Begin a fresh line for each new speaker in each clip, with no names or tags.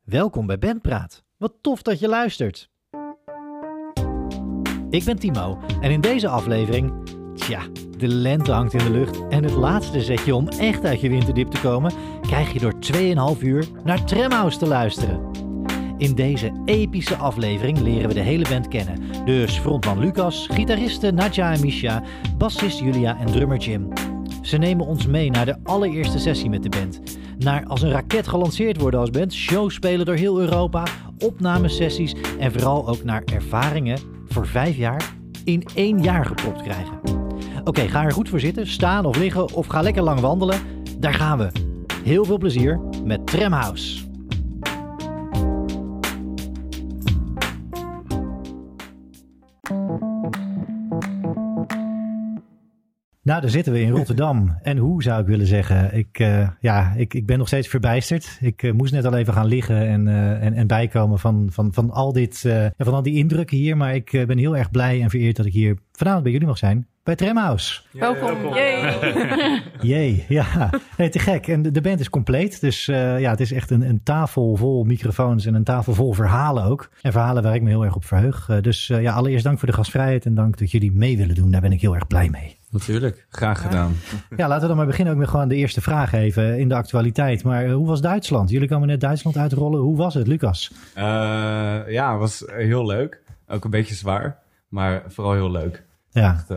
Welkom bij Bandpraat. Wat tof dat je luistert. Ik ben Timo en in deze aflevering, tja, de lente hangt in de lucht en het laatste zetje om echt uit je winterdiep te komen, krijg je door 2,5 uur naar Tremhouse te luisteren. In deze epische aflevering leren we de hele band kennen. Dus frontman Lucas, gitaristen Nadja en Misha, bassist Julia en drummer Jim. Ze nemen ons mee naar de allereerste sessie met de band. Naar als een raket gelanceerd worden als band, shows spelen door heel Europa, opnamesessies en vooral ook naar ervaringen voor vijf jaar in één jaar gepropt krijgen. Oké, ga er goed voor zitten, staan of liggen of ga lekker lang wandelen. Daar gaan we. Heel veel plezier met Tramhouse. Nou, daar zitten we in Rotterdam. En hoe zou ik willen zeggen? Ik, eh, ja, ik, ik ben nog steeds verbijsterd. Ik eh, moest net al even gaan liggen en, eh, en, en bijkomen van, van, van, al dit, eh, ja, van al die indrukken hier. Maar ik eh, ben heel erg blij en vereerd dat ik hier vanavond bij jullie mag zijn. Bij Tremhouse.
Welkom. Yay.
Jee, ja. Nee, te gek. En de, de band is compleet. Dus eh, ja, het is echt een, een tafel vol microfoons en een tafel vol verhalen ook. En verhalen waar ik me heel erg op verheug. Eh, dus eh, ja, allereerst dank voor de gastvrijheid en dank dat jullie mee willen doen. Daar ben ik heel erg blij mee.
Natuurlijk, graag gedaan.
Ja, laten we dan maar beginnen ook met gewoon de eerste vraag even in de actualiteit. Maar eh, hoe was Duitsland? Jullie komen net Duitsland uitrollen. Hoe was het, Lucas?
Eh, ja, het was heel leuk. Ook een beetje zwaar, maar vooral heel leuk.
Ja,
Echt, eh,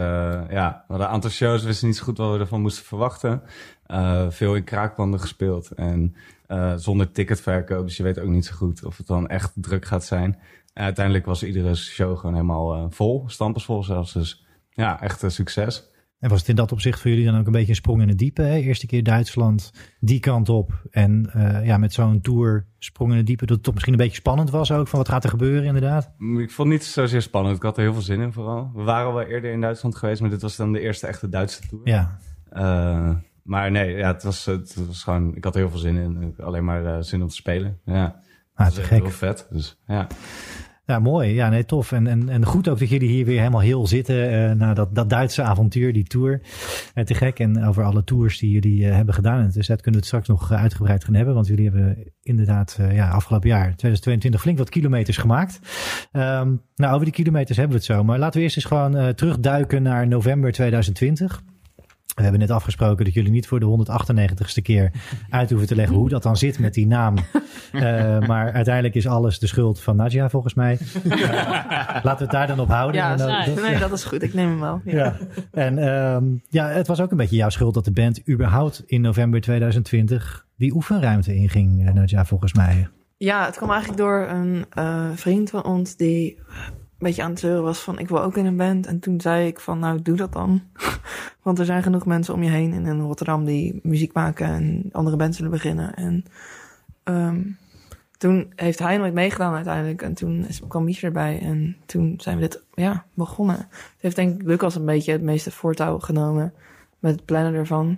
ja, we hadden een aantal shows, we wisten niet zo goed wat we ervan moesten verwachten. Eh, veel in kraakpanden gespeeld en eh, zonder ticketverkoop, dus je weet ook niet zo goed of het dan echt druk gaat zijn. En uiteindelijk was iedere show gewoon helemaal eh, vol, stampersvol zelfs. Dus ja, echt een succes.
en was het in dat opzicht voor jullie dan ook een beetje een sprong in het diepe? Hè? Eerste keer Duitsland, die kant op. En eh, ja, met zo'n tour sprong in het diepe, dat het toch misschien een beetje spannend was ook. Van wat gaat er gebeuren inderdaad?
Ik vond het niet zozeer spannend, ik had er heel veel zin in vooral. We waren al wel eerder in Duitsland geweest, maar dit was dan de eerste echte Duitse tour.
Ja,
Eh, maar nee, ja, het, was, het was gewoon... Ik had er heel veel zin in. Ik had Alleen maar eh, zin om te spelen. Ja,
ah,
dat is
te
echt
gek.
heel vet. Dus ja,
Ja, mooi. Ja, nee, tof. En, en, en goed ook dat jullie hier weer helemaal heel zitten eh, na dat, dat Duitse avontuur, die tour. Eh, te gek. En over alle tours die jullie eh, hebben gedaan. En dus dat kunnen we het straks nog eh, uitgebreid gaan hebben. Want jullie hebben inderdaad eh, ja, afgelopen jaar, 2022, flink wat kilometers gemaakt. Ehm, nou, over die kilometers hebben we het zo. Maar laten we eerst eens gewoon eh, terugduiken naar november 2020. We hebben net afgesproken dat jullie niet voor de 198ste keer uit hoeven te leggen hoe dat dan zit met die naam. Eh, maar uiteindelijk is alles de schuld van Nadja, volgens mij. Laten we het daar dan op houden.
Ja,
En dan-
nee,
dat-
nee, dat is goed. Ik neem hem wel. Ja.
ja. En ehm, ja, het was ook een beetje jouw schuld dat de band überhaupt in november 2020 die oefenruimte inging, eh, Nadja, volgens mij.
Ja, het kwam eigenlijk door een eh, vriend van ons die een beetje aan het zeuren was van ik wil ook in een band. En toen zei ik van nou doe dat dan. Want er zijn genoeg mensen om je heen en in Rotterdam die muziek maken en andere bands willen beginnen. En ehm, toen heeft hij nooit meegedaan uiteindelijk. En toen is, kwam Mies erbij en toen zijn we dit ja, begonnen. Het heeft denk ik Lucas een beetje het meeste voortouw genomen met het plannen ervan.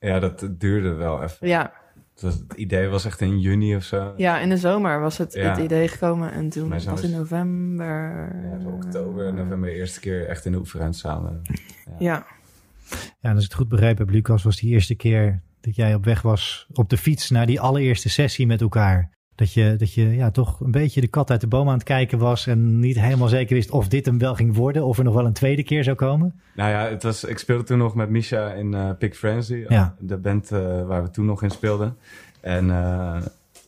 ja dat duurde wel even.
Ja,
Het, was- het idee was echt in juni of zo.
Ja, in de zomer was het,
Ja.
het idee gekomen en toen
Mij
was
zou
het in
eens-
november.
Ja, zo oktober, november, de eerste keer echt in de eh, oefenruimte samen.
Ja,
Ja, en als ik het goed begrepen heb, Lucas, was die eerste keer dat jij op weg was op de fiets naar die allereerste sessie met elkaar. Dat je, dat je ja, toch een beetje de kat uit de boom aan het kijken was en niet helemaal zeker wist of dit hem wel ging worden of er nog wel een tweede keer zou komen.
Nou ja, het was, ik speelde toen nog met Misha in eh Pick Frenzy.
Ja.
De band eh, waar we toen nog in speelden. En eh,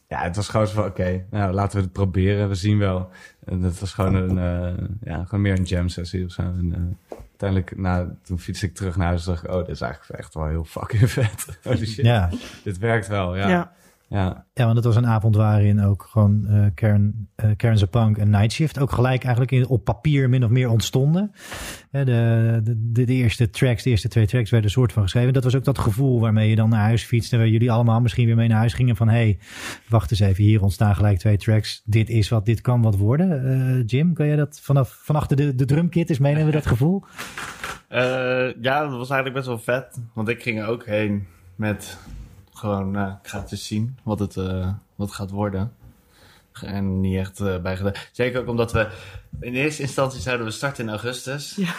ja, het was gewoon zo van, oké, nou, laten we het proberen. We zien wel. En het was gewoon, een, eh, ja, gewoon meer een jam sessie of zo. En, eh, uiteindelijk, na, toen fietste ik terug naar huis en dacht ik... oh, dit is eigenlijk echt wel heel fucking vet. Holy shit,
Ja.
dit werkt wel, ja.
ja.
ja.
ja.
ja, want het was een avond waarin ook gewoon eh Karen, eh Karen Zapang en Nightshift ook gelijk eigenlijk in, op papier min of meer ontstonden. Hè, de, de, de, de eerste tracks, de eerste twee tracks werden een soort van geschreven. Dat was ook dat gevoel waarmee je dan naar huis fietste, waar jullie allemaal misschien weer mee naar huis gingen van hé, hey, wacht eens even, hier ontstaan gelijk twee tracks. Dit is wat, dit kan wat worden. Eh, Jim, kan jij dat vanaf, van achter de, de drumkit eens meenemen, dat gevoel?
Eh, ja, dat was eigenlijk best wel vet. Want ik ging er ook heen met gewoon, nou, ik ga het eens zien wat het, eh, wat het gaat worden. En niet echt eh bij gedaan. Zeker ook omdat we in eerste instantie zouden we starten in augustus.
Ja.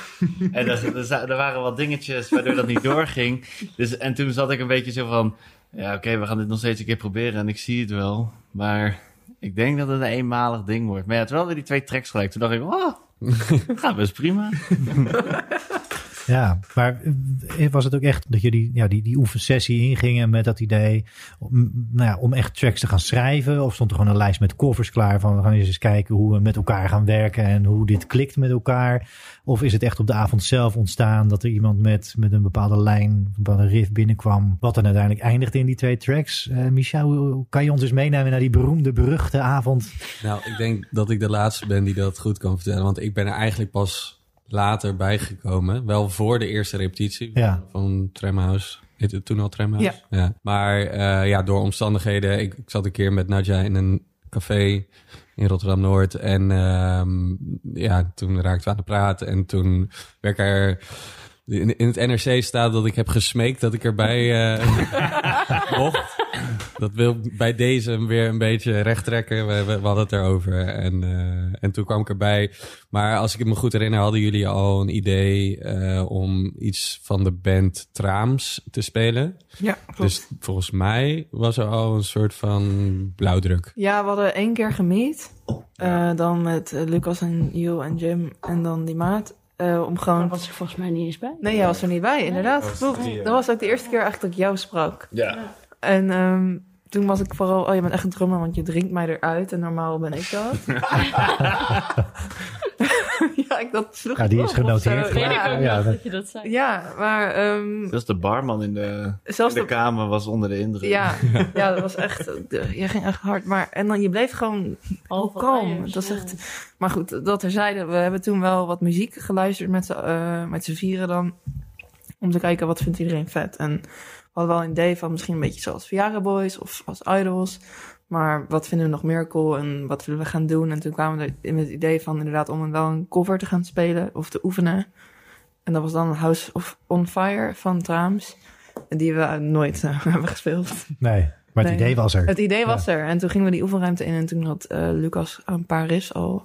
En er, er, za- er waren wat dingetjes waardoor dat niet doorging. Dus, en toen zat ik een beetje zo van, ja oké, we gaan dit nog steeds een keer proberen en ik zie het wel. Maar Ik denk dat het een eenmalig ding wordt. Maar ja, terwijl we die twee tracks gelijk, toen dacht ik, oh, het gaat best prima.
Ja, maar eh, was het ook echt dat jullie ja, die, die oefensessie ingingen met dat idee om, nou ja, om echt tracks te gaan schrijven? Of stond er gewoon een lijst met covers klaar van we gaan eens eens kijken hoe we met elkaar gaan werken en hoe dit klikt met elkaar? Of is het echt op de avond zelf ontstaan dat er iemand met, met een bepaalde lijn, een bepaalde riff binnenkwam, wat dan uiteindelijk eindigde in die twee tracks? Eh Michel, hoe- kan je ons eens meenemen naar die beroemde, beruchte avond?
Nou, ik denk dat ik de laatste ben die dat goed kan vertellen. Want ik ben er eigenlijk pas later bijgekomen. Wel voor de eerste repetitie
Ja.
van Tremhouse. Heette het toen al Tremhouse?
Ja.
Maar eh, ja, door omstandigheden. Ik, ik zat een keer met Nadja in een café in Rotterdam-Noord. En ehm, ja, toen raakten we aan het praten. En toen werd ik er... In, in het NRC staat dat ik heb gesmeekt dat ik erbij eh mocht. Dat wil bij deze hem weer een beetje recht trekken. We, we- we hadden het erover. En, eh, en toen kwam ik erbij. Maar als ik het me goed herinner, hadden jullie al een idee eh, om iets van de band Traams te spelen.
Ja, klopt.
Dus volgens mij was er al een soort van blauwdruk.
Ja, we hadden één keer gemeet. Eh, dan met eh, Lucas en Jill en Jim en dan die maat. eh, om
Daar
gewoon...
was ik volgens mij niet eens bij.
Nee, jij was er niet bij, inderdaad.
was
klopt.
drie, ja.
Dat was ook de eerste keer eigenlijk dat ik jou sprak.
Ja.
En ehm, toen was ik vooral... Oh, je bent echt een drummer, want je drinkt mij eruit. En normaal ben ik dat. ja, ik dat sloeg
Ja, die
op
is
of
genoteerd.
zo.
Weet ik ook
Ja,
Ja,
nog
dat-
dat je dat zei.
ja, maar... ehm,
Zelfs de barman in de, in
zelfs
de
de
kamer was onder de indruk.
Ja, ja, dat was echt. Je ging echt hard. Maar, en dan, je bleef gewoon
Half
kalm.
Ayers,
Dat is
oh, ja.
echt. Maar goed, dat terzijde. We hebben toen wel wat muziek geluisterd met z'n eh, met z'n vieren dan. Om te kijken wat vindt iedereen vet. En we hadden wel een idee van misschien een beetje zoals Viagra Boys of als Idols. Maar wat vinden we nog meer cool en wat willen we gaan doen? En toen kwamen we er met het idee van inderdaad om wel een cover te gaan spelen of te oefenen. En dat was dan House of On Fire van Traams. Die we nooit eh, hebben gespeeld.
Nee, maar het
Nee.
idee was er.
Het idee was er. En toen gingen we die oefenruimte in. En toen had eh, Lucas een paar riffs al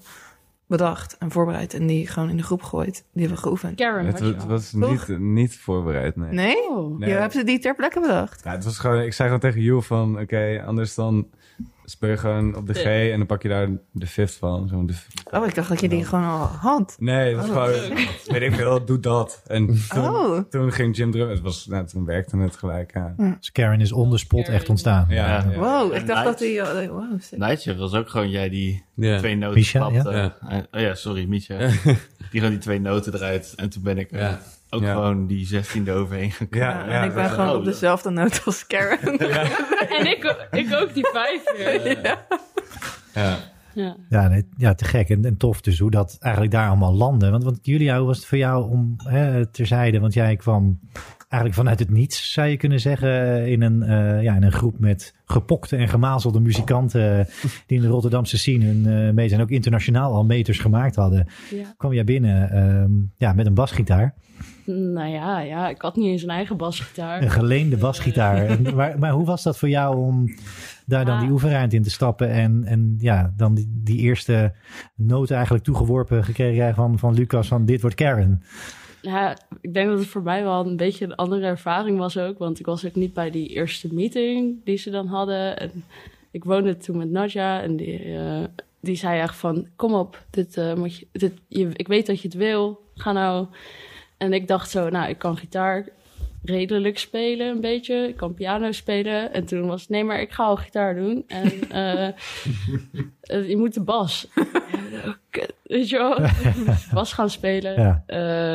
bedacht en voorbereid. En die gewoon in de groep gegooid. Die hebben we geoefend.
Karen
Het,
had je
het
al.
was niet, niet voorbereid, nee.
Nee?
Oh.
Nee.
Je hebt ze die ter plekke bedacht.
Ja, het was gewoon, ik zei gewoon tegen Joe van, oké, anders dan speel je gewoon op de G en dan pak je daar de fifth van. Zo de,
Oh, ik dacht dat je die gewoon al had.
nee, het was gewoon, weet ik veel, doe dat. En toen,
Oh.
toen ging Jim drum, het was, nou, toen werkte het gelijk. Ja,
Dus Karen is on the spot echt ontstaan.
ja, ja.
Wow, ik
En
dacht dat
Nigel-
die... al- oh, Wow, sick.
Nigel was ook gewoon jij die
Ja.
twee noten
Misha,
klapte.
ja.
Eh, Oh ja, sorry, Misha. Die gewoon die twee noten eruit. En toen ben ik eh,
Ja.
ook
Ja.
gewoon die zestiende overheen gekomen.
Ja,
en
ja,
ik ben
dat-
gewoon
oh,
op
ja.
dezelfde noot als Karen.
En ik, o- ik ook die vijf weer.
ja.
Ja.
Ja, nee, ja te gek en, en tof dus hoe dat eigenlijk daar allemaal landde. Want, want Julia, hoe was het voor jou om hè, terzijde? Want jij kwam eigenlijk vanuit het niets, zou je kunnen zeggen, in een, eh, ja, in een groep met gepokte en gemazelde muzikanten eh, die in de Rotterdamse scene hun eh, meters en ook internationaal al meters gemaakt hadden.
ja.
Kwam jij binnen ehm, ja, met een basgitaar,
Nou ja, ja, ik had niet eens een eigen basgitaar.
een geleende basgitaar. En, maar, maar hoe was dat voor jou om daar dan
Ah.
die oefenruimte in te stappen en, en ja, dan die, die eerste noot eigenlijk toegeworpen gekregen krijgen van, van Lucas van dit wordt Karen?
Ja, ik denk dat het voor mij wel een beetje een andere ervaring was ook. Want ik was ook niet bij die eerste meeting die ze dan hadden. En ik woonde toen met Nadja en die, eh, die zei echt van... Kom op, dit, eh, moet je, dit, je, ik weet dat je het wil. Ga nou. En ik dacht zo, nou, ik kan gitaar redelijk spelen een beetje. Ik kan piano spelen. En toen was het, nee, maar ik ga al gitaar doen. En eh, eh, je moet de bas. Kut, Weet je wel? Bas gaan spelen.
Ja.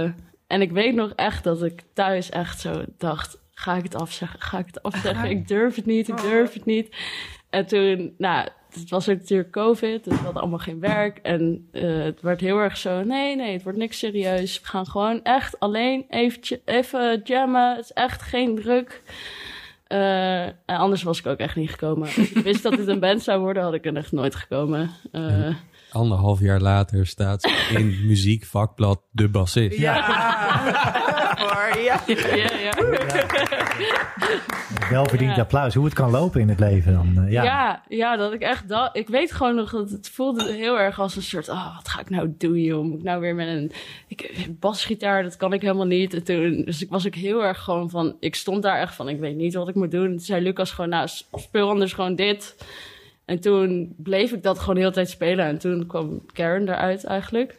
Eh, en ik weet nog echt dat ik thuis echt zo dacht... Ga ik het afzeggen? Ga ik het afzeggen? Ik durf het niet, ik durf het niet. En toen, nou, het was ook natuurlijk COVID, dus we hadden allemaal geen werk. En eh, het werd heel erg zo, nee, nee, het wordt niks serieus. We gaan gewoon echt alleen eventje, even jammen. Het is echt geen druk. Eh, en anders was ik ook echt niet gekomen. Als ik wist dat dit een band zou worden, had ik er echt nooit gekomen. Eh,
Anderhalf jaar later staat ze in muziekvakblad De Bassist.
Maar ja.
ja, ja.
Welverdiend
Ja.
applaus. Hoe het kan lopen in het leven dan. eh, Ja.
Ja. Ja, dat ik echt dat. Ik weet gewoon nog dat het voelde heel erg als een soort. Oh, wat ga ik nou doen, joh? Moet ik nou weer met een. Ik, basgitaar, dat kan ik helemaal niet. En toen, dus ik was ook heel erg gewoon van. Ik stond daar echt van. Ik weet niet wat ik moet doen. Toen zei Lucas gewoon, nou, speel anders gewoon dit. En toen bleef ik dat gewoon de hele tijd spelen. En toen kwam Karen eruit eigenlijk,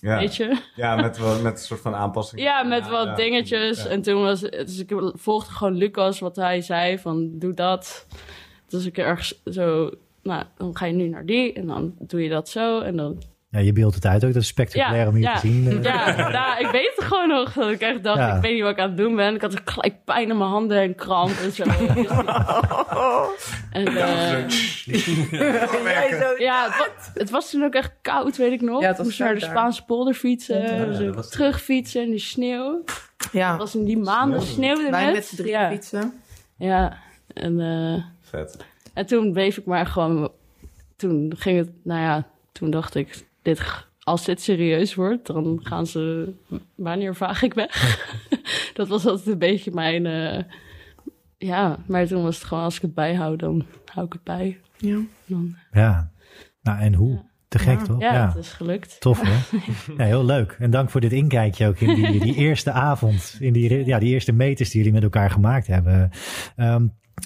Ja,
weet je.
ja met, wel- met een soort van aanpassing.
Ja, met wat
ja.
dingetjes.
Ja.
En toen was dus ik volgde gewoon Lucas wat hij zei van doe dat. Dus ik ergens zo, nou dan ga je nu naar die en dan doe je dat zo en dan.
Ja, je beeldt het uit ook. Dat is spectaculair
Ja,
om hier
ja.
te zien. eh.
Ja, nou, ik weet het gewoon nog dat ik echt dacht
Ja.
ik weet niet wat ik aan het doen ben. Ik had ook gelijk pijn in mijn handen en kramp en zo. en, eh,
Jij zo-
ja, het was, het was toen ook echt koud, weet ik nog.
Ja,
Ja,
het was
moest naar de
koud daar.
Spaanse polder fietsen, dus
dat was-
terugfietsen in de sneeuw. Het
Ja,
was in die maanden sneeuwde
wij
net.
met z'n drie
ja.
fietsen.
Ja, en, eh,
Vet.
en toen bleef ik maar gewoon... Toen ging het, nou ja, toen dacht ik... Dit, g- als dit serieus wordt, dan gaan ze... Wanneer vaag ik weg? dat was altijd een beetje mijn... eh, ja, maar toen was het gewoon... Als ik het bijhoud, dan hou ik het bij.
Ja.
Dan,
Ja. Nou, en hoe? Te gek,
Ja.
toch?
ja, het is gelukt.
Tof, hè? Ja, heel leuk. En dank voor dit inkijkje ook in die, die eerste avond. In die, re- ja, die eerste meters die jullie met elkaar gemaakt hebben. Ehm,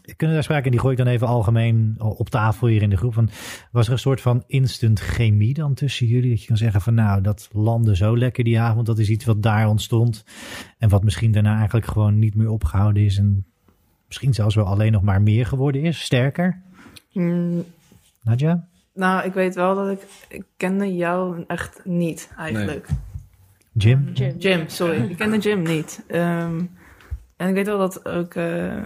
kunnen we daar sprake, en die gooi ik dan even algemeen op tafel hier in de groep. Van, was er een soort van instant chemie dan tussen jullie? Dat je kan zeggen van nou, dat landde zo lekker die avond. Dat is iets wat daar ontstond. En wat misschien daarna eigenlijk gewoon niet meer opgehouden is. En misschien zelfs wel alleen nog maar meer geworden is. Sterker.
Mm,
Nadja?
nou, ik weet wel dat ik... Ik kende jou echt niet, eigenlijk.
Jim?
Jim.
Jim, sorry. Ik kende Jim niet. Ehm, en ik weet wel dat ook eh,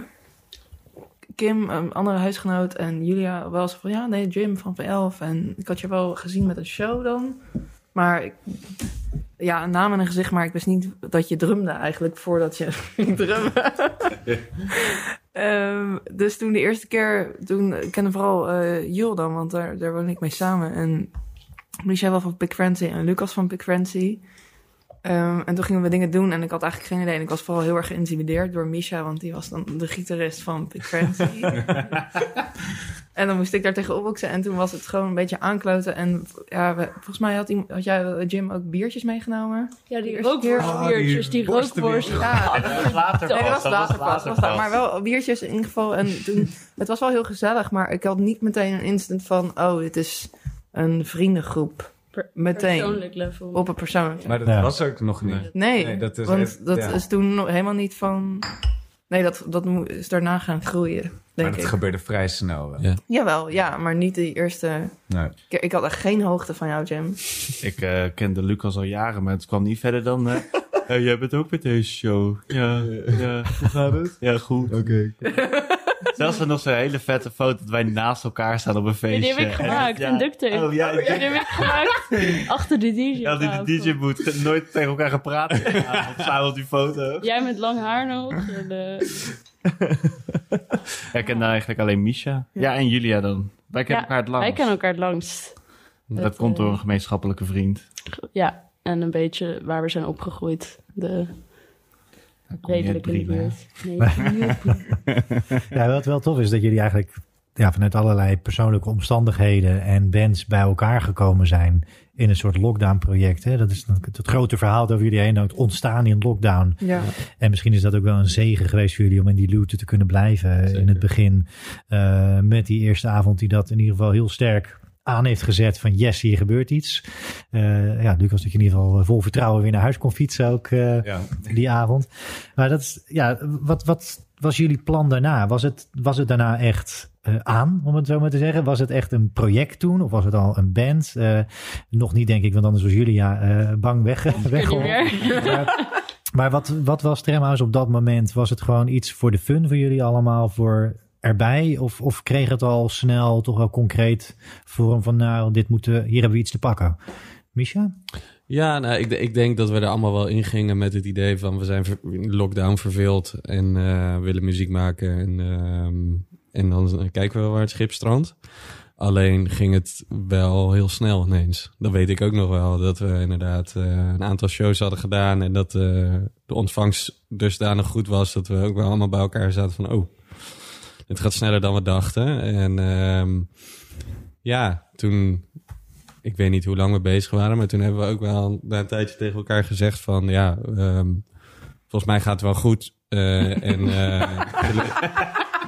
Kim, een andere huisgenoot, en Julia wel zo van... Ja, nee, Jim van V11. En ik had je wel gezien met een show dan. Maar ik, ja, een naam en een gezicht, maar ik wist niet dat je drumde eigenlijk voordat je ging drummen. Ehm, dus toen de eerste keer, toen ik kende vooral eh Jul dan, want daar, daar woonde ik mee samen. En Michel wel van Big Frenzy en Lucas van Big Frenzy. Ehm, en toen gingen we dingen doen en ik had eigenlijk geen idee. En ik was vooral heel erg geïntimideerd door Misha, want die was dan de gitarist van Big Frenzy. en dan moest ik daar tegen opboksen en toen was het gewoon een beetje aankloten. En ja, we- volgens mij had, iemand, had jij, eh, Jim, ook biertjes meegenomen.
Ja, die
eerste keer-
Ah,
rookworstbiertjes, die rookworst.
Ja,
Dat was later
Nee, dat was
pas,
later pas.
later
was dat. Maar wel biertjes in ieder geval. En toen, het was wel heel gezellig, maar ik had niet meteen een instant van... oh, dit is een vriendengroep.
Per-
meteen,
Persoonlijk level.
op een persoonlijk.
Maar dat
Ja.
was ook nog niet.
Nee,
Nee, dat is
want
echt-
dat
ja.
is toen nog helemaal niet van... Nee, dat, dat mo- is daarna gaan groeien,
Maar
denk
dat
ik.
gebeurde vrij snel. wel.
Ja.
Jawel, ja, maar niet de eerste
Nee.
keer. Ik had echt geen hoogte van jou, Jim.
Ik eh, kende Lucas al jaren, maar het kwam niet verder dan... eh, eh, jij bent ook met deze show. Ja, ja. Hoe gaat het? Ja, goed.
Oké.
Zelfs nog zo'n hele vette foto dat wij naast elkaar staan op een feestje.
Nee, die heb ik gemaakt,
Ja.
in duct tape.
Oh ja, in duct
Die heb ik gemaakt achter de DJ.
Ja, die de DJ moet ge- nooit tegen elkaar gaan praten. Ja, samen op die foto.
Jij met lang haar nog. en, eh,
Ja, ik ken daar eigenlijk alleen Misha. Ja, en Julia dan. Wij kennen
Ja,
elkaar het
wij
langst.
kennen elkaar het langst.
Dat,
Dat,
komt
eh,
door een gemeenschappelijke vriend.
Ja, en een beetje waar we zijn opgegroeid. De
Daar kom je
redelijke
drie, hè?
buurt. Nee, buurt.
Ja, wat wel tof is dat jullie eigenlijk ja, vanuit allerlei persoonlijke omstandigheden en bands bij elkaar gekomen zijn in een soort lockdown-project. hè. Dat is dan het het grote verhaal dat over jullie heen hangt, ontstaan in lockdown.
Ja.
En misschien is dat ook wel een zegen geweest voor jullie om in die looten te kunnen blijven in het begin. eh, met die eerste avond die dat in ieder geval heel sterk aan heeft gezet van yes, hier gebeurt iets. Eh, ja, Lucas, dat je in ieder geval vol vertrouwen weer naar huis kon fietsen ook. eh,
Ja.
die avond. Maar dat is, ja, wat, wat was jullie plan daarna? Was het, was het daarna echt eh, aan, om het zo maar te zeggen? Was het echt een project toen? Of was het al een band? Eh, nog niet, denk ik, want anders was Julia eh bang weg,
Niet
weggeholpen.
meer.
Maar, maar wat, wat was Tremhouse op dat moment? Was het gewoon iets voor de fun voor jullie allemaal, voor erbij? Of, of kreeg het al snel, toch wel concreet, vorm van nou, dit moeten, hier hebben we iets te pakken? Misha?
Ja, nou, ik, ik denk dat we er allemaal wel in gingen met het idee van we zijn ver- in lockdown verveeld en eh, willen muziek maken. En, ehm, en dan kijken we wel waar het schip strandt. Alleen ging het wel heel snel ineens. Dat weet ik ook nog wel. Dat we inderdaad eh, een aantal shows hadden gedaan. En dat eh, de ontvangst dusdanig goed was. Dat we ook wel allemaal bij elkaar zaten van... Oh, dit gaat sneller dan we dachten. En ehm, ja, toen ik weet niet hoe lang we bezig waren, maar toen hebben we ook wel na een tijdje tegen elkaar gezegd van ja, ehm, volgens mij gaat het wel goed. Eh, en eh,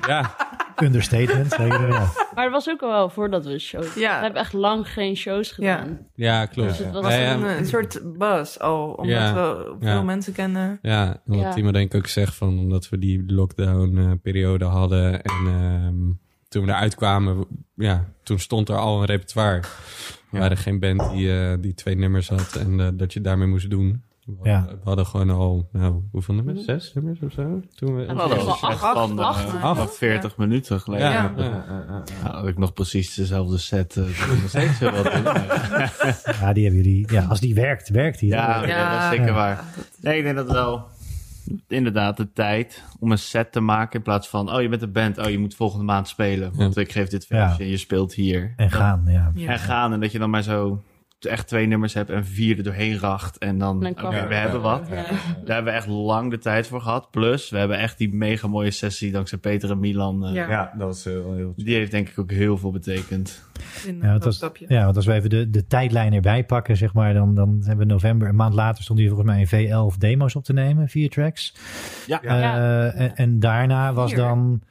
ja,
Understatement. zeker, ja.
Maar het was ook al wel voordat we shows.
Ja.
We hebben echt lang geen shows gedaan.
Ja, klopt.
Dus het was
was
Ja, ja.
een, eh, een soort buzz al, omdat
Ja.
we veel
Ja.
mensen kennen.
Ja, en wat
Ja.
Timo denk ik ook zegt van omdat we die lockdown-periode hadden en ehm, toen we eruit kwamen, w- ja, toen stond er al een repertoire. We waren geen band die, eh, die twee nummers had en eh, dat je daarmee moest doen. We,
Ja.
hadden- we hadden gewoon al, nou, hoeveel nummers? Zes nummers of zo? Toen we,
En
Hallo,
Wel
is echt
acht-
van eh,
acht,
van
acht.
40 minuten geleden.
Ja.
Ja. Ja, had ik nog precies dezelfde set. eh, dat ik nog steeds heel wat doen.
Ja, die hebben jullie. Ja, als die werkt, werkt die.
Ja,
Ja.
dat is zeker
Ja.
waar. Nee, ik denk dat wel inderdaad de tijd om een set te maken in plaats van... oh, je bent een band, oh, je moet volgende maand spelen. Want ik geef dit
Ja.
feestje en je speelt hier.
En gaan, ja.
Ja.
en gaan. En dat je dan maar zo echt twee nummers hebt en vier er doorheen racht. En dan,
En dan
oké,
kwam-
we hebben wat.
Ja.
Daar hebben we echt lang de tijd voor gehad. Plus, we hebben echt die mega mooie sessie dankzij Peter en Milan. eh,
Ja.
Ja, dat was heel... heel...
Die heeft denk ik ook heel veel betekend.
In
Ja,
dat
want als,
stapje.
ja, want als we even de, de tijdlijn erbij pakken, zeg maar, dan, dan hebben we november. Een maand later stonden hier volgens mij in V11 demo's op te nemen, vier tracks.
Ja.
Eh, en, en daarna was
Vier.
dan.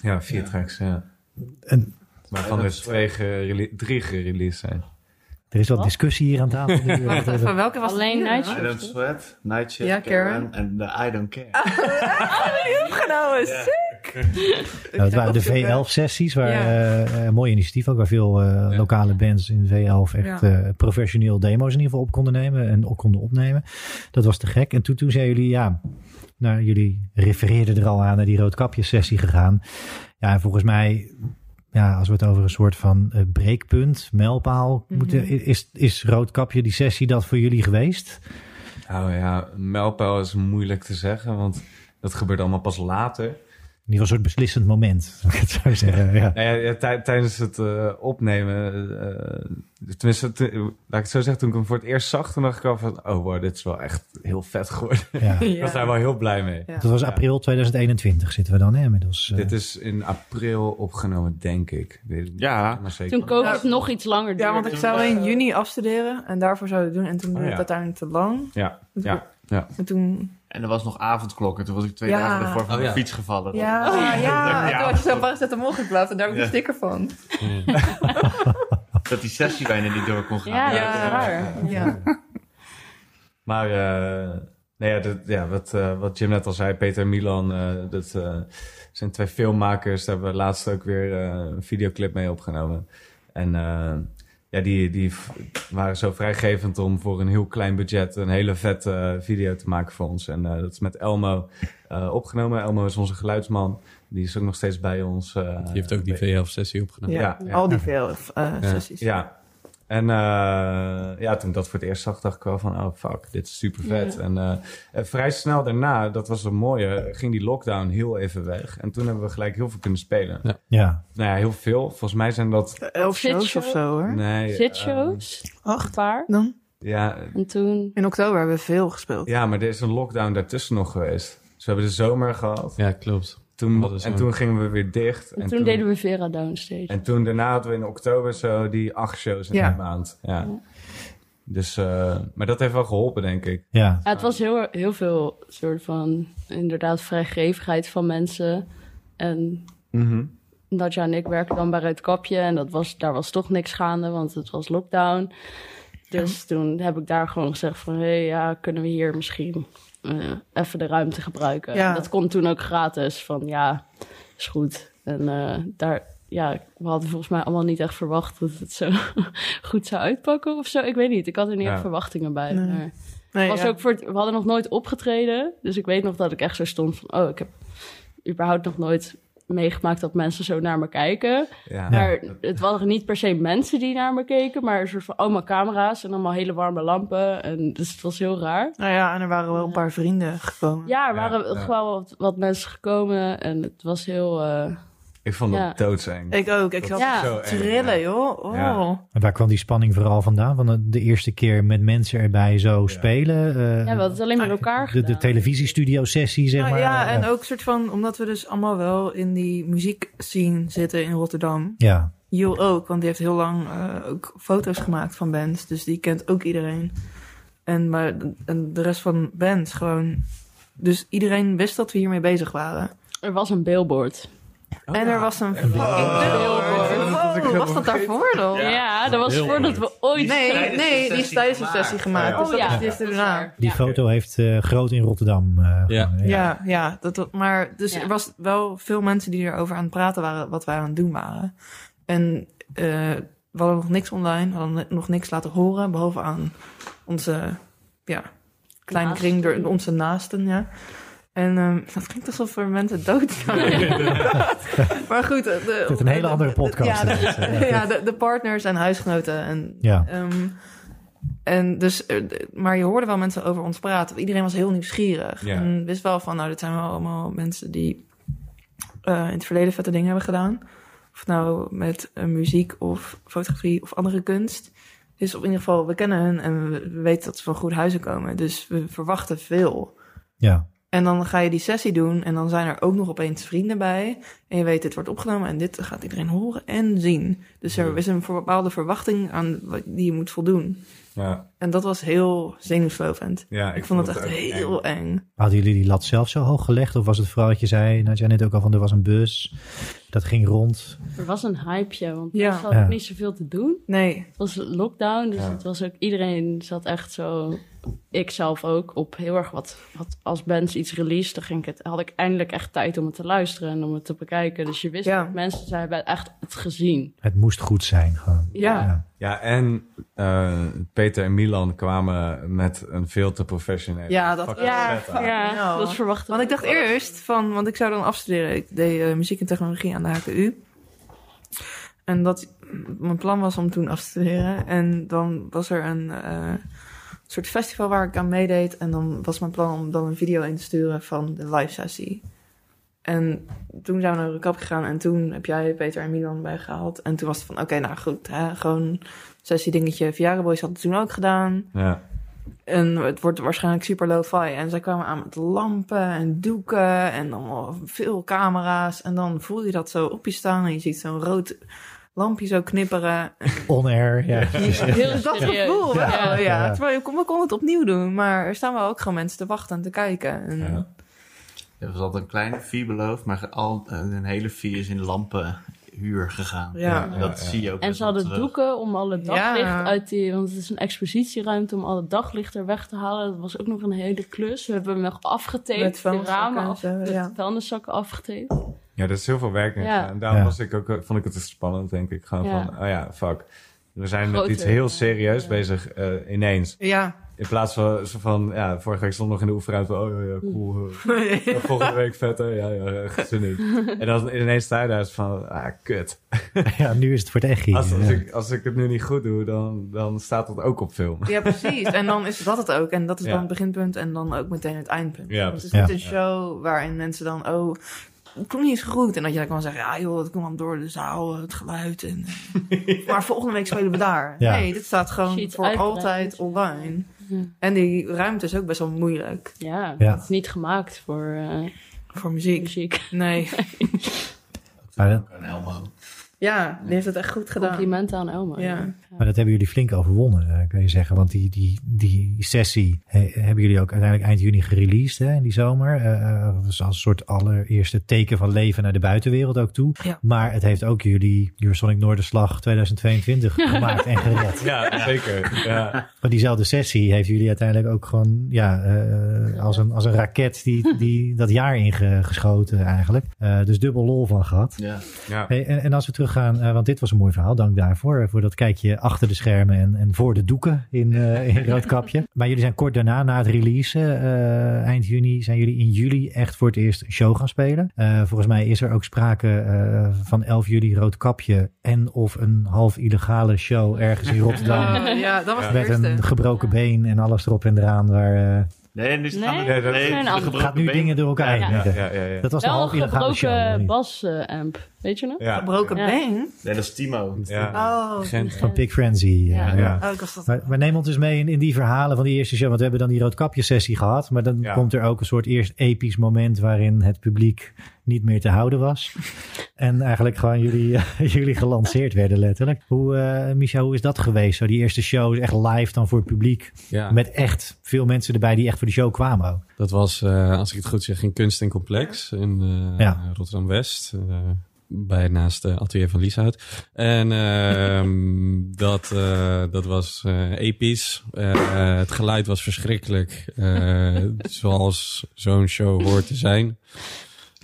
Ja, vier tracks, ja.
En-
Waarvan er twee gerele- drie gereleased zijn.
Er is wat
Wat?
discussie hier aan tafel. nu.
Wacht even, welke was
Alleen
het?
Nigel.
I don't sweat, Nightshade,
Ja, Karen.
en de I don't care.
Oh, Opgenomen, sick!
Nou, dat waren de V11-sessies, waar
eh, Ja.
eh, een mooi initiatief ook, waar veel eh, lokale bands in V11 echt
Ja.
eh, professioneel demo's in ieder geval op konden nemen en op konden opnemen. Dat was te gek. En toen, toen zeiden jullie, ja, nou, jullie refereerden er al aan naar die roodkapjes-sessie gegaan. Ja, en volgens mij, ja, als we het over een soort van eh, breekpunt, mijlpaal moeten, is, is roodkapje die sessie dat voor jullie geweest?
Nou ja, een mijlpaal is moeilijk te zeggen, want dat gebeurt allemaal pas later.
In ieder geval een soort beslissend moment, zou ik het zo zeggen. Ja.
Nou ja, ja, tij- tijdens het eh, opnemen, eh, tenminste, te- laat ik het zo zeggen, toen ik hem voor het eerst zag, toen dacht ik al van, oh wow, dit is wel echt heel vet geworden.
Ja.
Ik was daar
Ja.
wel heel blij mee.
Ja.
Dat was
Ja.
april 2021 zitten we dan hè, inmiddels. eh.
Dit is in april opgenomen, denk ik. Ik weet het niet,
Ja.
maar zeker.
Toen COVID nog iets langer duurde.
Ja, want ik zou in juni afstuderen en daarvoor zou ik doen. En toen duurde
Oh,
het
ja.
uiteindelijk te lang. Dus
Ja, ja.
En toen...
En er was nog avondklokken. Toen was ik twee
Ja.
dagen ervoor van
Oh,
de
ja.
fiets gevallen.
Ja, ja. Toen had je zo'n paracetamol geplaatst en daar heb ik
Ja.
een sticker van.
Dat die sessie bijna niet door kon gaan.
Ja,
Ja.
dat is raar.
Ja.
Maar eh, nou ja, dat, ja, wat, eh, wat Jim net al zei, Peter en Milan, eh, dat eh, zijn twee filmmakers. Daar hebben we laatst ook weer eh, een videoclip mee opgenomen. En eh, ja, die, die v- waren zo vrijgevend om voor een heel klein budget een hele vette eh, video te maken voor ons. En eh, dat is met Elmo eh, opgenomen. Elmo is onze geluidsman. Die is ook nog steeds bij ons. eh,
Die heeft ook die V11-sessie opgenomen.
Ja.
Ja.
Al die veel eh, sessies.
ja. En eh, ja, toen ik dat voor het eerst zag, dacht ik wel van, oh fuck, dit is super vet. En eh, eh, vrij snel daarna, dat was het mooie, ging die lockdown heel even weg. En toen hebben we gelijk heel veel kunnen spelen.
Ja.
Ja,
Nou ja, heel veel. Volgens mij zijn dat...
Elf
Shit
shows of
show.
zo hoor.
Nee,
Zitshows,
Acht.
een paar.
Dan?
eh, ja,
En toen...
In oktober hebben we veel gespeeld.
ja, maar er is een lockdown daartussen nog geweest. Dus we hebben de zomer gehad.
Ja, klopt.
Toen,
Dat is
en
zo.
toen gingen we weer dicht.
En toen deden we Vera Downstage.
En toen daarna hadden we in oktober zo die acht shows in
Ja.
een maand. Ja. Dus, eh, maar dat heeft wel geholpen, denk ik.
ja.
Ja, het was heel, heel veel soort van inderdaad vrijgevigheid van mensen. En
Mhm.
Nadja en ik werken dan bij het kapje en dat was, daar was toch niks gaande, want het was lockdown. Dus toen heb ik daar gewoon gezegd van, hé, hey, ja, kunnen we hier misschien eh, even de ruimte gebruiken?
Ja.
Dat kon toen ook gratis, van ja, is goed. En eh, daar, ja, we hadden volgens mij allemaal niet echt verwacht dat het zo goed zou uitpakken of zo. Ik weet niet, ik had er niet
Ja.
echt verwachtingen bij.
Nee.
maar-
Nee,
was
ja.
ook voor het- we hadden nog nooit opgetreden. Dus ik weet nog dat ik echt zo stond van... Oh, ik heb überhaupt nog nooit meegemaakt dat mensen zo naar me kijken.
Ja.
Maar het waren niet per se mensen die naar me keken... maar een soort van allemaal camera's en allemaal hele warme lampen. En dus het was heel raar.
Nou ja, en er waren wel een paar vrienden gekomen.
Ja, er waren
ja.
gewoon wat, wat mensen gekomen en het was heel... eh,
Ik vond dat
Ja.
doodseng.
Ik ook. Ik zat
Ja.
te
Zo eng,
trillen,
ja.
joh. Oh.
Ja.
En waar kwam die spanning vooral vandaan? Van de, de eerste keer met mensen erbij zo spelen? eh,
ja, we hadden het alleen met elkaar
de, de
gedaan.
televisiestudio-sessie, zeg
Nou
maar.
ja, en ook soort van, omdat we dus allemaal wel in die muziekscene zitten in Rotterdam.
Ja,
Jill ook, want die heeft heel lang eh, ook foto's gemaakt van bands. Dus die kent ook iedereen. En, maar, en de rest van bands gewoon. Dus iedereen wist dat we hiermee bezig waren.
Er was een billboard.
Oh, en er was een fucking dubbelbord. Wow, Oh, was dat daarvoor dan?
Ja, dat was
Heel
voordat we ooit...
Nee,
Tijdens de
nee, die is
sessie
tijdens een
gemaakt.
sessie gemaakt.
Oh
Dus
ja,
dat is
dat is
daarna.
waar.
Die
Ja.
foto heeft eh, groot in Rotterdam. eh,
Ja.
gewonnen,
Ja, ja. Dat, dat- maar dus
Ja.
er was wel veel mensen die erover aan het praten waren, wat wij aan het doen waren. En eh, we hadden nog niks online, we hadden nog niks laten horen, behalve aan onze ja, kleine
Naasten.
kring, door onze naasten, ja. En ehm, dat klinkt alsof er mensen dood gaan. maar goed. eh, De,
Dit is een hele
de-
andere
de-
podcast.
Ja, de, ja, de, de partners en huisgenoten en
Ja.
Ehm, en dus, eh, d- maar je hoorde wel mensen over ons praten. Iedereen was heel nieuwsgierig.
Ja.
En wist wel van, nou, dit zijn wel allemaal mensen die eh, in het verleden vette dingen hebben gedaan. Of nou met eh, muziek of fotografie of andere kunst. Dus op ieder geval, we kennen hun en we, we weten dat ze van goed huizen komen. Dus we verwachten veel.
Ja.
En dan ga je die sessie doen en dan zijn er ook nog opeens vrienden bij. En je weet, dit wordt opgenomen en dit gaat iedereen horen en zien. Dus er is een voor- bepaalde verwachting aan wat- die je moet voldoen.
Ja,
En dat was heel zenuwslopend.
ja,
Ik vond het echt heel eng.
Hadden jullie die lat zelf zo hoog gelegd? Of was het vooral dat je zei, nou, jij net ook al van er was een bus, dat ging rond.
Er was een hypeje, want
Ja.
er was
Ja.
niet zoveel te doen.
Nee,
Het was lockdown, dus
Ja.
het was ook, iedereen zat echt zo... Ik zelf ook, op heel erg wat, wat als bands iets released, dan ging ik het, had ik eindelijk echt tijd om het te luisteren en om het te bekijken. Dus je wist,
Ja.
dat mensen zij hebben echt het gezien.
Het moest goed zijn gewoon.
ja.
Ja.
Ja, en eh, Peter en Milan kwamen met een veel te professionele...
Ja, dat-
fucking
ja,
set aan.
fuck.
Ja,
Ja.
dat verwachtte
Want ik dacht eerst van, want ik zou dan afstuderen. Ik deed eh, muziek en technologie aan de HKU. En dat, mijn plan was om toen af te studeren. En dan was er een eh, soort festival waar ik aan meedeed. En dan was mijn plan om dan een video in te sturen van de live sessie. En toen zijn we naar de kap gegaan. En toen heb jij Peter en Milan bijgehaald. En toen was het van, oké, nou goed. Hè, gewoon sessie dingetje. Viagra Boys had het toen ook gedaan.
Ja.
En het wordt waarschijnlijk super lo-fi. En zij kwamen aan met lampen en doeken en allemaal veel camera's. En dan voel je dat zo op je staan en je ziet zo'n rood lampje zo knipperen.
On air, ja.
Heel
dat
serieus.
gevoel wel,
Ja.
ja.
Ja.
Terwijl je kon, we konden het opnieuw doen, maar er staan wel ook gewoon mensen te wachten en te kijken. En,
Ja.
Er was altijd een kleine fee beloofd, maar al, eh, een hele fee is in lampenhuur gegaan.
Ja.
En dat
Ja, ja.
zie je ook
En
best
ze
wel
hadden
terug.
doeken om alle daglicht
Ja.
uit die... Want het is een expositieruimte om alle daglicht er weg te halen. Dat was ook nog een hele klus. We hebben hem nog
Met
afgetaped, de
vuilniszakken
ramen
en
af,
zo,
met
ja.
vuilniszakken afgetaped.
ja, er is heel veel werk in
Ja.
gedaan. Daarom
Ja.
was ik ook, eh, vond ik het te spannend, denk ik. Gewoon
Ja.
van, oh ja, fuck. We zijn met
Groter.
iets heel serieus
Ja.
bezig eh, ineens.
ja.
In plaats van, zo van ja, vorige week stond nog in de oefenruimte. Oh ja, ja cool.
Mm.
eh. Ja, Volgende week vetter. Ja, ja, echt zin in. En dan ineens sta je daar zo van, ah, kut.
Ja, nu is het voor het echt.
Als, als, ik, als ik het nu niet goed doe, dan, dan staat dat ook op film.
ja, precies. En dan is dat het ook. En dat is
Ja.
dan het beginpunt en dan ook meteen het eindpunt.
Ja,
het is
precies.
niet een show waarin mensen dan, oh, het klonk niet eens goed. En dat jij kan zeggen, ja joh, het kwam door de zaal, het geluid. En, eh. maar volgende week spelen we daar.
Ja.
Nee, dit staat gewoon
Shit,
voor
uitgebreid.
altijd online.
Ja.
En die ruimte is ook best wel moeilijk
Ja,
Ja.
het is niet gemaakt voor eh,
voor muziek.
muziek.
Nee.
Maar dat,
Een Elmo.
Ja, die heeft het echt goed gedaan.
Complimenten aan Elmo.
Ja.
maar dat hebben jullie flink overwonnen, eh, kun je zeggen. Want die, die, die sessie eh, hebben jullie ook uiteindelijk eind juni gereleased, hè, in die zomer. Eh, eh, dat was als een soort allereerste teken van leven naar de buitenwereld ook toe.
Ja.
Maar het heeft ook jullie Eurosonic Noorderslag 2022 gemaakt en gered.
Ja, zeker. Ja.
Maar diezelfde sessie heeft jullie uiteindelijk ook gewoon ja, eh, als, een, als een raket die, die dat jaar ingeschoten eigenlijk. Eh, dus dubbel lol van gehad.
Ja.
Ja.
Hey, en, en als we teruggaan, eh, want dit was een mooi verhaal, dank daarvoor. eh, Voor dat kijkje achter de schermen en, en voor de doeken in, eh, in Roodkapje. maar jullie zijn kort daarna, na het release, eh, eind juni, zijn jullie in juli echt voor het eerst een show gaan spelen. Eh, volgens mij is er ook sprake eh, van 11 juli Roodkapje en of een half illegale show ergens in Rotterdam.
Oh, ja, dat was de
Met een
eerste.
gebroken
Ja.
been en alles erop en eraan. Waar, eh,
Nee, nu staan
Nee,
we-
dat
nee,
zijn
de
andere.
gebroken
gaat nu
been.
dingen door elkaar
Ja.
heen.
Ja, ja, ja.
Dat was een
Wel een
half illegale show. of
gebroken
niet?
bas-amp. Weet je nog?
Ja.
Gebroken
Ja.
been?
Nee, dat is Timo.
ja.
Oh,
Gent.
Van Pig Frenzy. eh, Ja.
Ja.
Ja.
oh, ik was dat...
Maar, maar neem ons dus mee in, in die verhalen van die eerste show. Want we hebben dan die roodkapjesessie gehad. Maar dan
Ja.
komt er ook een soort eerst episch moment... waarin het publiek niet meer te houden was. en eigenlijk gewoon jullie, jullie gelanceerd werden letterlijk. Hoe, eh Micha, hoe is dat geweest? Zo die eerste show echt live dan voor het publiek.
Ja.
Met echt veel mensen erbij die echt voor de show kwamen ook.
Dat was, eh, als ik het goed zeg, in Kunst en Complex in eh,
Ja.
Rotterdam-West. eh, bij naast de atelier van Lieshout. En ehm, dat, eh, dat was eh, episch. Eh, eh, het geluid was verschrikkelijk. eh, zoals zo'n show hoort te zijn.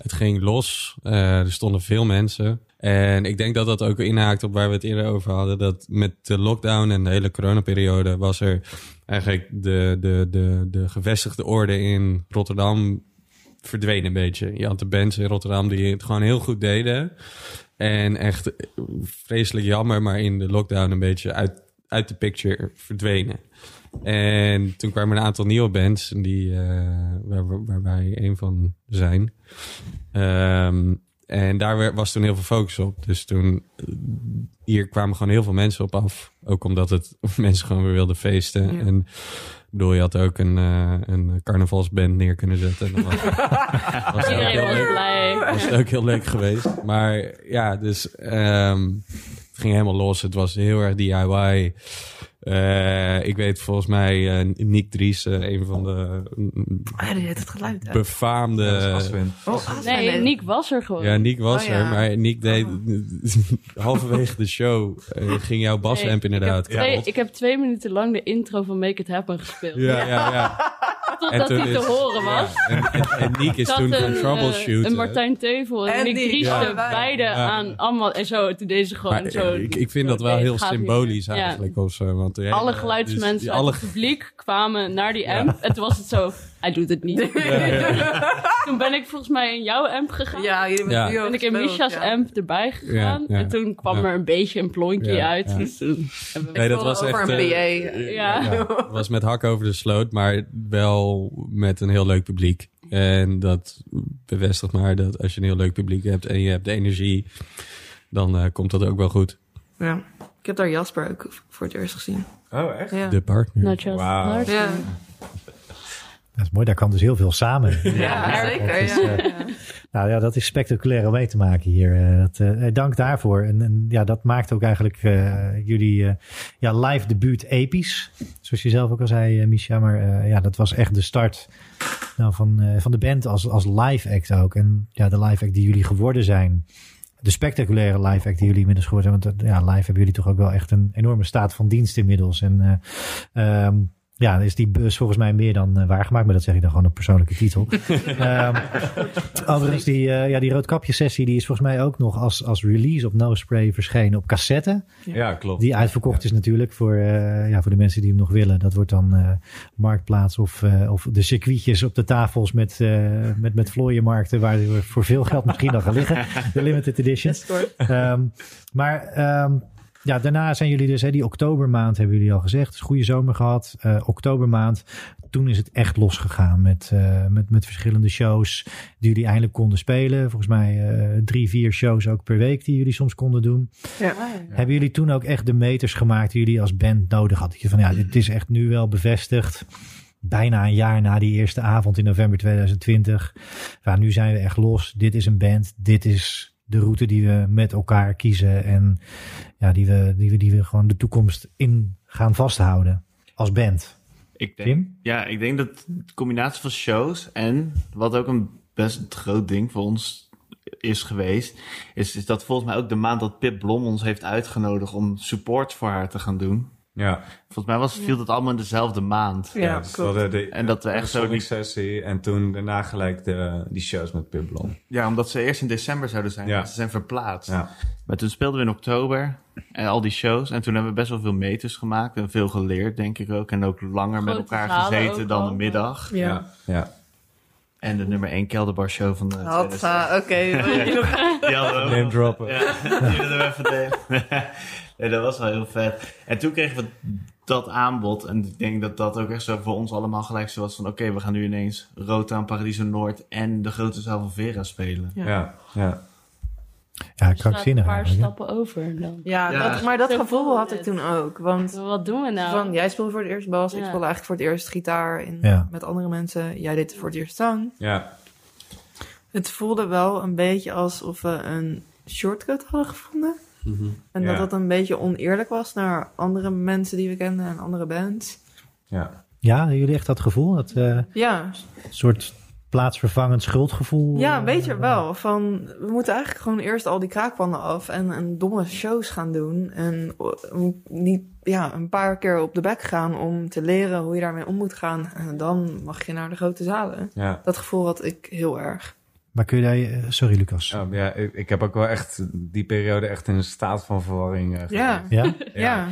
Het ging los. eh, er stonden veel mensen. En ik denk dat dat ook inhaakt op waar we het eerder over hadden. Dat met de lockdown en de hele coronaperiode was er eigenlijk de, de, de, de gevestigde orde in Rotterdam verdween een beetje. Je had de bands in Rotterdam die het gewoon heel goed deden. En echt eh, vreselijk jammer, maar in de lockdown een beetje uit, uit de picture verdwenen. En toen kwamen een aantal nieuwe bands die, eh, waar, we- waar wij een van zijn. Ehm, en daar werd- was toen heel veel focus op. Dus toen, eh, hier kwamen gewoon heel veel mensen op af. Ook omdat het mensen gewoon weer wilden feesten.
Ja.
En ik bedoel, je had ook een, eh, een carnavalsband neer kunnen zetten. En dat was, was ook heel
Iedereen was
leuk
blij.
was het ook heel leuk geweest. Maar ja, dus ehm, het ging helemaal los. Het was heel erg DIY. Eh, ik weet volgens mij eh Nick Dries, eh, een van de mm,
Ah, die heeft het geluid uit.
befaamde...
Dat is Aswin.
Oh, ah,
Nee,
nee.
Niek was er gewoon.
Ja, Nick was
Oh, ja.
er, maar Nick deed halverwege de show eh, ging jouw basamp
Nee,
inderdaad
Oh. Ik heb, twee,
kapot.
ik heb twee minuten lang de intro van Make It Happen gespeeld.
Ja, ja, ja. En
Totdat
toen
hij te
is-
horen was.
Ja, En, en, en Nick is
Dat
toen gaan
een, eh,
troubleshooten.
Een Martijn Teuvel en,
En
Nick
die-
Dries
Ja.
er beide
Ja.
aan allemaal. En zo, toen deden ze gewoon
Maar eh,
zo.
ik, ik vind dat
zo,
wel
nee,
heel
het gaat niet.
symbolisch
Ja.
eigenlijk. Of zo, want de hele-
Alle
dus
geluidsmensen
die
uit
alle
het publiek kwamen naar die amp. En toen was het zo, hij doet het niet. toen ben ik volgens mij in jouw amp gegaan.
Ja, jullie hebben
Ja.
het duo
Ben ik in
gespeeld,
Misha's
ja.
amp erbij gegaan.
Ja, ja.
En toen kwam
Ja.
er een beetje een plonkje
Ja,
uit.
ja.
Dus toen hebben we-
Nee,
Ik
dat
wilde
was
over
echt,
een
eh,
BA.
ja.
Het was met hak over de sloot, maar wel met een heel leuk publiek. En dat bevestigt maar dat als je een heel leuk publiek hebt en je hebt de energie, dan eh, komt dat ook wel goed.
Ja. Ik heb daar Jasper ook voor het eerst gezien.
Oh, echt?
Ja.
De partner.
Not just
Wauw.
hard.
Ja,
Dat is mooi, daar kwam dus heel veel samen.
ja, eh, zeker.
Dus,
Ja.
Nou ja, dat is spectaculair om mee te maken hier. Eh, dat, eh, eh, dank daarvoor. En, en ja, dat maakt ook eigenlijk eh, jullie eh, ja, live debuut episch. Zoals je zelf ook al zei, eh Misha. Maar eh, ja, dat was echt de start nou, van, eh, van de band als, als live act ook. En ja, de live act die jullie geworden zijn. De spectaculaire live act die jullie inmiddels geworden zijn. Want eh, ja, live hebben jullie toch ook wel echt een enorme staat van dienst inmiddels. En eh, ehm, ja, is die bus volgens mij meer dan eh, waargemaakt. Maar dat zeg ik dan gewoon op persoonlijke titel. Ehm, Overigens, die, eh, ja, die roodkapjesessie die is volgens mij ook nog als, als release op No Spray verschenen op cassette.
Ja, klopt.
Die uitverkocht is natuurlijk voor, eh, ja, voor de mensen die hem nog willen. Dat wordt dan eh, Marktplaats of, eh, of de circuitjes op de tafels met, eh met, met vlooienmarkten... waar we voor veel geld misschien al gaan liggen. De limited editions. Ehm, maar ehm, ja, daarna zijn jullie dus, hè, die oktobermaand hebben jullie al gezegd. Dus goede zomer gehad. Eh, oktobermaand. Toen is het echt losgegaan met, eh, met, met verschillende shows die jullie eindelijk konden spelen. Volgens mij eh, drie, vier shows ook per week die jullie soms konden doen. Hebben jullie toen ook echt de meters gemaakt die jullie als band nodig hadden? Dat je van ja, dit is echt nu wel bevestigd. Bijna een jaar na die eerste avond in november 2020. Ja, nu zijn we echt los. Dit is een band. Dit is de route die we met elkaar kiezen. En ja, die we, die we, die we gewoon de toekomst in gaan vasthouden. Als band.
Ik denk,
Tim?
Ja, ik denk dat de combinatie van shows en wat ook een best groot ding voor ons is geweest, is, is dat volgens mij ook de maand dat Pip Blom ons heeft uitgenodigd om support voor haar te gaan doen.
Ja,
Volgens mij was, viel dat allemaal in dezelfde maand.
Ja,
ja, dus we
klopt.
hadden de,
En dat we echt zo
die
niet.
sessie en toen daarna gelijk de, die shows met Pip Blom.
Ja, omdat ze eerst in december zouden zijn.
Ja.
maar Ze zijn verplaatst.
Ja.
Maar toen speelden we in oktober en al die shows. En toen hebben we best wel veel meters gemaakt en veel geleerd, denk ik ook. En ook langer met
Grote
elkaar
verhalen
gezeten
ook
dan de
allemaal.
middag.
Ja.
ja.
En de nummer 1 Kelderbar Show van de.
Had,
2000.
eh, oké.
Die hadden we ook
Name droppen.
Oh. Ja, die willen we even delen. nee, dat was wel heel vet. En toen kregen we dat aanbod. En ik denk dat dat ook echt zo voor ons allemaal gelijk zo was van... Oké, we gaan nu ineens Rotaan, Paradiso Noord en de grote zaal van Vera spelen.
Ja, ja.
Ja,
staat een
krankzinnig
paar
eigenlijk. hè?
stappen over. Dan.
Ja,
Ja.
Dat, maar dat
Zo
gevoel
voelde
had ik
het.
toen ook. Want
Wat doen we nou?
van, jij speelde voor het eerst bas, ik
Ja.
speelde eigenlijk voor het eerst gitaar in,
Ja.
met andere mensen. Jij deed voor het eerst zang.
Ja.
Het voelde wel een beetje alsof we een shortcut hadden gevonden. En
Ja.
dat dat een beetje oneerlijk was naar andere mensen die we kenden en andere bands.
Ja.
Ja, hebben jullie echt dat gevoel? Dat eh,
Ja,
soort plaatsvervangend schuldgevoel?
ja
eh,
weet je wel. Van, we moeten eigenlijk gewoon eerst al die kraakpannen af en, en domme shows gaan doen. En eh, niet, ja, een paar keer op de bek gaan om te leren hoe je daarmee om moet gaan. En dan mag je naar de grote zalen.
Ja.
Dat gevoel had ik heel erg.
Maar kun je daar... je- eh, Sorry, Lucas.
Oh, ja, ik, ik heb ook wel echt die periode echt in een staat van verwarring. eh,
Ja,
Ja?
ja.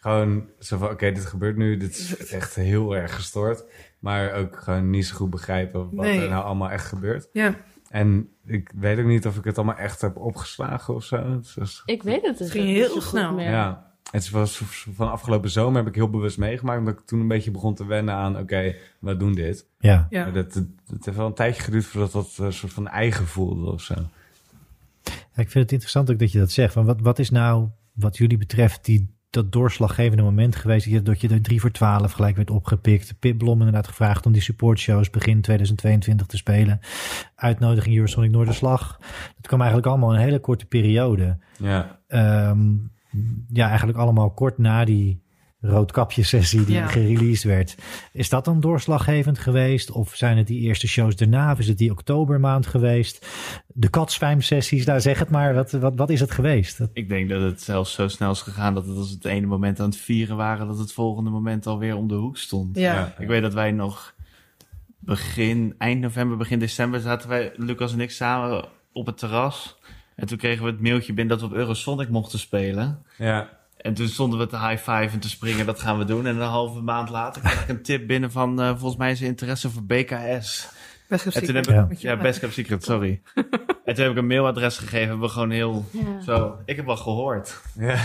Gewoon zo van, oké, dit gebeurt nu. Dit is echt heel erg gestoord. Maar ook gewoon niet zo goed begrijpen wat
Nee.
er nou allemaal echt gebeurt.
ja.
En ik weet ook niet of ik het allemaal echt heb opgeslagen of zo. Het is-
Ik weet het dus
ging
ook
heel
niet zo goed
snel.
meer.
ja. Het was van afgelopen zomer heb ik heel bewust meegemaakt. Omdat ik toen een beetje begon te wennen aan, oké, we doen dit.
Ja.
Ja.
Maar dat, dat, dat heeft wel een tijdje geduurd voordat dat een soort van eigen voelde of zo.
Ja, Ik vind het interessant ook dat je dat zegt. Van wat, wat is nou, wat jullie betreft, die, dat doorslaggevende moment geweest... dat je- dat je de 3 voor 12 gelijk werd opgepikt. Pip Blom inderdaad gevraagd om die supportshows begin 2022 te spelen. Uitnodiging Eurosonic Noorderslag. Dat kwam eigenlijk allemaal in een hele korte periode.
Ja,
Ehm, ja, eigenlijk allemaal kort na die roodkapjesessie die
Ja.
gereleased werd. Is dat dan doorslaggevend geweest? Of zijn het die eerste shows daarna? Of is het die oktobermaand geweest? De katzwijmsessies, nou zeg het maar. Wat, wat, wat is het geweest? Dat-
Ik denk dat het zelfs zo snel is gegaan dat het als het ene moment aan het vieren waren, dat het volgende moment alweer om de hoek stond.
Ja.
ja.
Ik weet dat wij nog begin, eind november, begin december zaten wij, Lucas en ik, samen op het terras. En toen kregen we het mailtje binnen dat we op Eurosonic mochten spelen.
Ja,
En toen stonden we te high-five en te springen, dat gaan we doen. En een halve maand later kreeg ik een tip binnen van, eh, volgens mij is er interesse voor BKS.
Best wel
En toen heb
zeker.
Ja.
ik, ja, Best Kept Secret, sorry. en toen heb ik een mailadres gegeven, hebben we gewoon heel,
Ja.
zo, ik heb wel gehoord.
ja.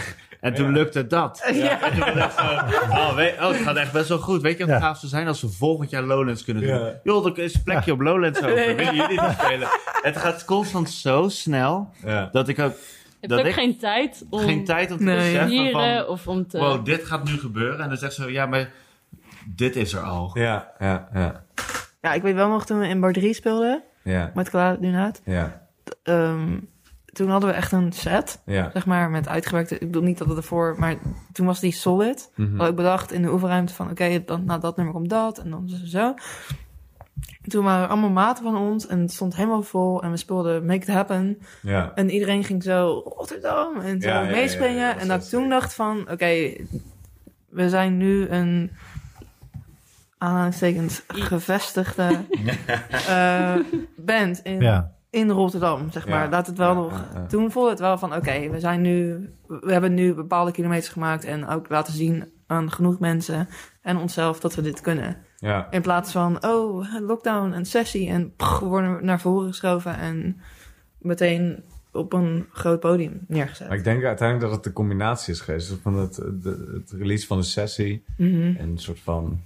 En toen lukte dat.
Ja.
En toen was ik echt zo, oh, weet, oh, het gaat echt best wel goed. Weet je wat
Ja.
gaaf zou zijn als we volgend jaar Lowlands kunnen doen?
Ja.
Joh, er is een plekje op Lowlands over. Willen jullie niet spelen? Het gaat constant zo snel
ja.
dat ik ook
Ik
Dat
heb
ik-
ook geen tijd om
geen tijd had te
Nee.
te
beseffen
vieren
van...
of om te...
Wow, dit gaat nu gebeuren. En dan zegt ze, ja, maar dit is er al.
Ja, ja, ja.
Ja, ik weet wel nog toen we in bar 3 speelden
Ja,
met Clara Dunaat.
ja,
ehm, toen hadden we echt een set,
ja.
zeg maar, met uitgewerkte... Ik bedoel niet dat het ervoor... Maar toen was die solid.
Mhm.
Had ik bedacht in de oefenruimte van... Oké, dan na dat nummer komt dat en dan zo, zo. Toen waren er allemaal maten van ons en het stond helemaal vol. En we speelden Make It Happen.
Ja,
En iedereen ging zo Rotterdam en zo
Ja, ja, ja,
meespringen.
ja, ja, dat
en dat ik
is
toen
leuk.
dacht van, oké, we zijn nu een aanhalingstekens gevestigde eh, band in,
ja,
in Rotterdam, zeg
Ja,
maar. Laat het wel
ja,
nog...
ja, ja.
Toen voelde het wel van, oké, we zijn nu... We hebben nu bepaalde kilometers gemaakt en ook laten zien aan genoeg mensen en onszelf dat we dit kunnen.
ja.
In plaats van, oh, lockdown en sessie. En pff, we worden naar voren geschoven en meteen op een groot podium neergezet.
Maar ik denk uiteindelijk dat het de combinatie is geweest. Dus Van het, de- het release van de sessie.
Mhm.
En een soort van...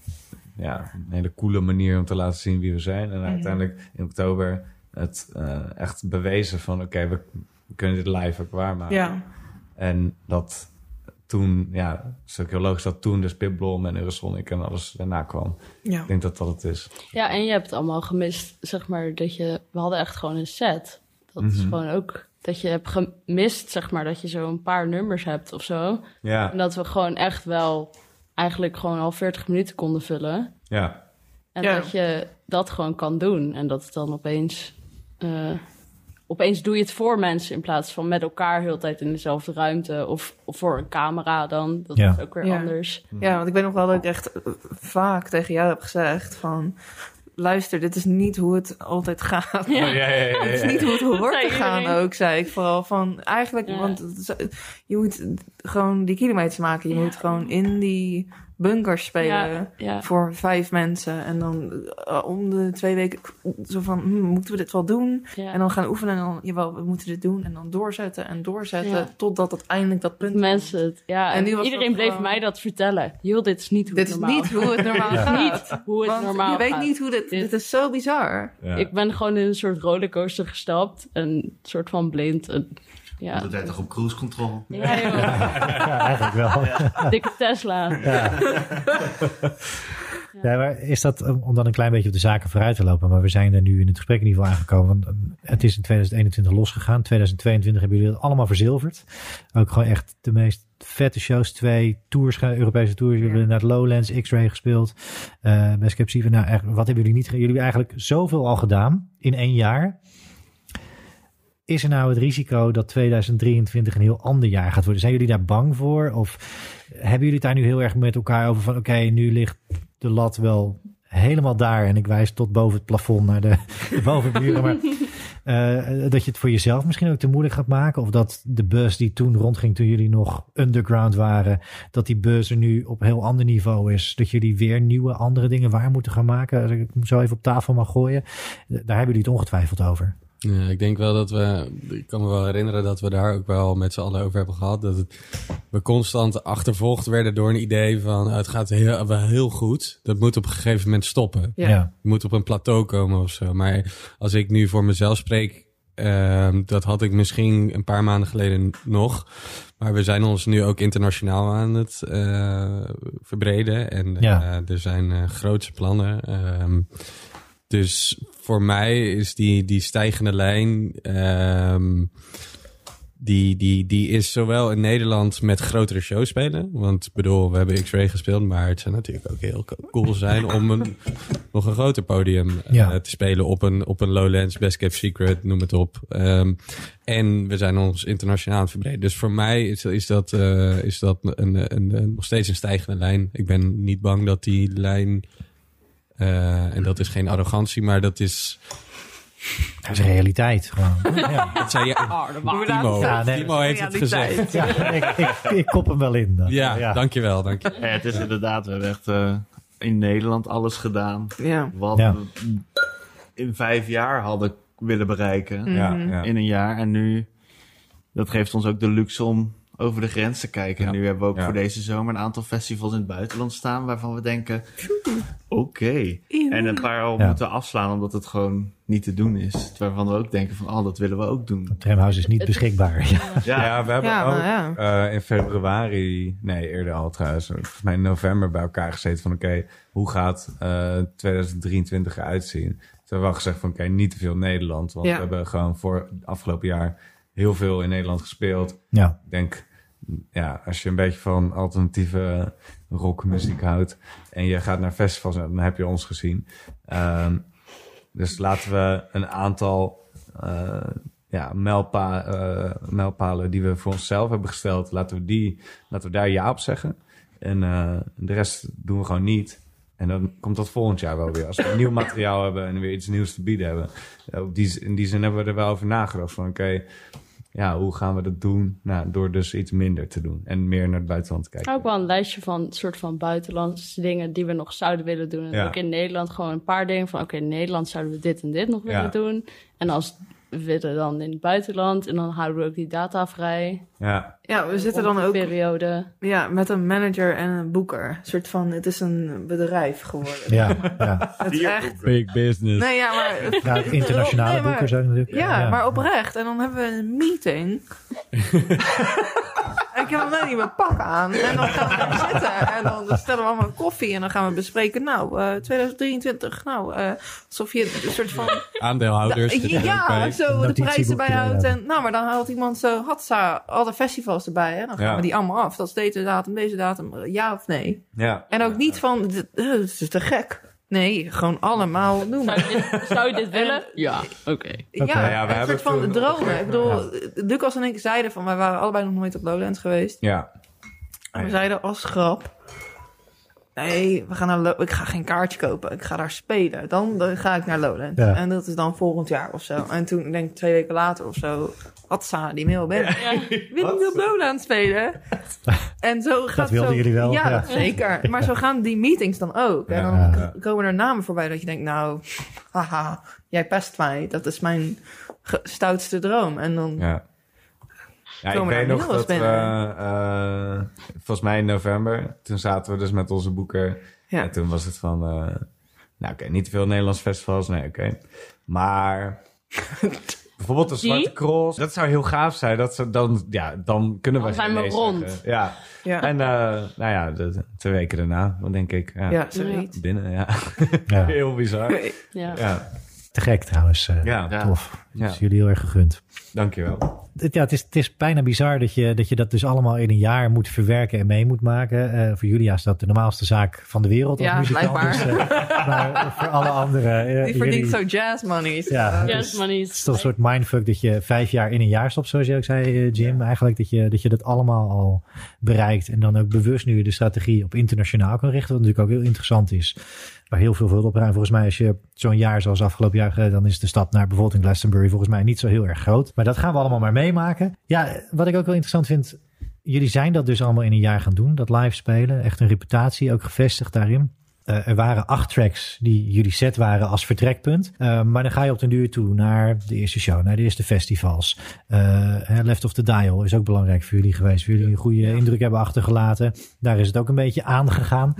Ja, een hele coole manier om te laten zien wie we zijn.
Mhm.
En uiteindelijk in oktober het eh, echt bewezen van... Oké, we, we kunnen dit live ook waarmaken.
Ja,
En dat toen... Ja, het is ook heel logisch dat toen dus Pip Blom en Eurosonic en alles daarna kwam.
ja.
Ik denk dat dat het is.
Ja, en je hebt allemaal gemist, zeg maar, dat je... We hadden echt gewoon een set. Dat is
Mhm.
gewoon ook... Dat je hebt gemist, zeg maar, dat je zo een paar nummers hebt of zo.
Ja,
Nou,
En dat we gewoon echt wel... Eigenlijk gewoon al 40 minuten konden vullen.
ja.
En
Ja.
dat je dat gewoon kan doen. En dat het dan opeens... eh, opeens doe je het voor mensen in plaats van met elkaar heel de tijd in dezelfde ruimte. Of, of voor een camera dan. Dat
Ja.
is ook weer
Ja.
anders.
ja, want ik weet nog wel dat ik echt eh, vaak tegen jou heb gezegd van... Luister, dit is niet hoe het altijd gaat.
Ja.
Ja, ja, ja,
Het
ja,
is niet hoe het hoort
zei
te gaan
iedereen.
ook, zei ik vooral. Van, eigenlijk,
Ja.
want het is- je moet gewoon die kilometers maken. Je
Ja.
moet gewoon in die bunkers spelen
Ja, ja.
eh, voor vijf mensen. En dan eh, om de twee weken zo van, hmm, moeten we dit wel doen?
ja.
En dan gaan oefenen en dan, jawel, we moeten dit doen. En dan doorzetten en doorzetten
Ja.
totdat uiteindelijk dat punt
Dat mensen het. Ja,
En
en
nu was
iedereen
dat
bleef
gewoon-
mij dat vertellen. Joh, dit is niet hoe
Dit
het
is
normaal
niet hoe het normaal gaat.
Niet hoe het
Want
normaal
je weet
gaat.
niet hoe dit...
Dit-
Dit is zo bizar.
Ja.
Ik ben gewoon in een soort rollercoaster gestapt. Een soort van blind. Een, ja.
Dat werd toch op cruise control?
Ja, joh.
Ja, eigenlijk wel.
Dikke Tesla.
Ja. Ja, maar is dat um, om dan een klein beetje op de zaken vooruit te lopen? Maar we zijn er nu in het gesprek in ieder geval aangekomen. Want um, het is in 2021 losgegaan. 2022 hebben jullie dat allemaal verzilverd. Ook gewoon echt de meest vette shows. Twee tours, ge- Europese tours. Jullie
Ja.
hebben naar het Lowlands, X-Ray gespeeld. Eh best Kept Secret. Nou, echt, wat hebben jullie niet gedaan? Jullie hebben eigenlijk zoveel al gedaan in één jaar. Is er nou het risico dat 2023 een heel ander jaar gaat worden? Zijn jullie daar bang voor? Of hebben jullie het daar nu heel erg met elkaar over van... oké, nu ligt de lat wel helemaal daar. En ik wijs tot boven het plafond naar de, de bovenburen. Maar eh, dat je het voor jezelf misschien ook te moeilijk gaat maken. Of dat de bus die toen rondging toen jullie nog underground waren... dat die bus er nu op heel ander niveau is. Dat jullie weer nieuwe, andere dingen waar moeten gaan maken. Als ik het zo even op tafel mag gooien. Eh, Daar hebben jullie het ongetwijfeld over.
Ja, ik denk wel dat we. Ik kan me wel herinneren dat we daar ook wel met z'n allen over hebben gehad. Dat het, we constant achtervolgd werden door een idee van. "Oh, Het gaat heel, wel heel goed. Dat moet op een gegeven moment stoppen.
Ja.
Je moet op een plateau komen of zo. Maar als ik nu voor mezelf spreek, ehm, dat had ik misschien een paar maanden geleden nog. Maar we zijn ons nu ook internationaal aan het eh, verbreden. En eh,
Ja.
er zijn eh, grootse plannen. Ehm, dus voor mij is die, die stijgende lijn. ehm, die, die, die is zowel in Nederland met grotere shows spelen. Want ik bedoel, we hebben X-Ray gespeeld. Maar het zou natuurlijk ook heel cool zijn om een, nog een groter podium eh,
Ja.
te spelen. Op een, op een Lowlands, Best Kept Secret, noem het op. Ehm, en we zijn ons internationaal aan het verbreden. Dus voor mij is, is dat, eh, is dat een, een, een- nog steeds een stijgende lijn. Ik ben niet bang dat die lijn... eh, en dat is geen arrogantie, maar dat is...
Dat is realiteit gewoon. ja.
Dat zei je, Timo.
Ja, nee.
Timo heeft het gezegd.
Ja, ik, ik, ik kop hem wel in. dan.
Ja, dankjewel, dankjewel.
Ja, het is inderdaad, we hebben echt eh, in Nederland alles gedaan.
Ja.
Wat
Ja.
we in vijf jaar hadden willen bereiken.
Ja,
Mhm.
Mm. ja.
In een jaar. En nu, dat geeft ons ook de luxe om over de grens te kijken. En
Ja.
nu hebben we ook
Ja.
voor deze zomer een aantal festivals in het buitenland staan. Waarvan we denken, oké. En een paar al
Ja.
moeten afslaan omdat het gewoon niet te doen is. Waarvan we ook denken van, oh, dat willen we ook doen.
Tramhouse is niet
Het-
beschikbaar. Ja.
Ja,
Ja, we hebben
Ja,
ook
maar ja.
eh, in februari, nee eerder al trouwens, volgens mij in november bij elkaar gezeten van oké, hoe gaat eh 2023 eruit zien? Toen hebben we wel gezegd van oké, niet te veel Nederland, want
Ja.
we hebben gewoon voor het afgelopen jaar heel veel in Nederland gespeeld.
ja.
Ik denk, ja, als je een beetje van alternatieve rockmuziek houdt en je gaat naar festivals, dan heb je ons gezien. Ehm, dus laten we een aantal eh, ja, mijlpa, eh, mijlpalen die we voor onszelf hebben gesteld, laten we, die, laten we daar ja op zeggen. En eh, de rest doen we gewoon niet. En dan komt dat volgend jaar wel weer. Als we nieuw materiaal hebben en weer iets nieuws te bieden hebben. Eh, Op die, z- in die zin hebben we er wel over nagedacht. Van oké, ja, hoe gaan we dat doen? Nou, door dus iets minder te doen en meer naar het buitenland te
Ik
kijken.
heb ook wel een lijstje van soort van buitenlandse dingen die we nog zouden willen doen. En
Ja.
ook in Nederland gewoon een paar dingen van... Oké, in Nederland zouden we dit en dit nog
Ja.
willen doen. En als we willen dan in het buitenland. En dan houden we ook die data vrij.
Ja,
ja, we zitten
Om
dan
de
ook
periode.
ja, met een manager en een boeker. Een soort van, het is een bedrijf geworden.
Ja, ja.
Het is echt...
Big business.
Nee, ja, maar...
Nou, internationale
Nee, maar-
boeken zijn natuurlijk.
Ja, maar oprecht. En dan hebben we een meeting. En ik heb nog net niet mijn pak aan. En dan gaan we daar zitten. En dan bestellen we allemaal een koffie. En dan gaan we bespreken. Nou, eh, 2023. Nou, eh, alsof je een soort van...
Aandeelhouders.
Ja,
Oké.
zo de prijzen
notitieboekje
bijhoudt.
erbij.
En, nou, maar dan haalt iemand zo, hatsa, alle festivals erbij. Hè? Dan gaan
Ja.
we die allemaal af. Dat is deze datum, deze datum, eh, ja of nee.
ja.
En ook niet van, d- eh, dat is te gek. Nee, gewoon allemaal noemen.
Zou je dit, zou je dit willen? Ja, oké.
Ja,
ja, we
een
hebben
soort van
toen-
dromen. Ik bedoel, Lucas en ik zeiden van, wij
Ah,
waren allebei nog nooit op Lowlands geweest.
ja.
En we zeiden als grap, nee, we gaan naar Lo- ik ga geen kaartje kopen. Ik ga daar spelen. Dan, dan ga ik naar Lowland.
Ja.
En dat is dan volgend jaar of zo. En toen, ik denk twee weken later of zo, had Sana die mail binnen. Wil ik op Lowland spelen? En zo gaat
Dat wilden
zo-
jullie wel,
Ja,
ja.
zeker. Maar zo gaan die meetings dan ook. En
Ja.
dan k- komen er namen voorbij dat je denkt, nou, haha, jij pest mij. Dat is mijn ge- stoutste droom. En dan,
Ja. Ja, ik
Komen
weet
daar
nog dat
mails
we,
binnen?
eh, volgens mij in november, toen zaten we dus met onze boeker.
Ja.
En toen was het van, eh, nou oké, niet te veel Nederlands festivals, nee oké. Maar bijvoorbeeld de
Die?
Zwarte Cross, dat zou heel gaaf zijn. Dat ze dan, ja, dan kunnen we
Dan zijn
geen
we
nee
rond.
zeggen. Ja,
ja,
en eh, nou ja, de- twee weken daarna, dan denk ik, ja,
ja, zoiets.
binnen, ja.
Ja.
heel bizar.
Ja.
Ja,
Te gek trouwens. eh,
ja,
Ja.
Tof.
Ja.
Dat is jullie heel erg gegund.
dankjewel.
Het- Ja, het, is, het is bijna bizar dat je, dat je dat dus allemaal in een jaar moet verwerken en mee moet maken. Eh, voor Julia is dat de normaalste zaak van de wereld als
Ja,
muzikant.
blijkbaar.
Dus, eh, maar voor alle anderen... eh,
Die verdient
jullie-
zo jazz money.
Ja.
Ja,
Dus-
is maar niet.
Het is toch een soort mindfuck dat je vijf jaar in een jaar stopt, zoals je ook zei, eh, Jim. Eigenlijk dat je, dat je dat allemaal al bereikt. En dan ook bewust nu de strategie op internationaal kan richten. Wat natuurlijk ook heel interessant is. Waar heel veel voor op ruim. Volgens mij, als je zo'n jaar zoals afgelopen jaar, eh, dan is de stap naar bijvoorbeeld in Glastonbury volgens mij niet zo heel erg groot. Maar dat gaan we allemaal maar meemaken. Ja, eh, wat ik ook wel interessant vind. Jullie zijn dat dus allemaal in een jaar gaan doen. Dat live spelen. Echt een reputatie ook gevestigd daarin. Eh, er waren acht tracks die jullie set waren als vertrekpunt. Eh, maar dan ga je op den duur toe naar de eerste show, naar de eerste festivals. Eh, hè, Left of the Dial is ook belangrijk voor jullie geweest. Voor jullie een goede indruk hebben achtergelaten. Daar is het ook een beetje aangegaan.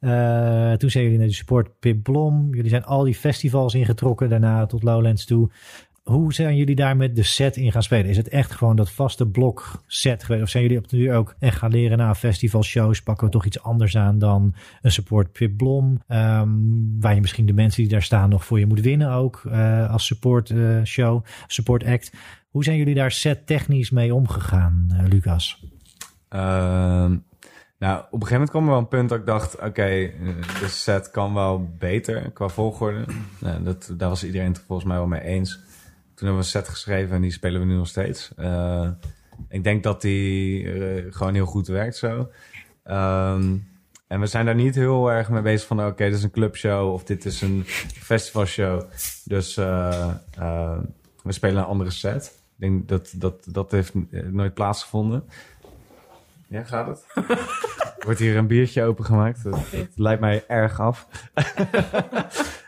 Eh, toen zijn jullie naar de support Pip Blom. Jullie zijn al die festivals ingetrokken, daarna tot Lowlands toe. Hoe zijn jullie daar met de set in gaan spelen? Is het echt gewoon dat vaste blok set geweest? Of zijn jullie op de duur ook en gaan leren na festivalshows? Pakken we toch iets anders aan dan een support Pip Blom? Ehm, waar je misschien de mensen die daar staan nog voor je moet winnen ook. eh, als support eh, show, support act. Hoe zijn jullie daar set technisch mee omgegaan, eh, Lucas?
Ehm, nou, op een gegeven moment kwam er wel een punt dat ik dacht... oké, eh, de set kan wel beter qua volgorde. Nou, dat, daar was iedereen het volgens mij wel mee eens. Toen hebben we een set geschreven en die spelen we nu nog steeds. Eh, ik denk dat die eh, gewoon heel goed werkt zo. Ehm, en we zijn daar niet heel erg mee bezig van... oké, dit is een clubshow of dit is een festivalshow. Dus eh, eh, we spelen een andere set. Ik denk dat dat, dat heeft eh, nooit plaatsgevonden. Ja, gaat het? Wordt hier een biertje opengemaakt? Dat, dat leidt mij erg af.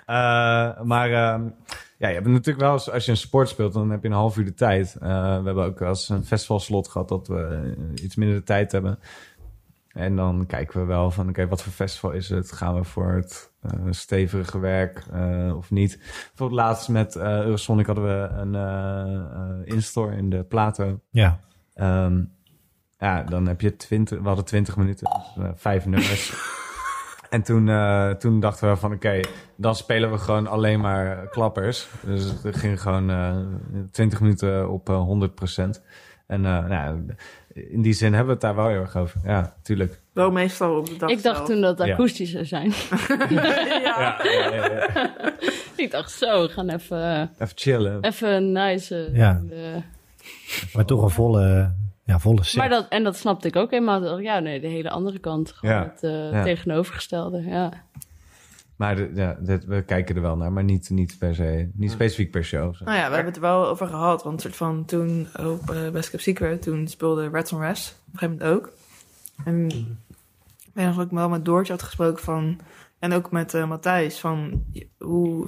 Eh, maar ehm, ja, je hebt natuurlijk wel eens, als je een sport speelt, dan heb je een half uur de tijd. Eh, we hebben ook als een festivalslot gehad dat we eh, iets minder de tijd hebben. En dan kijken we wel van, oké, wat voor festival is het? Gaan we voor het eh, stevige werk eh, of niet? Voor het laatst met eh Eurosonic hadden we een eh, eh, instore in de Plato.
Ja,
Ehm, ja, dan heb je 20, we hadden 20 minuten, dus, eh, vijf nummers. en toen, eh, toen dachten we van oké, dan spelen we gewoon alleen maar klappers. Dus het ging gewoon eh 20 minuten op eh, 100%. En eh, nou, ja, in die zin hebben we het daar wel heel erg over. Ja, tuurlijk.
Wel meestal op de dag
Ik dacht
zelf.
toen dat het
Ja.
akoestisch zou zijn.
ja.
Ja, ja, ja, ja.
ik dacht zo, we gaan even, eh,
Even chillen.
even een nice... eh,
Ja.
eh,
maar toch een volle, ja, volle set.
maar dat, en dat snapte ik ook helemaal. Ik dacht, Ja, nee, de hele andere kant. Gewoon
Ja.
het eh,
Ja.
tegenovergestelde. Ja.
Maar de- ja, dit- we kijken er wel naar, maar niet, niet per se. Niet specifiek per show. of zo.
Nou ja, we hebben het er wel over gehad. Want soort van toen op eh, Best Kept Secret, toen speelde Reds on Rest op een gegeven moment ook.
Mhm.
En ik weet nog dat ik wel met Doortje had gesproken van... En ook met eh, Matthijs van je- hoe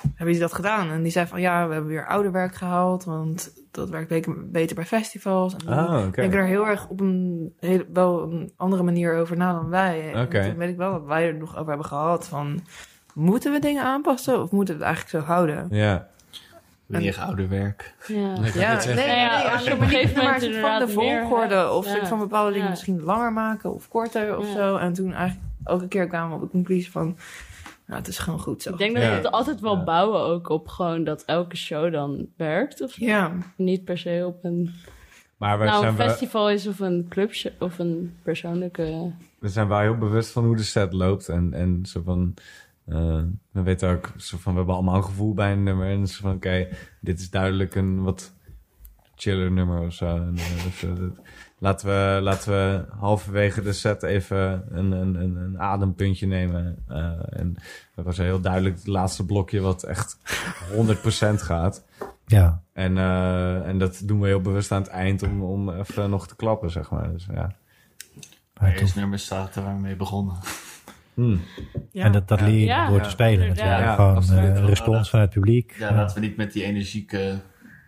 hebben jullie dat gedaan? En die zei van ja, we hebben weer ouder werk gehaald. Want dat werkt be- beter bij festivals. En
Ah, oké.
Ik denk er heel erg op een heel, wel een andere manier over na dan wij. En
Oké.
Toen weet ik wel dat wij er nog over hebben gehad van... Moeten we dingen aanpassen of moeten we het eigenlijk zo houden?
Ja,
Wanneer ouder werk.
Ja.
Ja, nee, nee,
Nou ja,
nee,
als je
ja,
op een gegeven
maar
moment
het soort van de
inderdaad meer
volgorde
hebt.
of
Ja.
soort van bepaalde dingen
Ja.
misschien langer maken of korter of
Ja.
zo. En toen eigenlijk elke keer kwamen we op de conclusie van, nou, het is gewoon goed zo.
Ik denk dat
Ja.
we het altijd wel bouwen ook op gewoon dat elke show dan werkt. Of zo.
Ja,
niet per se op een,
maar we
nou,
zijn
een
wel-
festival is of een clubshow of een persoonlijke...
we zijn wel heel bewust van hoe de set loopt. En, en zo van, eh, we weten ook, zo van, we hebben allemaal een gevoel bij een nummer. En zo van, oké, dit is duidelijk een wat chiller nummer of zo. En, eh, dat, eh, dat- Laten we, laten we halverwege de set even een, een, een, een adempuntje nemen. Eh, en dat was heel duidelijk het laatste blokje wat echt 100% gaat.
Ja.
En, eh, en dat doen we heel bewust aan het eind om, om even nog te klappen, zeg maar. Dus, ja.
Maar
Eerst nummer staat er waarmee begonnen.
Hmm.
Ja.
En dat, dat leer je
Ja.
door te
Ja.
spelen
Inderdaad.
natuurlijk.
Ja,
Gewoon
absoluut.
eh, respons van het publiek.
Ja, laten we niet met die energieke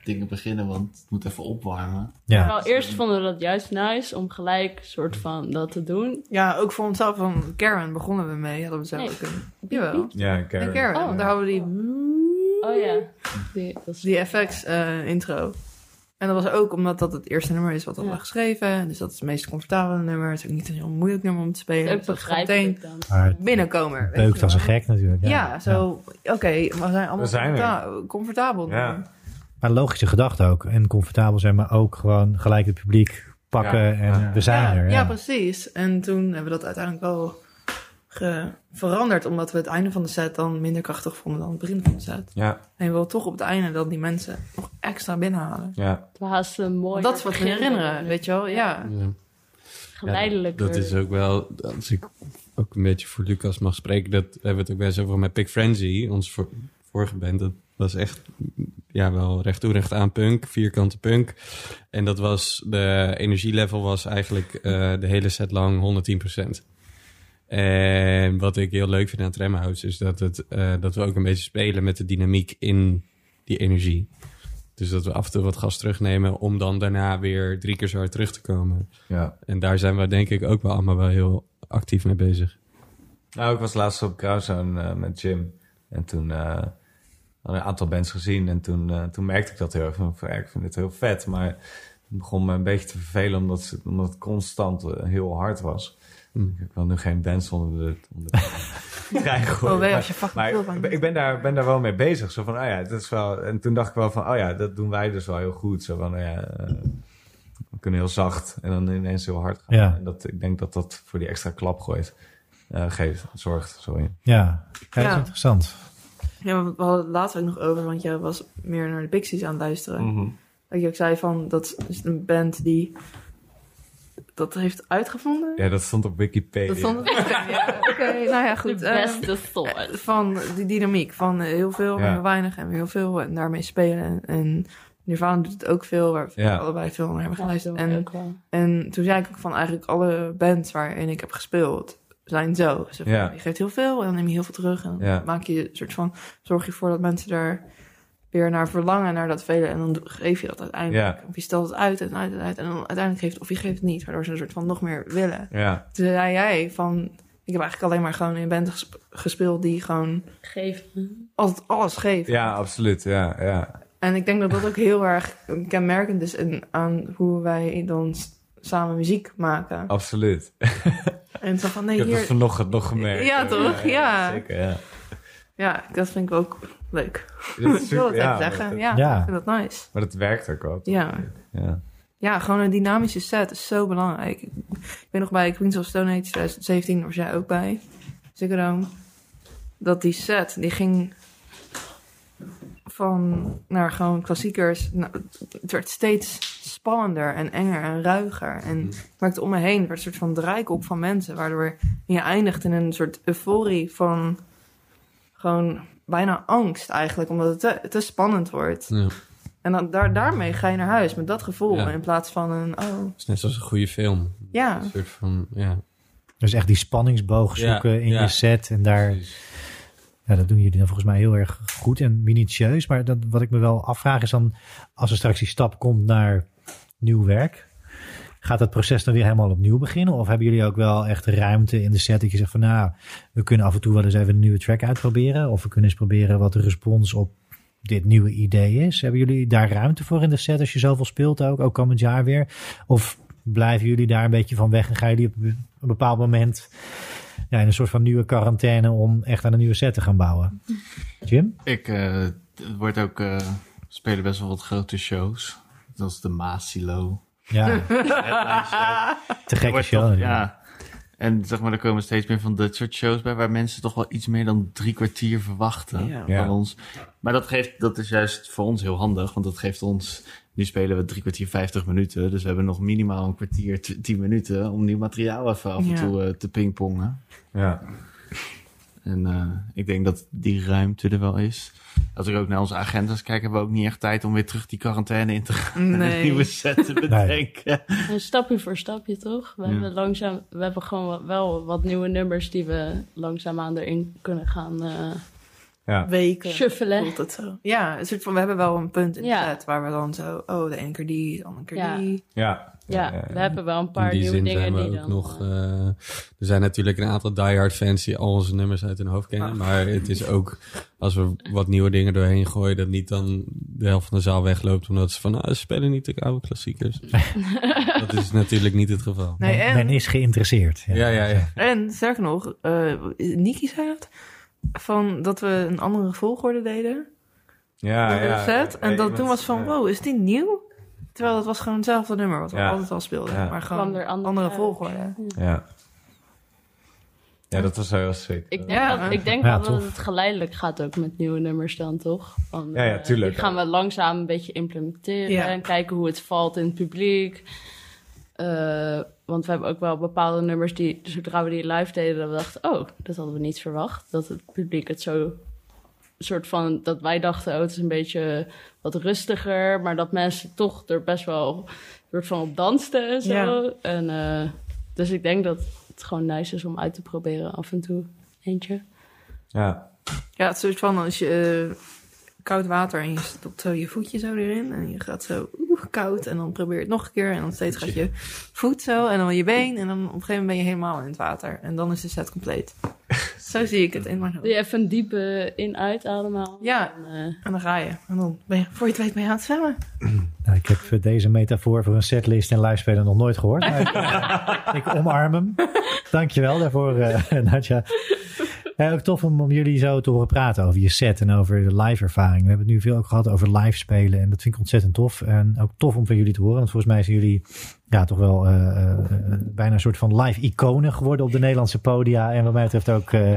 dingen beginnen, want het moet even opwarmen.
Ja.
Terwijl eerst vonden we dat juist nice om gelijk soort van dat te doen.
Ja, ook voor onszelf. Van Karen begonnen we mee. Hadden we zelf
Nee.
kunnen. Jawel.
Ja,
En
Karen.
Karen.
Oh.
want daar hadden we die,
Oh ja. Die, dat is-
die FX eh, intro. En dat was ook omdat dat het eerste nummer is wat we
Ja.
hadden geschreven. Dus dat is het meest comfortabele nummer. Het is ook niet een heel moeilijk nummer om te spelen. Het
ook
is
begrijpelijk
meteen
dan.
Maar het
binnenkomen. weet
beukt
je
als een
wel.
gek natuurlijk. Ja,
Ja, zo, oké, we zijn allemaal
We zijn er.
comforta- comfortabel. nu.
Ja.
Maar logische gedachte ook. En comfortabel zijn, maar ook gewoon gelijk het publiek pakken
Ja.
en
Ja.
we zijn
ja,
er.
ja,
Ja.
precies. En toen hebben we dat uiteindelijk wel ge- veranderd, omdat we het einde van de set dan minder krachtig vonden dan het begin van de set.
Ja,
En we wilden toch op het einde dat die mensen nog extra binnenhalen.
ja.
Het was haast een mooi.
Want dat is wat we herinneren, weet je wel? Ja.
Ja.
Geleidelijk.
Dat is ook wel, als ik ook een beetje voor Lucas mag spreken, dat hebben we het ook best over met Pick Frenzy, onze vor- vorige band. Dat was echt, ja, wel recht toe, recht aan punk, vierkante punk. En dat was, de energielevel was eigenlijk eh, de hele set lang 110%. En wat ik heel leuk vind aan Tremhouse is dat, het, eh, dat we ook een beetje spelen met de dynamiek in die energie. Dus dat we af en toe wat gas terugnemen om dan daarna weer drie keer zo hard terug te komen.
ja.
En daar zijn we denk ik ook wel allemaal wel heel actief mee bezig.
Nou, ik was laatst op Crowdsound eh, met Jim. En toen eh, hadden we een aantal bands gezien. En toen, eh, toen merkte ik dat heel erg. Van, "Ja, Ik vind dit heel vet. Maar het begon me een beetje te vervelen. Omdat, ze- omdat het constant eh, heel hard was.
Mm.
Ik wil nu geen bands onder de, onder de trein gooien.
Oh, wee,
maar-
als je fucking
maar
veel van
ik ben daar, ben daar wel mee bezig. Zo van, oh ja, dat is wel... En toen dacht ik wel van, oh ja, dat doen wij dus wel heel goed. Zo van, oh ja, eh, we kunnen heel zacht en dan ineens heel hard gaan.
Ja.
En dat, ik denk dat dat voor die extra klap gooit. eh, geeft, zorgt, sorry.
Ja. Ja, dat is
Ja.
interessant.
Ja, we hadden het laatst ook nog over, want jij was meer naar de Pixies aan het luisteren.
Mhm.
Dat je ook zei van, dat is een band die dat heeft uitgevonden.
Ja, dat stond op Wikipedia.
Dat stond het ja. Oké, nou ja, goed.
de
eh,
beste soort.
van die dynamiek, van eh, heel veel en
Ja.
weer weinig en weer heel veel en daarmee spelen. En Nirvana doet het ook veel, waar we
Ja.
allebei veel naar hebben
Ja, dat doen
geluisterd.
we
en,
ook wel.
en toen zei ik ook van eigenlijk alle bands waarin ik heb gespeeld, zijn zo. Zo van,
Ja.
Je geeft heel veel en dan neem je heel veel terug. En dan
Ja.
maak je een soort van, zorg je voor dat mensen daar weer naar verlangen, naar dat vele. En dan geef je dat uiteindelijk.
Ja.
Of je stelt het uit en uit en uit. En dan uiteindelijk geeft of je geeft het niet, waardoor ze een soort van nog meer willen.
Ja,
Toen zei jij van... Ik heb eigenlijk alleen maar gewoon in band gesp- gespeeld die gewoon
Geven.
altijd alles geeft.
ja, absoluut. Ja, ja.
En ik denk dat dat ook heel erg kenmerkend is in, aan hoe wij dan s- samen muziek maken.
Absoluut.
En zo van,
Ik
nee,
heb dat
hier...
vanochtend nog gemerkt.
Ja, toch? Ja.
Zeker, ja.
Ja, dat vind ik ook leuk.
Dat is
Ik wil
super,
dat
ja,
even zeggen.
Maar,
Ja,
Ja.
ik vind dat nice.
maar dat werkt ook wel.
Ja.
Ja.
ja, gewoon een dynamische set is zo belangrijk. Ik weet nog bij Queens of Stone Age 2017, daar was jij ook bij, Ziggo Dome, dat die set, die ging van naar gewoon klassiekers. Nou, het werd steeds spannender en enger en ruiger. En ik merkte om me heen, er werd een soort van draaikop van mensen, waardoor je eindigt in een soort euforie van gewoon bijna angst eigenlijk, omdat het te, te spannend wordt.
Ja.
En dan, daar, daarmee ga je naar huis met dat gevoel.
Ja.
In plaats van een, oh,
Het is net zoals een goede film.
ja.
Een
Ah.
soort van, ja.
Dus echt die spanningsboog
Ja,
zoeken in
ja.
je set. En daar,
precies.
ja, dat doen jullie dan volgens mij heel erg goed en minutieus. Maar dat, wat ik me wel afvraag is dan, als er straks die stap komt naar nieuw werk. Gaat dat proces dan weer helemaal opnieuw beginnen? Of hebben jullie ook wel echt ruimte in de set dat je zegt van nou, we kunnen af en toe wel eens even een nieuwe track uitproberen. Of we kunnen eens proberen wat de respons op dit nieuwe idee is. Hebben jullie daar ruimte voor in de set als je zoveel speelt ook, ook komend jaar weer? Of blijven jullie daar een beetje van weg en gaan jullie op een bepaald moment ja, in een soort van nieuwe quarantaine om echt aan een nieuwe set te gaan bouwen? Jim?
Ik eh, het wordt ook, eh, we spelen best wel wat grote shows. Dat is de Maasilo.
Ja, te gekke show.
ja. En zeg maar, er komen steeds meer van dit soort shows bij... waar mensen toch wel iets meer dan drie kwartier verwachten
Ja.
van
Ja.
ons. Maar dat, geeft, dat is juist voor ons heel handig, want dat geeft ons... Nu spelen we drie kwartier vijftig minuten, dus we hebben nog minimaal een kwartier tw- tien minuten... om nieuw materiaal even af en
Ja.
toe eh, te pingpongen.
Ja.
En eh, ik denk dat die ruimte er wel is. Als ik ook naar onze agendas kijk, hebben we ook niet echt tijd om weer terug die quarantaine in te gaan. en een
Nee.
nieuwe set te bedenken.
En stapje voor stapje, toch? We,
Ja.
hebben, langzaam, we hebben gewoon wel- wel wat nieuwe nummers die we langzaamaan erin kunnen gaan eh
Ja.
Weken.
shuffelen.
Voelt het zo. Ja, een soort van, we hebben wel een punt in de
Ja.
set waar we dan zo, oh, de ene keer die, de andere keer
Ja.
die.
Ja.
Ja, we hebben wel een paar
In die
nieuwe
zin
dingen
zijn we
die
ook
dan...
nog...
eh,
eh, er zijn natuurlijk een aantal diehard fans die al onze nummers uit hun hoofd kennen.
Ah.
Maar het is ook, als we wat nieuwe dingen doorheen gooien... dat niet dan de helft van de zaal wegloopt... omdat ze van, nou, ze spelen niet de oude klassiekers. dat is natuurlijk niet het geval.
Nee,
men,
en-
men is geïnteresseerd.
Ja, ja, ja.
En sterker nog, eh Niki zei dat, van dat we een andere volgorde deden.
Ja,
in de
Ah, ja.
set. En
Ja,
dat
je
toen
bent-
was van,
ja.
wow, is die nieuw? Terwijl het was gewoon hetzelfde nummer wat we
Ja.
altijd al speelden.
Ja.
Maar gewoon
Kwam er anders
andere
uit.
volgorde.
Ja. Ja, dat was wel heel sick.
Ik denk,
Ja.
dat, ik denk
Ja,
wel dat
tof.
het geleidelijk gaat ook met nieuwe nummers dan, toch? Van,
Ja, ja,
eh,
tuurlijk.
Die gaan we langzaam een beetje implementeren
Ja.
en kijken hoe het valt in het publiek. Eh, want we hebben ook wel bepaalde nummers die, zodra we die live deden, dat we dachten, oh, dat hadden we niet verwacht. Dat het publiek het zo, soort van, dat wij dachten, oh, het is een beetje wat rustiger, maar dat mensen toch er best wel, soort van op dansten en zo.
Ja.
En, eh, dus ik denk dat het gewoon nice is om uit te proberen af en toe. Eentje.
Ja.
Ja, het is soort van als je eh, koud water en je stopt zo je voetje zo erin. En je gaat zo oeh, koud en dan probeer je het nog een keer. En dan steeds gaat je voet zo en dan je been. En dan op een gegeven moment ben je helemaal in het water. En dan is de set compleet. zo zie ik het in mijn hoofd.
Doe je even een diepe in-uit ademhaal.
Ja.
En, eh,
En dan ga je. En dan ben je, voor je het weet ben je aan het zwemmen.
Nou, ik heb eh, deze metafoor voor een setlist en livespelen nog nooit gehoord. Maar ik, eh, ik omarm hem. Dankjewel daarvoor, eh Nadja. Eh, ook tof om, om jullie zo te horen praten over je set en over de live ervaring. We hebben het nu veel ook gehad over live spelen en dat vind ik ontzettend tof. En ook tof om van jullie te horen, want volgens mij zijn jullie ja, toch wel eh, eh, eh, bijna een soort van live iconen geworden op de Nederlandse podia. En wat mij betreft ook, eh,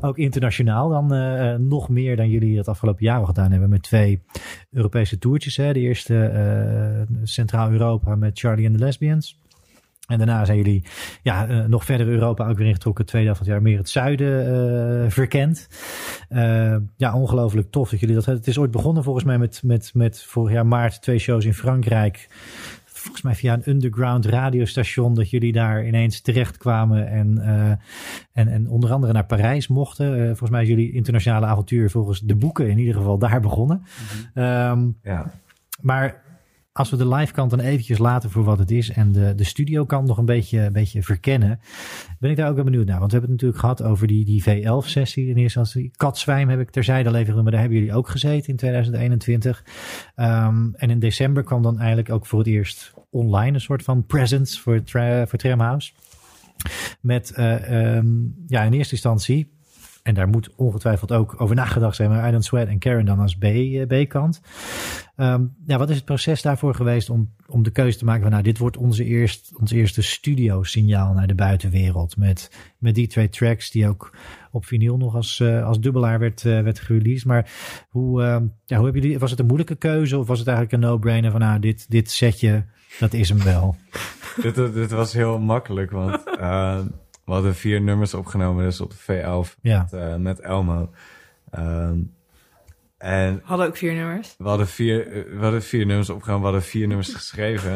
ook internationaal dan eh, eh, nog meer dan jullie het afgelopen jaar al gedaan hebben met twee Europese toertjes. Hè? De eerste eh, Centraal-Europa met Charlie and the Lesbians. En daarna zijn jullie ja, eh, nog verder Europa ook weer ingetrokken. Tweede helft van het jaar meer het zuiden eh, verkend. Eh, ja, ongelooflijk tof dat jullie dat hebben. Het is ooit begonnen volgens mij met, met, met vorig jaar maart twee shows in Frankrijk. Volgens mij via een underground radiostation dat jullie daar ineens terecht kwamen. En, eh, en, en onder andere naar Parijs mochten. Eh, volgens mij is jullie internationale avontuur volgens de boeken in ieder geval daar begonnen. Ehm,
Ja.
maar als we de live kant dan eventjes laten voor wat het is en de, de studio kant nog een beetje, een beetje verkennen, ben ik daar ook wel benieuwd naar. Want we hebben het natuurlijk gehad over die, die V11-sessie in eerste instantie. Katzwijm heb ik terzijde al even genoemd, maar daar hebben jullie ook gezeten in 2021. Ehm, en in december kwam dan eigenlijk ook voor het eerst online een soort van presence voor, tra- voor Tramhouse. Met, eh, ehm, ja, in eerste instantie, en daar moet ongetwijfeld ook over nagedacht zijn, maar I Don't Sweat en Karen dan als B, eh, B-kant. Ehm, ja, wat is het proces daarvoor geweest om, om de keuze te maken van nou, dit wordt onze eerst, ons eerste studio-signaal naar de buitenwereld. Met, met die twee tracks die ook op vinyl nog als, eh, als dubbelaar werd, eh, werd gereleased. Maar hoe, ehm, ja, hoe hebben jullie, was het een moeilijke keuze of was het eigenlijk een no-brainer van nou, dit, dit setje, dat is hem wel.
dit, dit was heel makkelijk, want eh, we hadden vier nummers opgenomen, dus op de V11
Ja,
met, eh, met Elmo. Ehm, en
Hadden ook vier nummers.
we hadden, vier, eh, we hadden vier nummers opgenomen, we hadden vier nummers geschreven.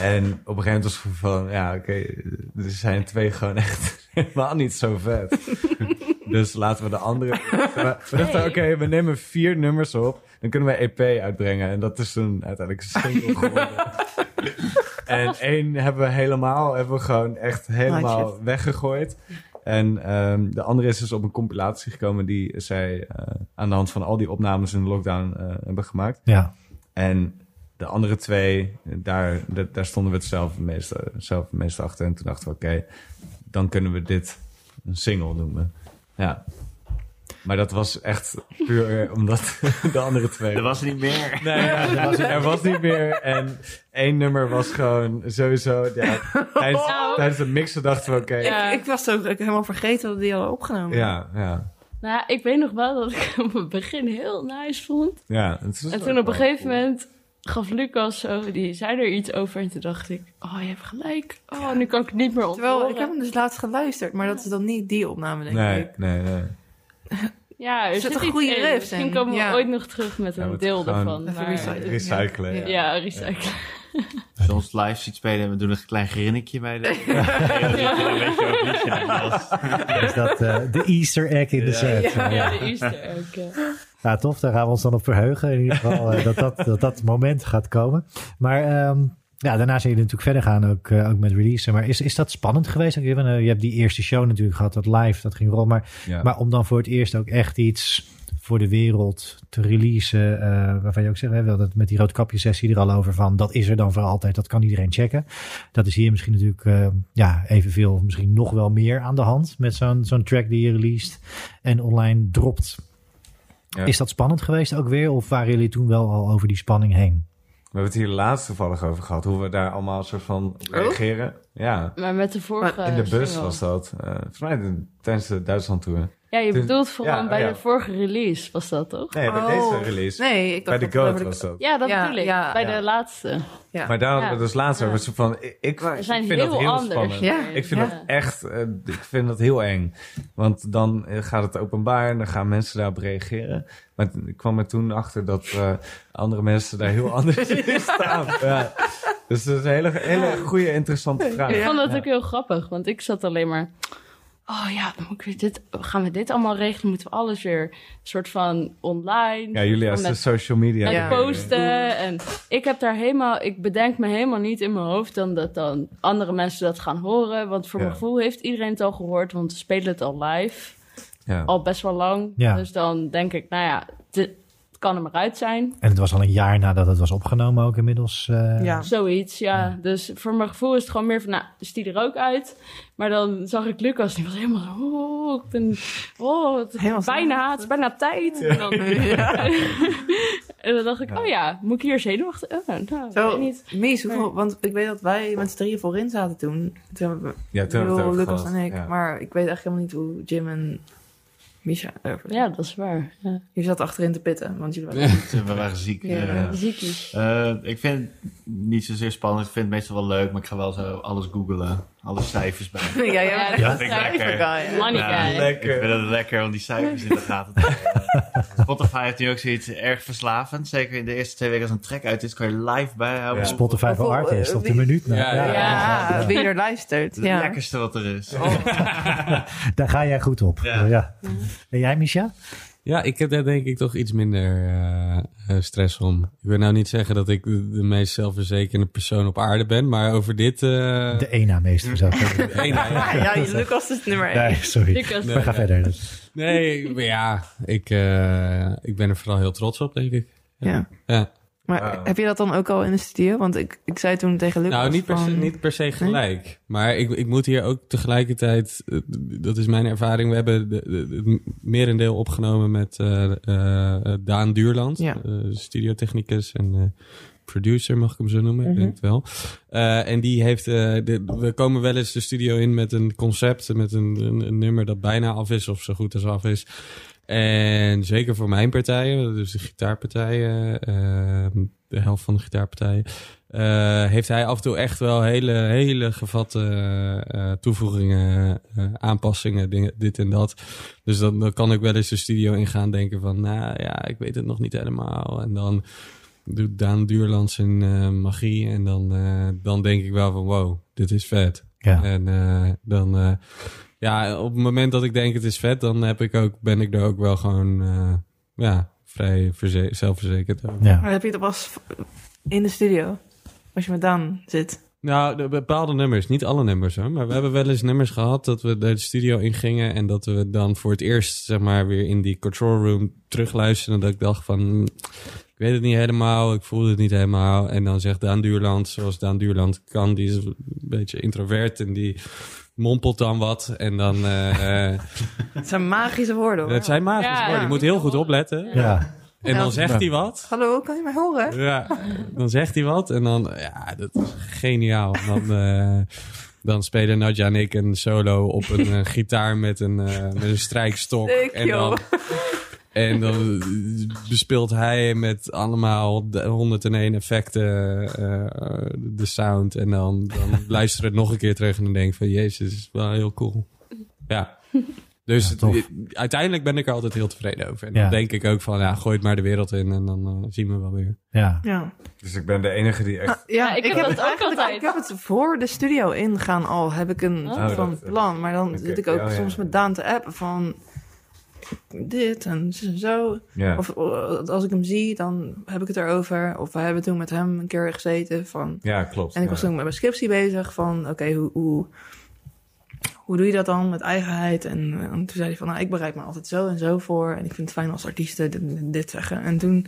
En op een gegeven moment was het van, ja oké, er zijn twee gewoon echt helemaal niet zo vet. dus laten we de andere... We, we dachten, oké, we nemen vier nummers op, dan kunnen we EP uitbrengen. En dat is toen uiteindelijk een single geworden. en één hebben we helemaal, hebben we gewoon echt helemaal weggegooid. En ehm, de andere is dus op een compilatie gekomen die zij eh, aan de hand van al die opnames in de lockdown eh, hebben gemaakt.
ja.
En de andere twee, daar, da- daar stonden we het zelf het meest, zelf het meest achter. En toen dachten we, oké, dan kunnen we dit een single noemen. Ja, Maar dat was echt puur eh, omdat de andere twee...
Er was niet meer.
Nee, ja, er, was, er was niet meer. En één nummer was gewoon sowieso... Ja, tijdens,
Nou.
tijdens de mixen dachten we, oké. ja.
Ja.
Ik, ik was ook ik helemaal vergeten dat we die hadden opgenomen.
Ja, ja,
Nou, ja, ik weet nog wel dat ik hem op het begin heel nice vond.
het is
En
ook
toen op een
wel
gegeven
cool.
moment gaf Lucas zo, die zei er iets over. En toen dacht ik, oh, je hebt gelijk. Oh, nu kan ik het niet meer op.
Terwijl, ik heb hem dus laatst geluisterd, maar dat is dan niet die opname, denk
Nee,
ik.
nee, nee.
Ja, er
Er zit
zit,
een
iets
goede
in.
riff
Misschien
in,
komen we
ja.
ooit nog terug met
Ja,
een
we
deel
gaan
ervan.
even
maar-
recyclen.
Recyclen, ja.
Ja, recyclen.
Als je ons live ziet spelen en we doen een klein grinnikje bij de... Ja, dan weet je ook niet, ja, dat is-
Is dat eh, de Easter egg in de set?
Ja, de Easter egg. ja.
Ja, tof. Daar gaan we ons dan op verheugen. In ieder geval eh, dat, dat, dat dat moment gaat komen. Maar ehm, ja, daarna zijn jullie natuurlijk verder gaan, ook, eh, ook met releasen. Maar is, is dat spannend geweest? Want Je hebt, eh, je hebt die eerste show natuurlijk gehad, dat live, dat ging rond. Maar,
Ja.
maar om dan voor het eerst ook echt iets voor de wereld te releasen, eh, waarvan je ook zegt, hè, we hadden het met die roodkapje sessie er al over van, dat is er dan voor altijd, dat kan iedereen checken. Dat is hier misschien natuurlijk eh, ja, evenveel, of misschien nog wel meer aan de hand met zo'n zo'n track die je released en online dropt.
Ja.
Is dat spannend geweest ook weer? Of waren jullie toen wel al over die spanning heen?
We hebben het hier laatst toevallig over gehad, hoe we daar allemaal soort van op
Oh?
reageren. Ja,
Maar met de vorige
Eh,
in de bus
single.
was dat. Eh volgens mij de- tijdens de Duitsland tour.
Ja, je
Toen-
bedoelt vooral
ja,
bij
ja.
de vorige release was dat, toch?
Nee, bij
Oh.
deze release.
Nee, ik
bij
dacht
de
dat
Goat
we-
was dat.
Ja, dat
Ja,
bedoel ik.
ja.
bij
Ja.
de laatste.
Ja.
Maar daar hadden we
Ja.
dus laatst
Ja.
over. Zo van, ik, ik
We zijn
vind
heel,
dat heel
anders.
spannend.
Ja.
Ik vind
Ja.
dat echt, eh, ik vind dat heel eng. Want dan eh, gaat het openbaar en dan gaan mensen daarop reageren. Maar t- ik kwam er toen achter dat eh, andere mensen daar heel anders in staan. Ja. Dus dat is een hele, hele goede, interessante vraag.
Ik
Ja.
vond dat ook heel grappig, want ik zat alleen maar... Oh ja, dan moet ik weer dit, gaan we dit allemaal regelen? Moeten we alles weer een soort van online?
Ja, dus jullie als
Om
de
met-
social media.
en
Ja.
posten. En ik heb daar helemaal, ik bedenk me helemaal niet in mijn hoofd dan dat dan andere mensen dat gaan horen. Want voor
Ja.
mijn gevoel heeft iedereen het al gehoord, want we spelen het al live.
Ja.
Al best wel lang.
Ja.
Dus dan denk ik, nou ja, dit, het kan er maar uit zijn.
En het was al een jaar nadat het was opgenomen ook inmiddels. eh,
Ja.
Zoiets, ja. Dus voor mijn gevoel is het gewoon meer van, nou, is die er ook uit? Maar dan zag ik Lucas, die was helemaal zo, oh, ik ben, oh, het,
Helemaal zo.
bijna, het is bijna tijd. En, dan, en dan dacht ik, oh ja, moet ik hier zenuwachtig? Oh, nou, weet
Zo,
ik niet.
Mies, hoeveel, want ik weet dat wij met z'n drieën voorin zaten toen. Toen hebben we,
Ja, toen hebben we het
Wil,
over
Lucas
gehad.
en ik.
Ja.
Maar ik weet echt helemaal niet hoe Jim en Misha erover
Ja, dat is waar. Ja.
Jullie zaten achterin te pitten, want jullie waren...
We waren ziek.
Ja.
eh.
Ziekies.
Eh, ik vind het niet zozeer spannend. Ik vind het meestal wel leuk, maar ik ga wel zo alles googlen. Alle cijfers bij.
Ja, jij bent echt
Ja,
een
vind ik lekker.
cijferguy, hè?
Money
Ja,
guy.
lekker.
Ik vind het lekker om die cijfers in de gaten te houden. Spotify heeft nu ook zoiets erg verslavend. Zeker in de eerste twee weken als een track uit is, kan je live bijhouden.
Ja.
Spotify voor
Hoeveel, eh,
artist op de
wie-
minuut. nou.
Ja,
Ja,
ja.
Ja,
ja.
wie er luistert.
Het is
Ja.
het lekkerste wat er is.
Oh.
Daar ga jij goed op. Ja.
Ja.
En jij, Misha?
Ja, ik heb daar denk ik toch iets minder eh, eh, stress om. Ik wil nou niet zeggen dat ik de, de meest zelfverzekerde persoon op aarde ben, maar over dit... eh,
De ena meester zou ik zeggen.
nee, nou ja.
Ja, Lucas is nummer één.
Nee, sorry.
Lucas.
Maar ga verder. Dat-
Nee, maar ja, ik, eh, ik ben er vooral heel trots op, denk ik.
Ja.
Ja.
Maar heb je dat dan ook al in de studio? Want ik, ik zei toen tegen Lucas
Nou, niet per, se,
van-
niet per se gelijk. Maar ik, ik moet hier ook tegelijkertijd... eh, Dat is mijn ervaring. We hebben de- de- het merendeel opgenomen met eh, eh, Daan Duurland.
Ja.
eh, studiotechnicus en eh, producer, mag ik hem zo noemen? Ik denk het wel. Eh, en die heeft... eh, de- we komen wel eens de studio in met een concept. Met een, een, een nummer dat bijna af is of zo goed als af is. En zeker voor mijn partijen, dus de gitaarpartijen, eh, de helft van de gitaarpartijen, eh, heeft hij af en toe echt wel hele, hele gevatte eh, toevoegingen, eh, aanpassingen, dingen, dit en dat. Dus dan, dan kan ik wel eens de studio ingaan denken van, nou ja, ik weet het nog niet helemaal. En dan doet Daan Duurland zijn eh, magie en dan, eh, dan denk ik wel van, wow, dit is vet.
Ja.
En eh, dan, eh, ja, op het moment dat ik denk het is vet, dan heb ik ook, ben ik er ook wel gewoon, eh, ja, vrij verze- zelfverzekerd over.
Ja.
Maar heb je dat pas in de studio? Als je met Daan zit.
Nou, de bepaalde nummers, niet alle nummers hoor, maar we hebben wel eens nummers gehad dat we de studio ingingen en dat we dan voor het eerst, zeg maar, weer in die control room terugluisterden. Dat ik dacht van, hm, ik weet het niet helemaal, ik voelde het niet helemaal. En dan zegt Daan Duurland, zoals Daan Duurland kan, die is een beetje introvert en die mompelt dan wat. En dan... eh, eh,
Het zijn magische woorden. hoor.
het zijn magische
Ja,
woorden.
ja.
Je moet heel goed opletten.
Ja.
En dan
Ja.
zegt hij wat.
Hallo, kan je mij horen?
Ja, dan zegt hij wat en dan, ja, dat is geniaal. Dan, eh, dan spelen Nadja en ik een solo op een eh, gitaar met een, eh, met een strijkstok.
Leuk,
en dan, en dan bespeelt hij met allemaal de 101 effecten eh, de sound. En dan, dan luister je het nog een keer terug en dan denk ik van, jezus, is wel heel cool. Ja. Dus
Ja, tof.
het- uiteindelijk ben ik er altijd heel tevreden over. En
Ja.
dan denk ik ook van, ja, gooi het maar de wereld in en dan eh, zien we wel weer.
ja.
Ja.
Dus ik ben de enige die echt...
Ja,
Ja, ik
ik,
heb
heb
dat
het
ook
eigenlijk,
altijd.
ik heb het voor de studio ingaan al, heb ik een
Oh.
soort van
Oh, dat-
plan. Maar dan
Oké,
zit ik ook
ja, ja.
soms met Daan te appen van dit en zo.
Ja.
Of eh, als ik hem zie, dan heb ik het erover. Of we hebben toen met hem een keer gezeten van...
ja, klopt.
En ik was
ja.
toen met mijn scriptie bezig van, oké, hoe, hoe, hoe doe je dat dan met eigenheid? En, eh, en toen zei hij van, nou, ik bereid me altijd zo en zo voor. En ik vind het fijn als artiesten dit, dit- dit zeggen. En toen,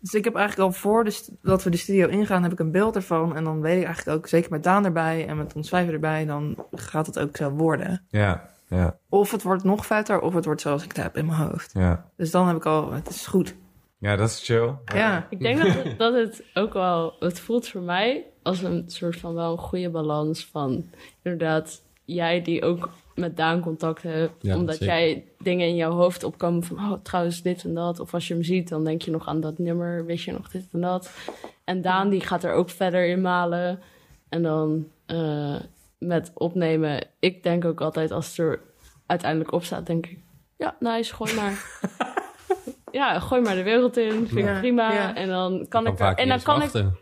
dus ik heb eigenlijk al voor de st- dat we de studio ingaan, heb ik een beeld ervan. En dan weet ik eigenlijk ook, zeker met Daan erbij en met ons vijver erbij, dan gaat het ook zo worden.
Ja, ja,
Of het wordt nog vetter, of het wordt zoals ik het heb in mijn hoofd.
ja.
Dus dan heb ik al, het is goed.
Ja, dat is chill.
Ja,
Ik denk dat het, dat het ook wel, het voelt voor mij als een soort van wel een goede balans van inderdaad jij die ook met Daan contact hebt,
Ja,
omdat
zeker.
jij dingen in jouw hoofd opkomen van oh trouwens dit en dat, of als je hem ziet dan denk je nog aan dat nummer, weet je nog dit en dat. En Daan die gaat er ook verder in malen en dan eh, met opnemen. Ik denk ook altijd als het er uiteindelijk op staat, denk ik ja nice, gooi maar. Ja, gooi maar de wereld in. Vind ik
Ja.
prima.
Ja.
En dan kan
kan
ik er,
vaak niet
en dan
eens
kan ik,
wachten.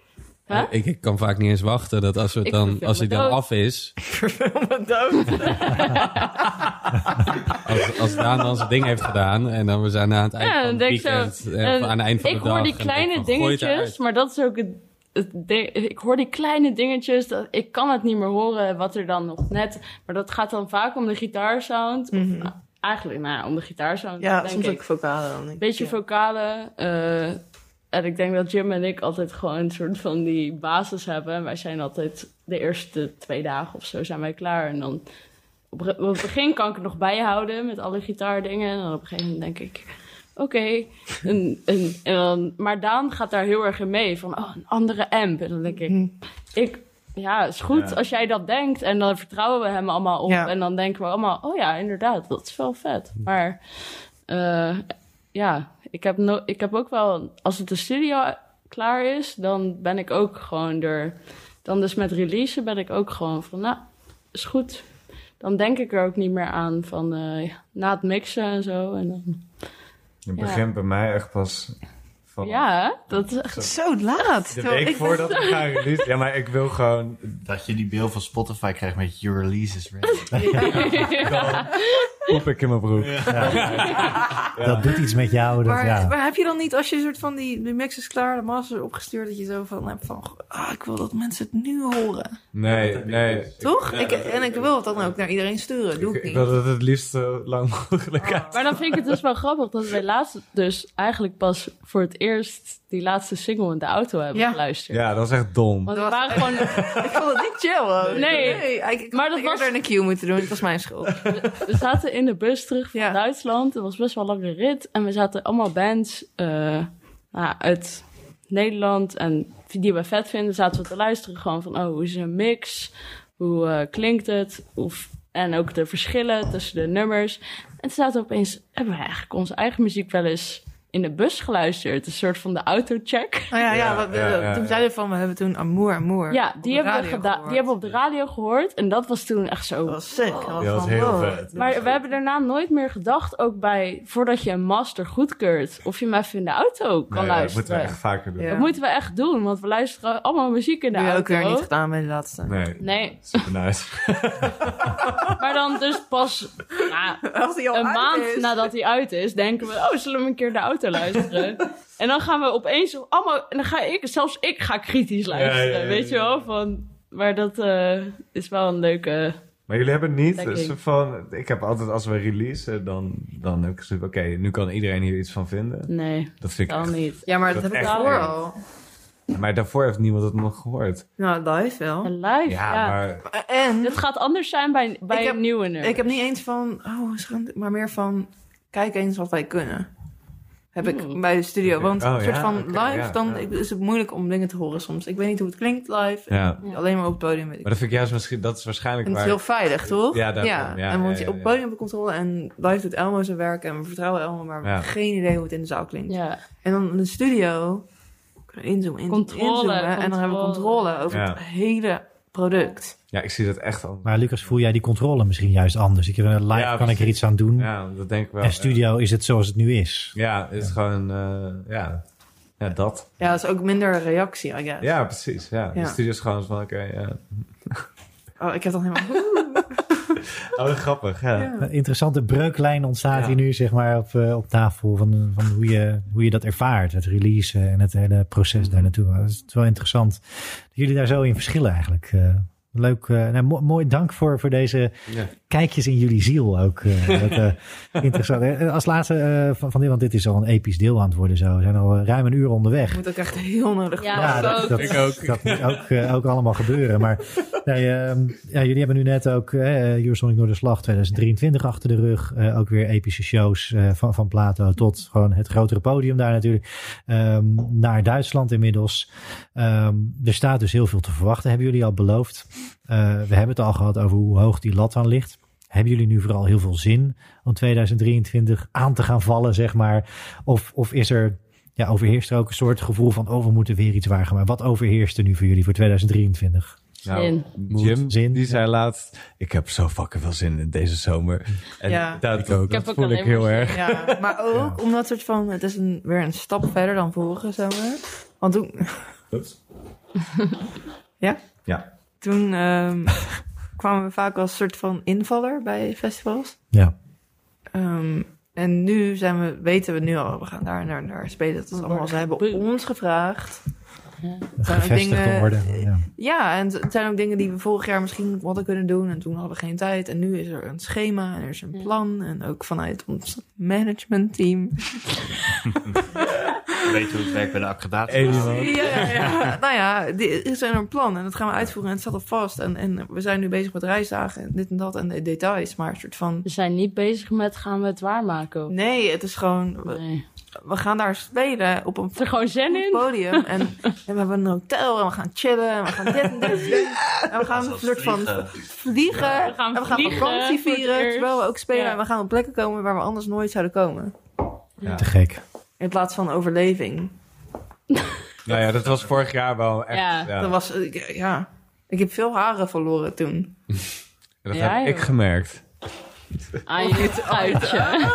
Hè?
Ik, ik kan vaak niet eens wachten dat als, we het
Ik
dan,
verveel
als hij
me
dan
dood.
af is,
verveel me dood.
als, als Daan dan zijn ding heeft gedaan en dan we zijn aan het eind
Ja,
van het
dan denk ik zo,
weekend, eh,
En
of aan het eind van
ik
de dag.
hoor die
en dan
kleine
denk ik van, gooi het
dingetjes, maar dat is ook het, het ding- ik hoor die kleine dingetjes, dat, ik kan het niet meer horen wat er dan nog net, maar dat gaat dan vaak om de gitaarsound. Of, nou, eigenlijk, nou ja, om de gitaarsound,
Mhm. Ja,
denk
soms
ik.
ook vocalen dan.
Beetje
Ja.
vocale. eh, en ik denk dat Jim en ik altijd gewoon een soort van die basis hebben. En wij zijn altijd de eerste twee dagen of zo zijn wij klaar. En dan op, op het begin kan ik het nog bijhouden met alle gitaardingen. En dan op een gegeven moment denk ik, oké. En, en, en dan- ehm, maar Daan gaat daar heel erg in mee. Van, oh, een andere amp. En dan denk ik, ik ja, is goed
Ja.
als jij dat denkt. En dan vertrouwen we hem allemaal op.
Ja.
En dan denken we allemaal, oh ja, inderdaad, dat is wel vet. Maar eh, ja, ik heb, no ik heb ook wel, als het de studio klaar is, dan ben ik ook gewoon er. Dan dus met releasen ben ik ook gewoon van, nou, is goed. Dan denk ik er ook niet meer aan van eh, na het mixen en zo. En dan,
Het begint bij mij echt pas van
ja, hè? dat is echt
Zo laat.
de
Terwijl
week
ik
voordat we gaan releasen. Ja, maar ik wil gewoon...
Dat je die beeld van Spotify krijgt met Your Release is Ready.
Poep ik in mijn broek.
Dat doet iets met jou. Dat,
Maar,
ja.
maar heb je dan niet, als je een soort van die, die mix is klaar, de master opgestuurd, dat je zo van hebt van, goh, ah, ik wil dat mensen het nu horen.
Nee, nee.
Toch? ik, en ik wil het dan ook naar iedereen sturen. Doe ik,
Ik
niet. Ah.
wil dat het liefst zo lang mogelijk uit.
Maar dan vind ik het dus wel grappig dat wij laatst dus eigenlijk pas voor het eerst die laatste single in de auto hebben
Ja.
geluisterd.
Ja, dat is echt dom.
Want we
Dat was-
waren gewoon,
ik vond het niet chill. hoor.
Nee.
ik, ik
Maar
maar
dat
dat
was-
eerder een queue moeten doen. Dat was mijn schuld.
we zaten in de bus terug van
Ja.
Duitsland. Het was best wel een lange rit. En we zaten allemaal bands eh, nou, uit Nederland en die we vet vinden. Zaten we te luisteren gewoon van, oh, hoe is een mix? Hoe eh, klinkt het? Of, en ook de verschillen tussen de nummers. En toen zaten we opeens, hebben we eigenlijk onze eigen muziek wel eens in de bus geluisterd? Een soort van de autocheck.
Nou ja, ja, wat, we-
ja, ja,
toen
ja.
zeiden we van, we hebben toen Amour, Amour.
Ja,
op
die
de
hebben, we
radio
gedaan,
gehoord.
die hebben we op de radio gehoord. En dat was toen echt zo.
Dat was sick. Dat was,
Ja, dat is
van,
heel
wow.
vet.
maar we hebben daarna nooit meer gedacht, ook bij voordat je een master goedkeurt, of je hem even in de auto kan
Nee, ja, dat
luisteren.
moeten we echt vaker doen.
Ja.
Dat moeten we echt doen, want we luisteren allemaal muziek in de
Die hebben we ook
auto.
weer niet gedaan bij de laatste.
Nee,
Nee,
super nice.
maar dan dus pas nou,
Als die al
een
uit
maand
is.
nadat hij uit is, denken we, oh, zullen we een keer de auto luisteren? en dan gaan we opeens allemaal, en dan ga ik, zelfs ik ga kritisch luisteren,
Ja, ja, ja,
weet je
ja.
wel? Van, maar dat eh, is wel een leuke...
Maar jullie hebben niet
Lekker.
zo van... Ik heb altijd, als we releasen, dan, dan heb ik zo oké, nu kan iedereen hier iets van vinden.
Nee,
Dat vind ik
dan
echt-
niet.
Ja, maar dat,
Dat
heb ik
echt
voor
eng.
al.
Maar daarvoor heeft niemand het nog gehoord.
Nou, live wel.
Een live, ja.
Ja, maar
En
Het gaat anders zijn bij, bij
Ik heb-
een nieuwe nummer.
ik heb niet eens van, oh, schande, maar meer van, kijk eens wat wij kunnen. Heb ik
Oeh.
bij de studio.
Oké.
Want
Oh,
een soort
ja,
van
oké,
live,
ja,
dan
ja.
ik- is het moeilijk om dingen te horen soms. Ik weet niet hoe het klinkt live.
ja.
Ja.
Alleen maar op het podium weet ik.
Maar dat vind ik juist misschien, dat is waarschijnlijk
En het
waar.
is heel veilig, toch?
Ja, daarom, ja,
en
ja,
want je
ja,
op het podium heb je controle en live doet Elmo zijn werk en we vertrouwen Elmo, maar we
Ja.
hebben geen idee hoe het in de zaal klinkt.
Ja,
En dan in de studio kunnen we inzoomen, inzoomen,
Controle,
inzoomen en dan hebben we
controle.
controle over
Ja.
het hele product.
Ja, ik zie dat echt al.
Maar Lucas, voel jij die controle misschien juist anders? Ik, live
Ja,
kan ik er
precies.
iets aan doen.
Ja, dat denk ik wel.
en studio is het zoals het nu is.
Ja, het is gewoon, eh, ja. ja, dat.
Ja, dat is ook minder reactie, I guess.
Ja, precies. Ja.
Ja.
De studio is gewoon van, oké, ja.
Oh, ik heb dat helemaal...
Oh, grappig, ja. Ja,
Een interessante breuklijn ontstaat
Ja.
hier nu zeg maar, op, eh, op tafel van, van hoe, je, hoe je dat ervaart. Het release en het hele proces daar naartoe. Dat is wel interessant dat jullie daar zo in verschillen eigenlijk. Eh, leuk. eh, nou, mo- mooi dank voor, voor deze
Ja.
kijkjes in jullie ziel ook. eh, dat, eh, interessant. Eh, Als laatste eh, van, van dit, want dit is al een episch deel aan het worden zo. We zijn al eh, ruim een uur onderweg.
Ik moet ook echt heel nodig...
Ja,
Ja,
dat
dat,
ook.
dat,
Ik ook.
dat moet ook, eh, ook allemaal gebeuren. Maar nee, ehm, ja, jullie hebben nu net ook eh Eurosonic Noorderslag 2023 achter de rug. Eh, ook weer epische shows eh, van, van Plato tot gewoon het grotere podium daar natuurlijk. Ehm, naar Duitsland inmiddels. Ehm, er staat dus heel veel te verwachten, hebben jullie al beloofd. Eh, we hebben het al gehad over hoe hoog die lat dan ligt. Hebben jullie nu vooral heel veel zin om 2023 aan te gaan vallen, zeg maar? Of, of is er ja, overheerst er ook een soort gevoel van, oh, we moeten weer iets wagen. Maar wat overheerst er nu voor jullie voor 2023?
Nou,
Moed.
Jim,
Zin,
die
ja.
zei laatst, ik heb zo fucking veel zin in deze zomer. En
Ja.
dat,
Ik ook.
Ik heb
dat
ook
voel
alleen
ik
maar
heel
zin.
erg.
Ja, maar ook omdat soort van, het is een, weer een stap verder dan vorige zomer. Want toen,
Ja.
toen ehm, kwamen we vaak als soort van invaller bij festivals.
Ja.
Ehm, en nu zijn we, weten we nu al, we gaan daar en daar en daar spelen. Dat is allemaal, ze hebben ons gevraagd.
Ja.
Het zijn ook
Gevestigd te
dingen-
worden. Ja.
Ja, en het zijn ook dingen die we vorig jaar misschien hadden kunnen doen. En toen hadden we geen tijd. En nu is er een schema en er is een
Ja.
plan. En ook vanuit ons managementteam.
Weet je hoe het werkt bij de accreditatie?
Ja, ja, ja. nou ja, die- er is een plan en dat gaan we uitvoeren en het staat al vast. En, en we zijn nu bezig met reisdagen en dit en dat en de details. Maar een soort van,
We zijn niet bezig met gaan we het waarmaken. of-
nee, het is gewoon, we,
Nee.
we gaan daar spelen op een
Er gewoon zin in.
podium. En, en we hebben een hotel en we gaan chillen en we gaan dit en dit doen. En we gaan een soort van vliegen.
We gaan
en we gaan
vliegen
vakantie
voor het
vieren,
eerst.
terwijl we ook spelen.
Ja.
En we gaan op plekken komen waar we anders nooit zouden komen.
Te gek.
In plaats van overleving.
Nou ja, dat was vorig jaar wel echt.
Ja,
Ja,
Dat was, eh, ja, ik heb veel haren verloren toen.
dat
Ja,
heb ik
joh.
gemerkt.
Aan je uitje.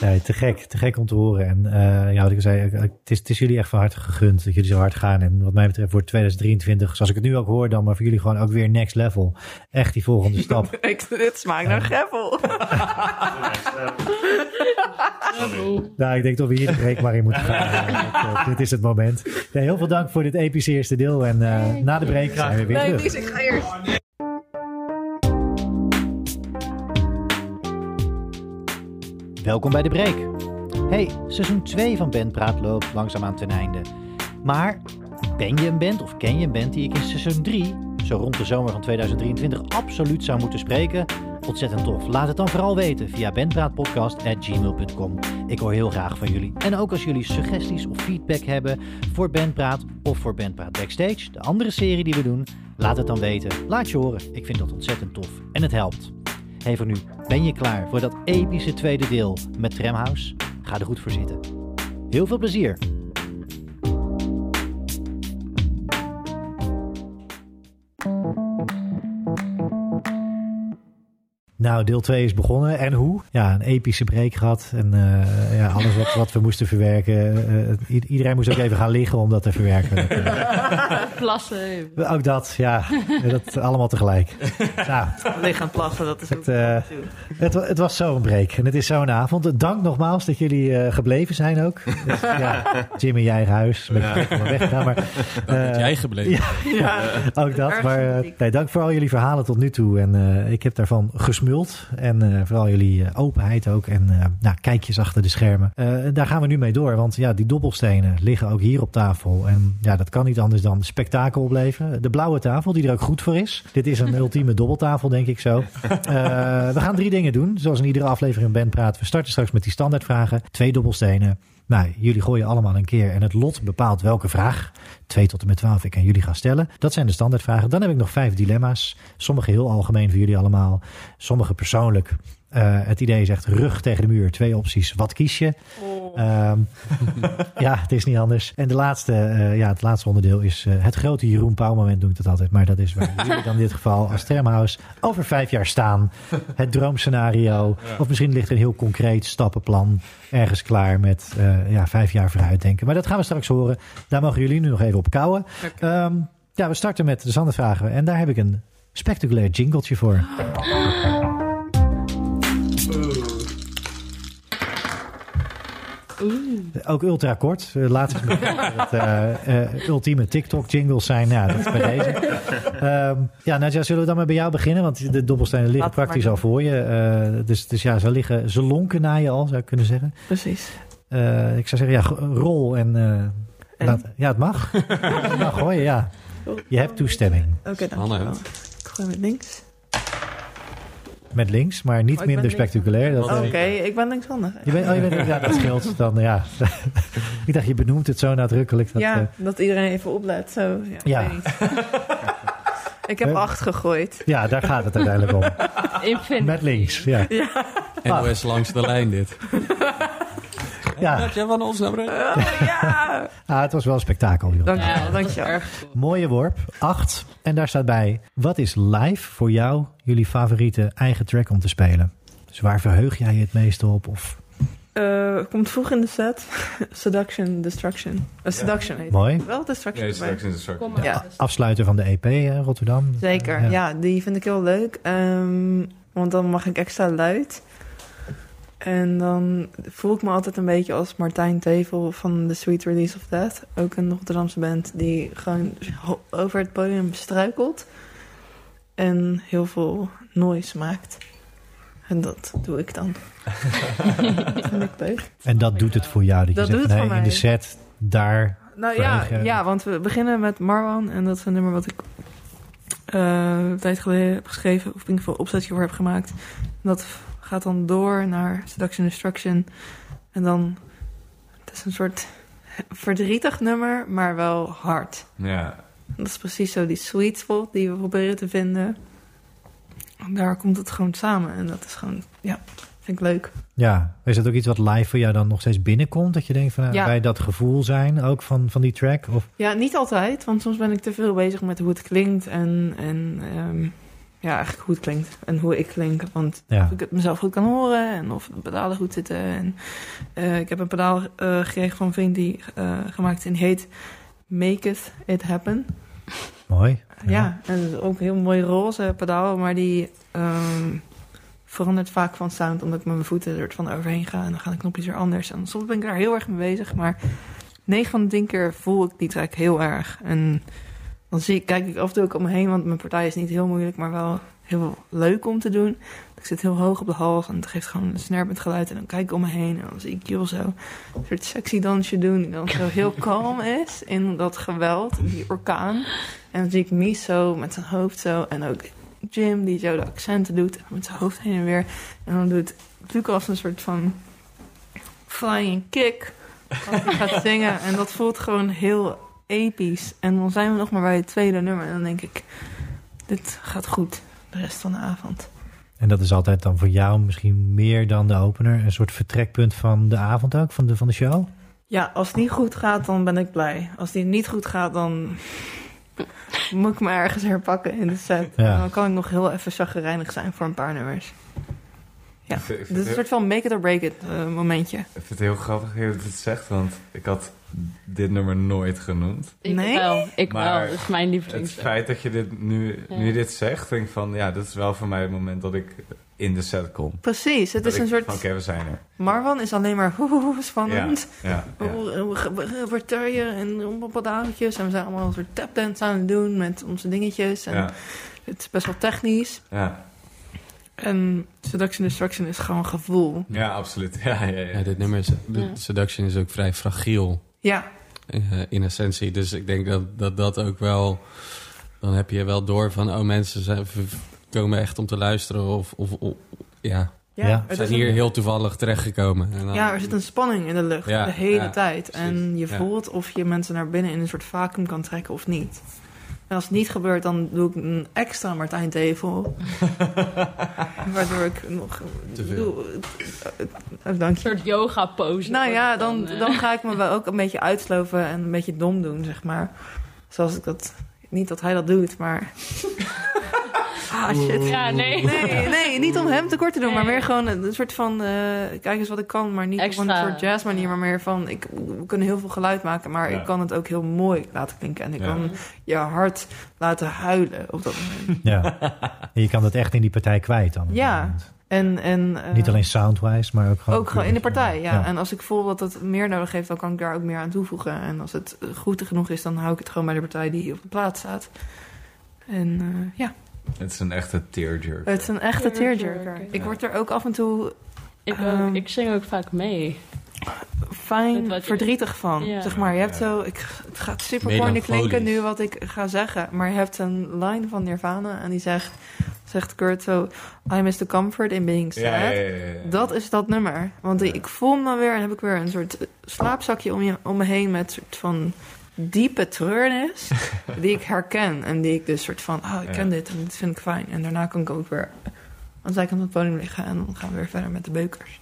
Nee, te gek. Te gek om te horen. En eh, ja, wat ik al zei, eh, het is, het is jullie echt van harte gegund dat jullie zo hard gaan. En wat mij betreft wordt 2023, zoals ik het nu ook hoor dan, maar voor jullie gewoon ook weer next level. Echt die volgende stap.
Ik, dit smaakt naar gravel.
nou, ik denk dat we hier de break maar in moeten gaan. Eh, dat, eh, dit is het moment. Nee, heel veel dank voor dit epische eerste deel. En eh, na de break zijn we weer
Nee,
terug.
Lies, ik ga eerst.
Welkom bij de break. Hey, seizoen 2 van Band Praat loopt langzaamaan ten einde. Maar ben je een band of ken je een band die ik in seizoen 3, zo rond de zomer van 2023, absoluut zou moeten spreken? Ontzettend tof. Laat het dan vooral weten via bandpraatpodcast.gmail.com. Ik hoor heel graag van jullie. En ook als jullie suggesties of feedback hebben voor Bandpraat of voor Bandpraat Backstage, de andere serie die we doen, laat het dan weten. Laat je horen. Ik vind dat ontzettend tof en het helpt. Hey voor nu, ben je klaar voor dat epische tweede deel met Tramhouse? Ga er goed voor zitten. Heel veel plezier! Nou, deel 2 is begonnen. En hoe? Ja, een epische break gehad. En eh, ja, alles wat, wat we moesten verwerken. eh, i- iedereen moest ook even gaan liggen om dat te verwerken.
Plassen.
Ook dat, ja. Dat allemaal tegelijk. Nou,
Liggen gaan plassen, dat is ook
Het, eh,
goed.
Het, wa- het was zo'n break en het is zo'n avond. Dank nogmaals dat jullie eh, gebleven zijn ook. Dus, ja, Jim in je eigen huis. Een beetje van weggegaan, maar eh,
Dat jij gebleven.
ja.
Ja,
ook dat.
Erg
Maar eh,
sympathiek.
nee, dank voor al jullie verhalen tot nu toe. En eh, ik heb daarvan gesmuld. hulp. En eh, vooral jullie eh, openheid ook. En eh, nou, kijkjes achter de schermen. Eh, daar gaan we nu mee door. Want ja, die dobbelstenen liggen ook hier op tafel. En ja, dat kan niet anders dan spektakel opleveren. De blauwe tafel, die er ook goed voor is. Dit is een ultieme dobbeltafel, denk ik zo. Eh, we gaan drie dingen doen. Zoals in iedere aflevering Ben praat. We starten straks met die standaardvragen. Twee dobbelstenen. Nou, jullie gooien allemaal een keer en het lot bepaalt welke vraag, 2 tot en met 12, ik aan jullie ga stellen. Dat zijn de standaardvragen. Dan heb ik nog vijf dilemma's. Sommige heel algemeen voor jullie allemaal, sommige persoonlijk. Eh, het idee is echt rug tegen de muur. Twee opties. Wat kies je? Ehm, ja, het is niet anders. En de laatste, eh, ja, het laatste onderdeel is eh, het grote Jeroen Pauw moment doe ik dat altijd. Maar dat is waar jullie dan in dit geval als Tramhouse over vijf jaar staan. Het droomscenario. Of misschien ligt er een heel concreet stappenplan ergens klaar met eh, ja, vijf jaar vooruit denken. Maar dat gaan we straks horen. Daar mogen jullie nu nog even op kouwen. Ehm, ja, we starten met de zandervragen. En daar heb ik een spectaculair jingletje voor. Ook ultra kort. Eh, Laat eens merken dat het eh, eh, ultieme TikTok-jingles zijn. Ja, dat is bij deze. Ehm, ja, Nadja, zullen we dan maar bij jou beginnen? Want de dobbelstenen liggen
Laten we
praktisch
maar
al voor je. Eh, dus, dus ja, ze liggen, ze lonken naar je al, zou ik kunnen zeggen.
Precies.
Eh, ik zou zeggen, ja, g- rol en... eh,
En?
laat- ja, het mag. het mag hoor, ja. Je hebt toestemming.
Oké, dankjewel. Ik gooi met links.
Met links, maar niet
Oh, ik ben
minder
links.
spectaculair. Dat,
Oh,
eh,
Oké, ik ben linkshandig.
je bent, oh, je bent, ja, dat scheelt dan, ja. ik dacht, je benoemt het zo nadrukkelijk. Dat, eh,
ja, dat iedereen even oplet. Zo, ja,
Ja.
Ik, weet niet. ik heb
Eh.
acht gegooid.
ja, daar gaat het uiteindelijk om.
Infinity.
Met links, ja.
NOS langs de lijn dit.
ja.
Dat jij van ons nou, naar beneden?
Oh, ja!
Ah, het was wel een spektakel, joh.
Dank-
Ja, dat is
Dankjewel.
erg cool.
Mooie worp, 8. En daar staat bij, wat is live voor jou jullie favoriete eigen track om te spelen? Dus waar verheug jij je het meeste op? Of,
Eh, komt vroeg in de set. Seduction, Destruction. Eh, seduction heet het.
mooi.
Wel Destruction
Nee,
erbij.
straks in de soort.
Kom maar.
Ja.
Afsluiter van de EP, hè, Rotterdam.
Zeker, ja. die vind ik heel leuk. Ehm, want dan mag ik extra luid. En dan voel ik me altijd een beetje als Martijn Tevel van The Sweet Release of Death. Ook een Rotterdamse band die gewoon ho- over het podium struikelt. En heel veel noise maakt. En dat doe ik dan. dat vind ik leuk.
En dat doet het voor jou, dat,
Dat
je zegt,
doet het
nee,
voor
in de
mij.
set, daar.
Nou ja,
Verheug, ja.
ja, want we beginnen met Marwan. En dat is een nummer wat ik eh, een tijd geleden heb geschreven. Of in ieder geval een opzetje voor heb gemaakt. En dat gaat dan door naar Seduction Destruction. En dan... Het is een soort verdrietig nummer, maar wel hard.
Ja.
En Dat is precies zo die sweet spot die we proberen te vinden. En daar komt het gewoon samen. En dat is gewoon... Ja, vind ik leuk.
Ja, is dat ook iets wat live voor jou dan nog steeds binnenkomt? Dat je denkt van, nou,
Ja.
bij dat gevoel zijn ook van, van die track? Of,
Ja, niet altijd, want soms ben ik te veel bezig met hoe het klinkt en, en ehm, ja, eigenlijk hoe het klinkt en hoe ik klink. Want
ja.
of ik het mezelf goed kan horen en of de pedalen goed zitten. En, eh, ik heb een pedaal eh, gekregen van een vriend die eh, gemaakt is en die heet Maketh It Happen.
mooi.
Ja, en dat is ook een heel mooi roze pedaal, maar die ehm, verandert vaak van sound omdat ik met mijn voeten er van overheen ga en dan gaan de knopjes weer anders. En soms ben ik daar heel erg mee bezig, maar 9 van de 10 keer voel ik die track heel erg. En dan zie ik, kijk ik af en toe ook om me heen, want mijn partij is niet heel moeilijk, maar wel heel leuk om te doen. Ik zit heel hoog op de hals en het geeft gewoon een snerpend geluid. En dan kijk ik om me heen en dan zie ik Jules zo een soort sexy dansje doen. Die dan zo heel kalm is in dat geweld, die orkaan. En dan zie ik Mies zo met zijn hoofd zo. En ook Jim die zo de accenten doet. En met zijn hoofd heen en weer. En dan doet Lucas een soort van flying kick. Als hij gaat zingen. En dat voelt gewoon heel episch. En dan zijn we nog maar bij het tweede nummer. En dan denk ik, dit gaat goed de rest van de avond.
En dat is altijd dan voor jou misschien meer dan de opener. Een soort vertrekpunt van de avond ook, van de, van de show.
Ja, als het niet goed gaat, dan ben ik blij. Als die niet goed gaat, dan moet ik me ergens herpakken in de set.
Ja.
En dan kan ik nog heel even chagrijnig zijn voor een paar nummers. Ja,
Ik vind- ik
dit is
vind
een
het-
soort van make it or break it eh, momentje.
ik vind het heel grappig dat je het zegt, want ik had dit nummer nooit genoemd.
Ik
Nee?
wel, ik
Maar
wel. Dat is mijn
Het
lievelings.
feit dat je dit nu,
Ja.
nu je dit zegt, denk ik van ja, dat is wel voor mij het moment dat ik in de set kom.
Precies, het
Dat
is
ik
een soort...
van, Oké, we zijn er.
Marwan is alleen maar hoe, hoe, hoe,
Ja,
spannend.
ja, ja.
Hoe- hoe- ge- ge- vertel je en op wat avondjes. En we zijn allemaal een soort tapdance aan het doen met onze dingetjes. En
ja,
Het is best wel technisch.
ja.
Eh, En Seduction Destruction is gewoon gevoel.
Ja, absoluut. Ja, ja, ja.
Ja, dit nummer is, de
Ja.
Seduction is ook vrij fragiel
Ja,
eh, in essentie. Dus ik denk dat, dat dat ook wel... Dan heb je wel door van, oh mensen zijn, v- komen echt om te luisteren. Of, of, of- ja,
Ja,
ja,
ze
er
zijn
is
hier
een-
heel toevallig terechtgekomen. En dan-
ja, er zit een spanning in de lucht
Ja,
de hele
ja,
tijd. En je
Ja.
voelt of je mensen naar binnen in een soort vacuüm kan trekken of niet. En als het niet gebeurt, dan doe ik een extra Martijn Tevel. Waardoor ik nog...
Te veel.
Doe, eh, eh, dank
Een
je.
soort yoga pose.
Nou ja, dan,
eh,
dan ga ik me wel ook een beetje uitsloven en een beetje dom doen, zeg maar. Zoals ik dat... Niet dat hij dat doet, maar... ah, shit.
Ja, nee.
Nee, nee, niet om hem tekort te doen, maar
Nee.
meer gewoon een een soort van... eh, kijk eens wat ik kan, maar niet op een
Extra.
soort jazz manier, maar meer van... Ik, we kunnen heel veel geluid maken, maar
Ja.
ik kan het ook heel mooi laten klinken. En ik
Ja.
kan je hart laten huilen op dat moment.
Ja. En je kan dat echt in die partij kwijt dan. op
Ja.
dat moment.
En, en, eh,
Niet alleen soundwise, maar ook gewoon...
Ook gewoon in de
puur-
partij, ja. En als ik voel dat het meer nodig heeft, dan kan ik daar ook meer aan toevoegen. En als het eh, goed genoeg is, dan hou ik het gewoon bij de partij die op de plaats staat. En eh, ja,
Het is een echte tearjerk.
het is een echte
Tearjerker.
tearjerker. Ik word er ook af en toe
Ik,
Ehm.
ook, ik zing ook vaak mee. Met
fijn
wat je-
verdrietig van.
Ja.
Zeg maar, je hebt
Ja.
zo, ik, het gaat super corny
Melancholisch.
klinken nu wat ik ga zeggen. Maar je hebt een line van Nirvana en die zegt, zegt Kurt zo... I miss the comfort in being sad.
Ja, ja, ja, ja.
Dat is dat nummer. Want
Ja.
ik voel me dan weer en heb ik weer een soort eh, slaapzakje om, je, om me heen met soort van diepe treurnis die ik herken. En die ik dus soort van, oh, ik ken
Ja.
dit en dit vind ik fijn. En daarna kan ik ook weer aan de zijkant van het podium liggen en dan gaan we weer verder met de beukers.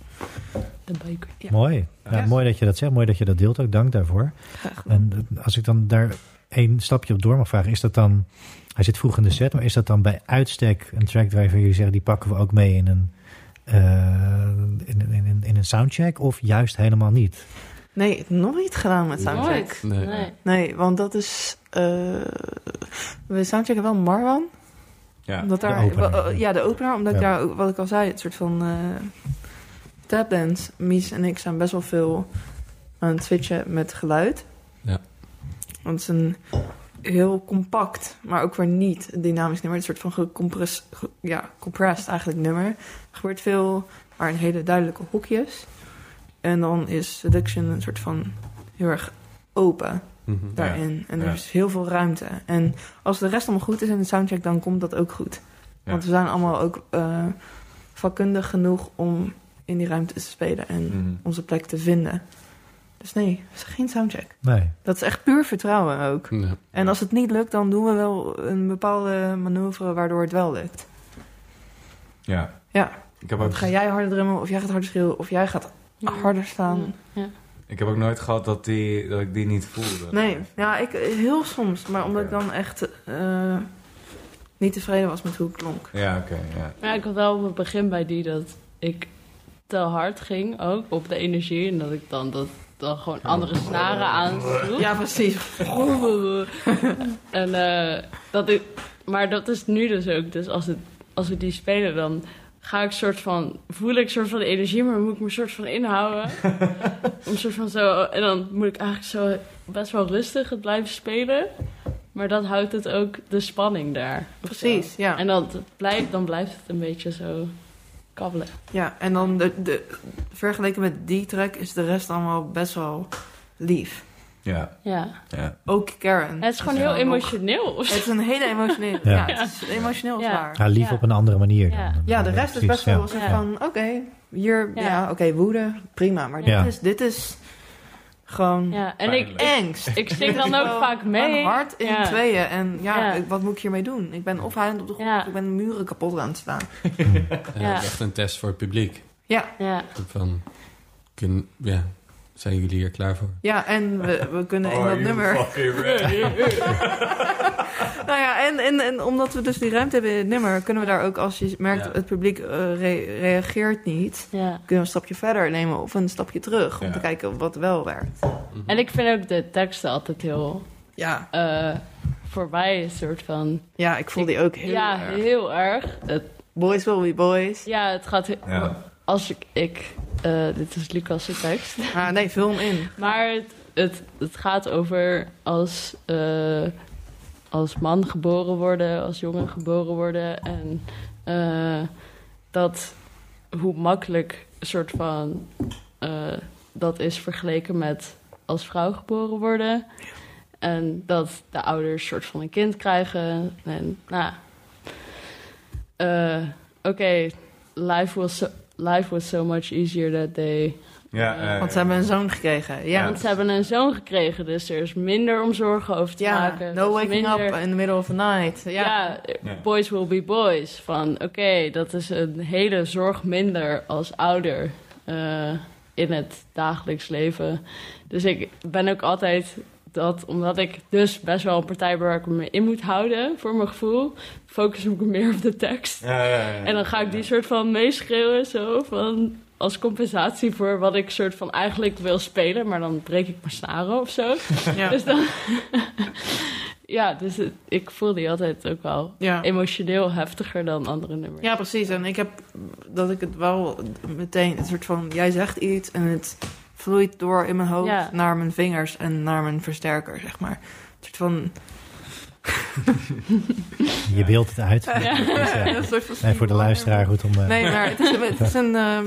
De beuker.
Ja.
Mooi. Ja,
Ja.
Mooi dat je dat zegt. Mooi dat je dat deelt ook. Dank daarvoor.
Graag gedaan.
En eh, als ik dan daar één stapje op door mag vragen, is dat dan, hij zit vroeg in de set, maar is dat dan bij uitstek een track waarvan jullie zeggen, die pakken we ook mee in een, eh, in, in, in, in een soundcheck of juist helemaal niet?
Nee, nooit gedaan met soundcheck.
Nee.
Nooit. Nee.
Nee, want dat is. eh, we soundchecken wel Marwan.
Ja.
Omdat daar,
opener.
wel, eh, ja, de opener. Omdat
Ja.
ik daar, ook- wat ik al zei, het soort van eh tapdance. Mies en ik zijn best wel veel aan het switchen met geluid.
Ja.
Want het is een heel compact, maar ook weer niet dynamisch nummer. Een soort van gecompress, ge- ja, compressed eigenlijk nummer. Er gebeurt veel, maar in hele duidelijke hokjes. En dan is seduction een soort van heel erg open
Mhm.
daarin. En er
ja.
is heel veel ruimte. En als de rest allemaal goed is in de soundtrack, dan komt dat ook goed.
Ja.
Want we zijn allemaal ook eh, vakkundig genoeg om in die ruimte te spelen en
Mhm.
onze plek te vinden. Dus nee, het is geen soundcheck.
Nee.
Dat is echt puur vertrouwen ook.
Ja.
En als het niet lukt, dan doen we wel een bepaalde manoeuvre waardoor het wel lukt.
ja.
Ja.
Ik heb,
Dan
ook,
ga jij harder drummen, of jij gaat harder schreeuwen, of jij gaat harder staan.
ik heb ook nooit gehad dat, die, dat ik die niet voelde.
Nee, ja, ik, heel soms. Maar omdat ik
Ja.
dan echt eh, niet tevreden was met hoe ik klonk.
Ja, oké. ja.
Maar ja, ik had wel op het begin bij die dat ik te hard ging ook op de energie. En dat ik dan, dat, dan gewoon andere snaren aansloeg.
Ja, precies.
en eh, dat ik, maar dat is nu dus ook. Dus als, het, als we die spelen, dan ga ik soort van, voel ik soort van de energie, maar moet ik me soort van inhouden. Om soort van zo, en dan moet ik eigenlijk zo best wel rustig het blijven spelen. Maar dat houdt het ook de spanning daar. of zo.
Precies, ja.
En dat blijft, dan blijft het een beetje zo kabbelen.
Ja, en dan de, de, vergeleken met die track is de rest allemaal best wel lief.
Ja,
Ja.
ja.
Ook Karen.
Het is gewoon
Ja,
heel
nog-
emotioneel. of zo.
Het is een hele emotioneel.
Ja.
ja. het is emotioneel
Ja.
zwaar.
Ja, lief
Ja.
nou, op een andere manier.
Ja.
dan.
Ja, de rest is
precies,
best wel
ja.
zo
Ja.
van, oké, hier, ja,
Ja.
oké, woede, prima. Maar
Ja.
dit, is, dit is gewoon
Ja, en ik, ik,
angst.
ik zing dan ook vaak mee.
Mijn hart in
Ja.
tweeën. En ja,
Ja.
ik- wat moet ik hiermee doen? Ik ben of huilend op de grond,
Ja.
of ik ben muren kapot aan het slaan.
Ja,
Ja.
dat is echt een test voor het publiek.
Ja,
Ja.
Van, kun, ja, zijn jullie hier klaar voor?
ja en we, we kunnen
Oh,
in dat nummer... Nou ja, en, en, en omdat we dus die ruimte hebben in het nummer, kunnen we daar ook, als je merkt
Ja.
het publiek eh, re- reageert niet,
Ja.
kunnen we een stapje verder nemen of een stapje terug om
Ja.
te kijken wat wel werkt.
En ik vind ook de teksten altijd heel
Ja,
eh voorbij, een soort van.
ja ik voel die ook heel
ja,
erg.
heel erg. Het,
Boys will be boys.
ja, het gaat. he-
Ja.
Als ik. ik eh, dit is Lucas' tekst.
Ah, nee, film in.
Maar het, het, het gaat over als, eh, als man geboren worden, als jongen geboren worden. En eh, dat hoe makkelijk een soort van eh, dat is vergeleken met als vrouw geboren worden. En dat de ouders soort van een kind krijgen. En nou, eh, oké, life, was so, life was so much easier that day.
Ja,
eh,
Want ze hebben een zoon gekregen. Ja,
Want ze hebben een zoon gekregen, dus er is minder om zorgen over te
ja
maken. Er
no
is
waking
minder-
up in the middle of the night. Ja,
ja.
Ja.
boys will be boys. Van oké, dat is een hele zorg minder als ouder eh, in het dagelijks leven. Dus ik ben ook altijd dat, omdat ik dus best wel een partij ben waar ik me in moet houden, voor mijn gevoel, focus ik me meer op de tekst.
ja, ja, ja.
En dan ga ik die soort van meeschreeuwen, zo van als compensatie voor wat ik soort van eigenlijk wil spelen, maar dan breek ik mijn snaren of zo.
Ja.
Dus dan. ja, dus het- ik voel die altijd ook wel
ja.
emotioneel heftiger dan andere nummers.
Ja, precies. En ik heb dat ik het wel meteen een soort van jij zegt iets en het vloeit door in mijn hoofd
Ja.
naar mijn vingers en naar mijn versterker, zeg maar. Een soort van
Je beeldt het uit.
een soort van-
Nee, voor de luisteraar goed om... eh,
Nee, maar het is, het is een, ehm,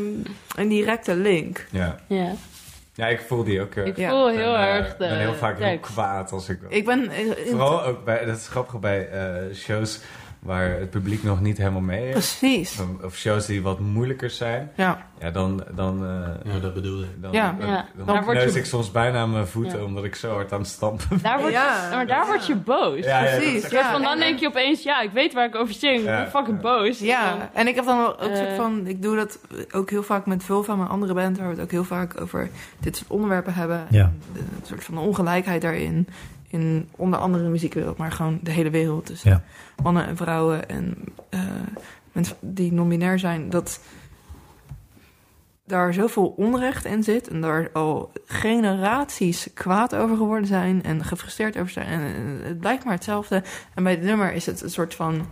een directe link.
Ja.
Ja.
ja, ik voel die ook. eh,
Ik
Ja.
voel
en,
heel
eh,
erg
Ik
de
ben heel vaak heel
tekst.
kwaad als ik...
Ik ben eh, in-
Vooral ook bij, dat is grappig bij eh, shows waar het publiek nog niet helemaal mee is.
precies.
Of- Of shows die wat moeilijker zijn.
Ja,
Ja, dan... dan eh,
Ja, dat bedoelde ik.
dan,
Ja.
dan,
Ja.
dan
Daar word
kneus
je-
ik soms bijna aan mijn voeten
Ja.
omdat ik zo hard aan het stampen ben.
Daar word je,
Ja.
maar daar word je boos. Dus
Ja, ja, dat is
precies.
echt-
Ja,
Van dan
en-
denk je opeens, ja, ik weet waar ik over zing.
Ja.
Ik ben fucking boos.
Ja, en ik heb dan ook een soort
Eh.
van. Ik doe dat ook heel vaak met Vulva, mijn andere band, waar we het ook heel vaak over dit soort onderwerpen hebben.
Ja.
En de- Een soort van ongelijkheid daarin. In onder andere de muziekwereld, maar gewoon de hele wereld. Dus
Ja.
mannen en vrouwen en eh, mensen die non-binair zijn. Dat daar zoveel onrecht in zit. En daar al generaties kwaad over geworden zijn. En gefrustreerd over zijn. En eh, het blijkt maar hetzelfde. En bij het nummer is het een soort van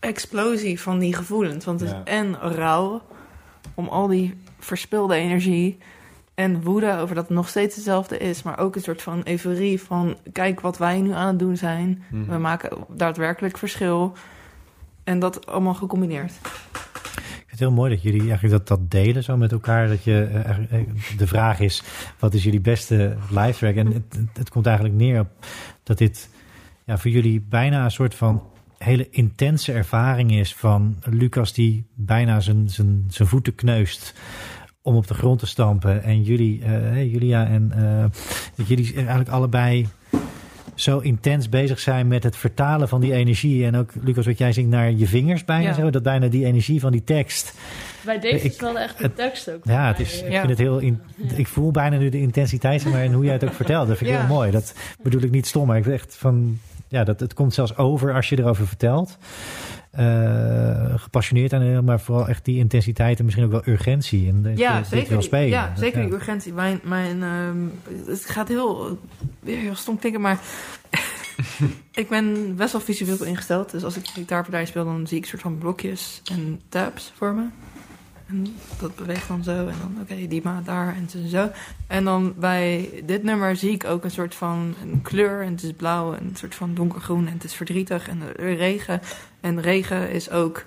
explosie van die gevoelens. Want het
Ja.
is en rouw om al die verspilde energie. En woede over dat het nog steeds hetzelfde is. Maar ook een soort van euforie van... kijk wat wij nu aan het doen zijn.
Mhm.
We maken daadwerkelijk verschil. En dat allemaal gecombineerd.
Ik vind het heel mooi dat jullie eigenlijk dat, dat delen zo met elkaar. Dat je, eh, eigenlijk, eh, de vraag is, wat is jullie beste live track? En het, het, het komt eigenlijk neer op dat dit ja, voor jullie bijna een soort van hele intense ervaring is van Lucas die bijna zijn, zijn, zijn voeten kneust om op de grond te stampen. En jullie, eh, hey, Julia en eh, dat jullie eigenlijk allebei zo intens bezig zijn met het vertalen van die energie. En ook, Lucas, wat jij zingt naar je vingers bijna
Ja.
zo. Dat bijna die energie van die tekst.
Bij deze
Ik-
is wel echt de
het-
tekst ook.
Ja, het is, ik,
Ja.
vind het heel in- ik voel bijna nu de intensiteit zeg maar, en hoe jij het ook vertelt. Dat vind ik
Ja.
heel mooi. Dat bedoel ik niet stom, maar ik vind echt van... Ja, dat, het komt zelfs over als je erover vertelt. Eh, gepassioneerd aan maar vooral echt die intensiteit en misschien ook wel urgentie. En dat je
Ja,
dit
zeker.
wil
die-
spelen.
Ja,
Dat-
zeker die urgentie. Mijn, mijn, ehm, het gaat heel, eh, weer heel stom klinken, maar ik ben best wel visueel ingesteld. Dus als ik gitaarpartij speel, dan zie ik soort van blokjes en tabs voor me. En dat beweegt dan zo. En dan, oké, die maat daar en zo en zo. En dan bij dit nummer zie ik ook een soort van een kleur. En het is blauw en een soort van donkergroen. En het is verdrietig en er regen. En regen is ook...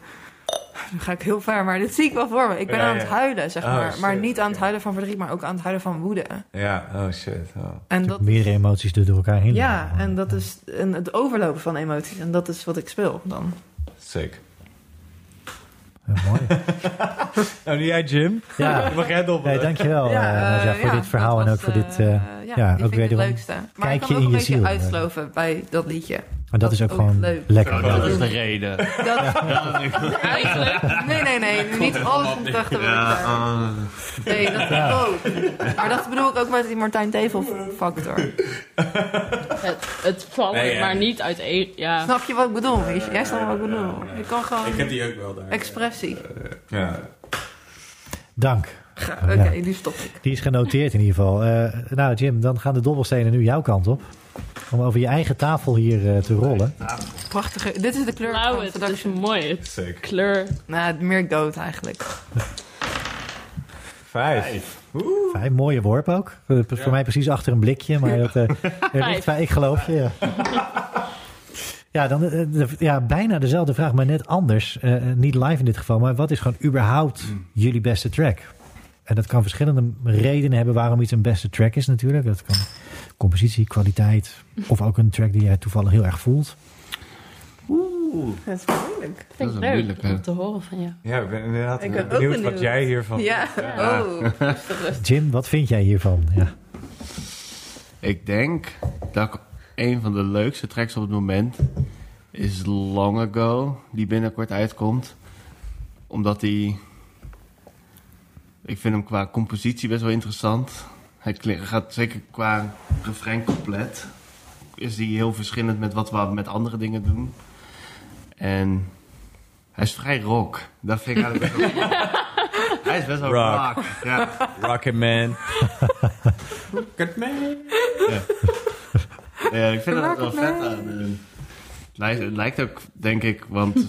Dan ga ik heel ver, maar dit zie ik wel voor me. Ik ben
Ja,
aan het
ja.
huilen, zeg
Oh,
maar. maar
shit,
niet aan het
oké.
huilen van verdriet, maar ook aan het huilen van woede.
Ja, oh shit. oh.
En dat,
Meerdere emoties dus door elkaar heen.
ja, en dat is en het overlopen van emoties. En dat is wat ik speel dan.
Sick.
Ja, mooi.
Nou, nu jij, Jim.
Ja.
Mag jij dobbelen?
Nee, dankjewel eh,
eh,
Nadja, voor
ja,
dit verhaal
dat
en ook
was,
voor dit...
eh,
eh,
ja,
ja,
die
ook
vind ik het
wederom
leukste. Maar
kijkje
ik
in
kan ook een
je
beetje
ziel. eh.
uitsloven bij dat liedje.
maar dat
dat
is ook
ook
gewoon
leuk.
lekker.
Oh, dat
Ja.
is de reden.
Dat,
Eigenlijk.
nee, nee, nee. Niet alles komt achter elkaar.
ah.
eh,
Nee, dat
Ja.
ook. Maar dat bedoel ik ook met die Martijn Tevel factor.
Het, het vallen,
Nee, ja.
maar niet uit één. Ja.
Snap je wat ik bedoel? Wies? Jij snapt wat ik bedoel. Je kan
Ik
gewoon
heb die ook wel daar.
expressie.
Ja.
Dank.
Ga-
Ja.
Oké, nu stop ik.
Die is genoteerd in ieder geval. Eh, nou, Jim, dan gaan de dobbelstenen nu jouw kant op. Om over je eigen tafel hier eh, te rollen.
Prachtige. Dit is de kleur
Blauw,
van
het is
production.
een mooie
Sick.
kleur.
Nou, meer dood eigenlijk.
Vijf.
Vijf mooie worp ook. Eh, Voor mij precies achter een blikje. Maar dat, eh, eh, echt vijf, ik geloof je. ja. Ja, dan, eh, de- ja, bijna dezelfde vraag, maar net anders. Eh, eh, niet live in dit geval, maar wat is gewoon überhaupt jullie beste track? En dat kan verschillende redenen hebben waarom iets een beste track is natuurlijk. Dat kan compositie, kwaliteit of ook een track die jij toevallig heel erg voelt.
Oeh.
Dat is wel moeilijk.
Dat vind ik
een
leuk
moeilijke.
om te horen van jou.
Ja, ik ben inderdaad
Ik ben
benieuwd,
ook
wat
benieuwd.
jij hiervan
Ja, oh. rustig, rustig.
Jim, wat vind jij hiervan? Ja.
Ik denk dat ik een van de leukste tracks op het moment is Long Ago, die binnenkort uitkomt. Omdat die... Ik vind hem qua compositie best wel interessant. Hij klinkt- gaat zeker qua refrein compleet. Is die heel verschillend met wat we met andere dingen doen. En hij is vrij rock. Dat vind ik eigenlijk best wel Hij is best wel
Rock.
rock. Ja.
Rocket Man.
Ja, ik vind dat wel vet aan. eh, het lijkt, het lijkt ook, denk ik, want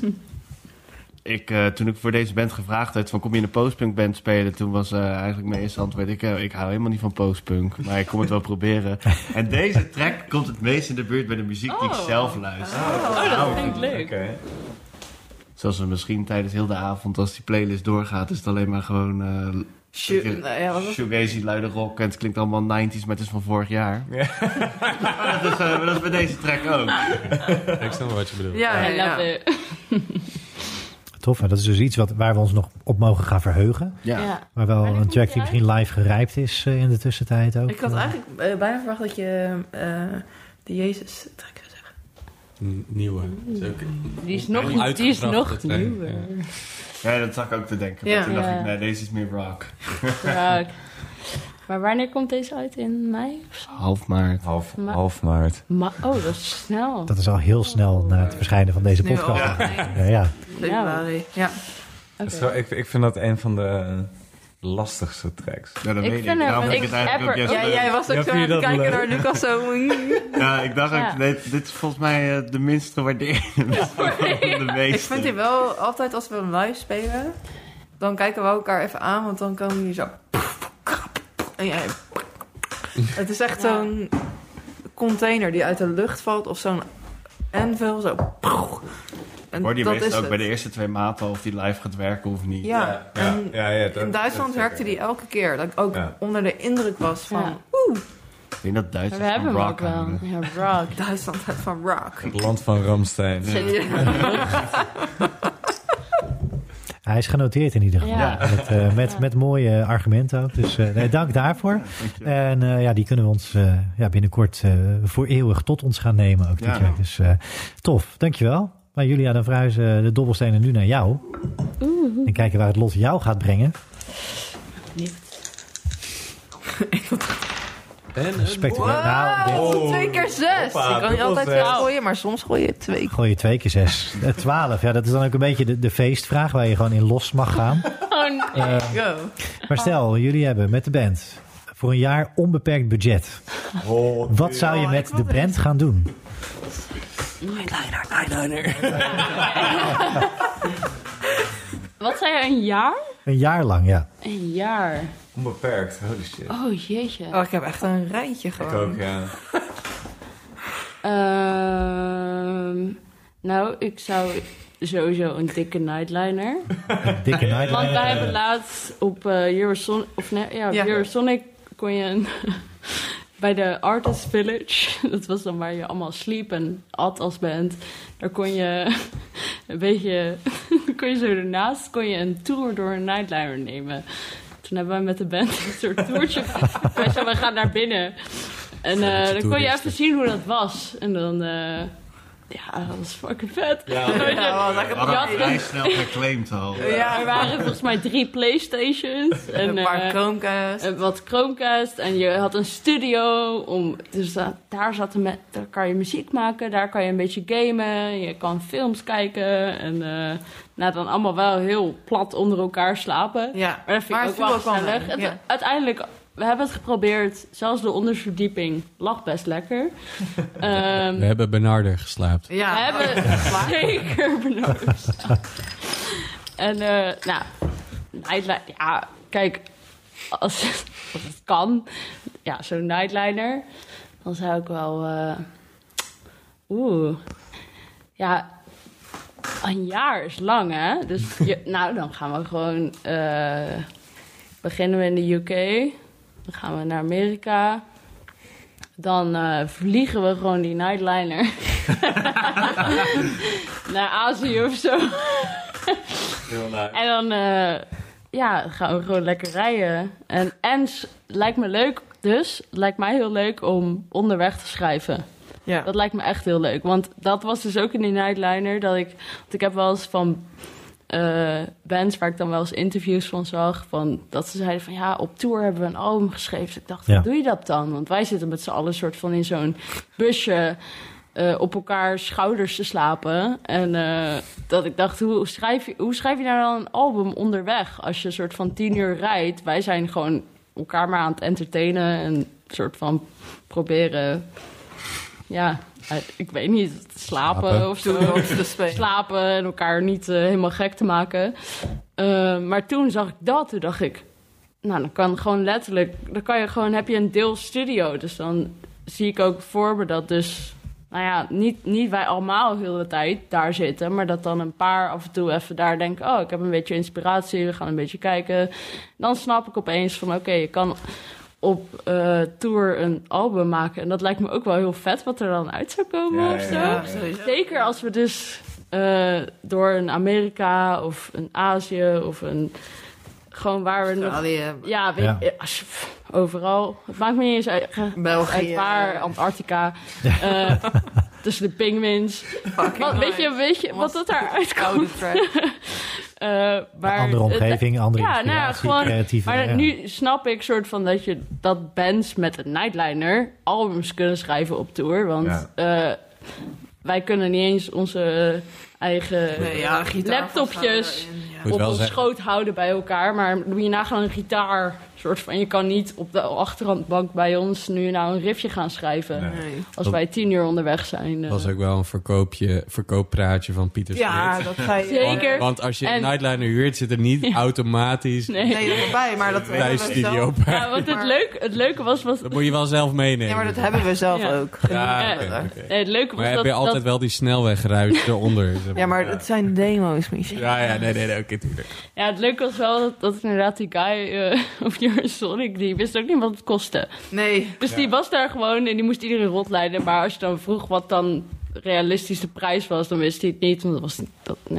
ik, eh, toen ik voor deze band gevraagd werd van kom je in een postpunk band spelen, toen was eh, eigenlijk mijn eerste antwoord ik, eh, ik hou helemaal niet van postpunk, maar ik kom het wel proberen. En deze track komt het meest in de buurt bij de muziek die ik
Oh.
zelf luister.
Oh, dat vind ik leuk.
Oké.
Zoals we misschien tijdens heel de avond, als die playlist doorgaat, is het alleen maar gewoon eh
Shoot. Nou, ja, wat was-
shoegazy, luide rock en het klinkt allemaal 90s, maar het is van vorig jaar.
Ja.
Maar dat, is, eh, dat is bij deze track ook.
Ik snap wel wat je bedoelt.
ja,
I
ja,
love
ja.
it.
Tof, hè? dat is dus iets wat, waar we ons nog op mogen gaan verheugen.
Ja.
Ja.
Maar wel
Wanneer
een
komt
track
die
die misschien live gerijpt is eh, in de tussentijd ook.
Ik had eigenlijk eh, bijna verwacht dat je eh, de Jezus track zou zeggen.
N- Nieuwe. Is ook-
Die is nog, die is
Uitgebracht,
nog
dat zijn,
nieuwer.
ja.
Ja, dat zag ik ook te denken.
Ja.
Maar toen dacht
Ja.
ik, nee, deze is meer rock.
Ja, ik- Maar wanneer komt deze uit? In mei? of zo?
Half maart.
Half,
Maar-
half maart.
Ma- oh, dat is snel.
Dat is al heel snel na het verschijnen van deze
Nu al.
podcast. Eh,
Ja.
Ja, ja.
Februari. Ja.
Oké.
Zo, ik, ik vind dat een van de lastigste tracks.
Ja, dat weet
Ik vind
ik.
hem-
Daarom vind
ik
ik het eigenlijk ook
heb
juist
er-
Ja,
leuk.
jij was ook
Ja, vind
zo aan
je
het
dat
kijken
leuk?
naar Lucas zo.
Ja, ik dacht
Ja.
ook, nee, dit is volgens mij eh, de minst gewaardeerde. de meeste.
Ik vind die wel altijd als we hem live spelen, dan kijken we elkaar even aan, want dan komen jullie zo. En jij. Het is echt
Ja.
zo'n container die uit de lucht valt of zo'n anvil zo. En
Hoor die
dat
wist
is
ook
het.
bij de eerste twee maanden of die live gaat werken of niet.
Ja,
Ja,
en
ja, ja, dat-
in Duitsland
dat
werkte
zeker.
die elke keer. Dat ik ook
Ja.
onder de indruk was van
Ja.
Ik denk dat
Maar
Duitsers
we hebben
van
hem
rock
ook wel.
houden.
Ja, rock.
Duitsland van rock.
Het land van Ramstein.
Hij is genoteerd in ieder geval.
Ja.
Met, eh, met, met mooie argumenten ook. Dus eh, nee, dank daarvoor. En eh, ja, die kunnen we ons eh, ja, binnenkort eh, voor eeuwig tot ons gaan nemen. Ook die
Ja.
track. Dus eh, tof, dankjewel. Maar Julia, dan verhuizen de dobbelstenen nu naar jou. En kijken waar het lot jou gaat brengen.
En een
Spectaculair. Nou, dit-
Wow, twee keer zes.
Hoppa,
je kan niet altijd
dubbel
zes
zes.
gooien, maar soms gooi je twee keer.
Gooi je twee keer zes. Eh, Twaalf, ja, dat is dan ook een beetje de, de feestvraag waar je gewoon in los mag gaan.
Oh,
Eh,
Go.
maar stel, jullie hebben met de band voor een jaar onbeperkt budget. Wat zou je
Oh,
met
ik
de
wil
band gaan doen?
wat zei je, een jaar?
Een jaar lang, ja.
Een jaar.
Onbeperkt, holy shit.
Oh, jeetje.
Oh, ik heb echt een rijtje gewoon.
Ik ook, ja.
Ehm, nou, ik zou sowieso een dikke nightliner.
Dikke night.
Want wij hebben laatst op eh Eurosonic, of nee, ja, op
Ja.
Eurosonic kon je een, bij de Artist Village, dat was dan waar je allemaal sliep en at als band, daar kon je een beetje, kon je zo ernaast, kon je een tour door een nightliner nemen. Toen hebben wij met de band een soort toertje. Wij zeiden, we gaan naar binnen. En eh, dan kon je
toeristen.
even zien hoe dat was. En dan, eh, ja, dat was fucking vet.
Ja, wat lekker
We hadden
Ja,
het vrij snel geclaimd al.
Ja,
Er waren volgens mij drie Playstations. En,
een paar
eh,
Chromecast.
en wat Chromecast. En je had een studio. Om, dus da- daar, zaten me- daar kan je muziek maken. Daar kan je een beetje gamen. Je kan films kijken. En eh, nou, dan allemaal wel heel plat onder elkaar slapen.
ja,
Maar dat vind ik ook wel gezellig. Het-
Ja.
Uiteindelijk, we hebben het geprobeerd. Zelfs de onderverdieping lag best lekker. Ehm,
We hebben Benarder geslaapt.
Ja.
we hebben zeker benodigd. en eh, nou, nightliner, ja, kijk, als, als het kan, ja, zo'n nightliner, dan zou ik wel, eh, oeh, Ja, een jaar is lang, hè? Dus je- nou, dan gaan we gewoon... eh, beginnen we in de UK. Dan gaan we naar Amerika. Dan eh, vliegen we gewoon die nightliner. naar Azië of zo. En dan eh, ja, gaan we gewoon lekker rijden. En, en s- lijkt me leuk, dus lijkt mij heel leuk om onderweg te schrijven.
Ja.
Dat lijkt me echt heel leuk. Want dat was dus ook in die Nightliner. Dat ik, want ik heb wel eens van eh, bands waar ik dan wel eens interviews van zag. Van, dat ze zeiden van ja, op tour hebben we een album geschreven. Dus ik dacht,
Ja.
hoe doe je dat dan? Want wij zitten met z'n allen soort van in zo'n busje. eh, op elkaar schouders te slapen. En eh, dat ik dacht, hoe schrijf, je, hoe schrijf je nou dan een album onderweg? Als je een soort van tien uur rijdt. Wij zijn gewoon elkaar maar aan het entertainen. En soort van proberen ja, uit- ik weet niet, slapen,
Slapen.
of zo. slapen en elkaar niet eh, helemaal gek te maken. Eh, maar toen zag ik dat, toen dacht ik... Nou, dan kan gewoon letterlijk... Dan kan je gewoon, heb je een deel studio. Dus dan zie ik ook voor me dat dus... Nou ja, niet, niet wij allemaal heel de tijd daar zitten... maar dat dan een paar af en toe even daar denken... oh, ik heb een beetje inspiratie, we gaan een beetje kijken. Dan snap ik opeens van, oké, je kan op eh, tour een album maken. En dat lijkt me ook wel heel vet wat er dan uit zou komen
Ja,
of zo.
ja, ja.
Zeker als we dus eh, door een Amerika of een Azië of een... Gewoon waar we nog...
Italië,
Ja, weet,
Ja.
eh, als- pff, overal. Het maakt me niet eens uit, eh, uit
België.
waar, Antarctica. eh, tussen de pinguïns. Wat, weet je, weet je wat dat daaruit komt?
Oude track.
Eh, maar
andere
het-
omgeving, andere
ja, nou ja,
inspiratie,
gewoon-
creatieve...
maar
ja.
nu snap ik soort van dat je dat bands met een nightliner albums kunnen schrijven op tour. Want eh, wij kunnen niet eens onze eigen
Nee, ja, gitaar
laptopjes
vasthouden en, ja.
Moet
op
wel
ons
zeggen.
schoot houden bij elkaar. Maar doe je nagaan een gitaar. Soort van, je kan niet op de achterhandbank bij ons nu nou een riffje gaan schrijven.
Nee.
Nee.
Als wij tien uur onderweg zijn. eh.
was ook wel een verkoopje, verkooppraatje van Pieter Smit.
Ja, dat ga je...
Zeker.
Want, want als je
En-
een Nightliner huurt, zit er niet automatisch
Nee.
Nee, dat erbij, maar dat
bij
hebben we
studio
zelf.
bij.
Ja, want het, leuk, het leuke was... was
Dat moet je wel zelf meenemen.
Ja, maar dat hebben we zelf
Ja.
ook.
Ja,
Eh,
oké, oké.
nee, het leuke was
Maar heb
dat,
je altijd
dat-
wel die snelwegruis eronder? zeg
Ja, maar het zijn demo's, Michel.
Ja, ja, nee, nee, nee oké, tuurlijk.
Ja, het leuke was wel dat, dat inderdaad die guy eh of die Sonic, die wist ook niet wat het kostte.
Nee.
Dus die was daar gewoon en die moest iedereen rondleiden. Maar als je dan vroeg wat dan realistisch de prijs was, dan wist hij het niet. Want dat was dat, ja,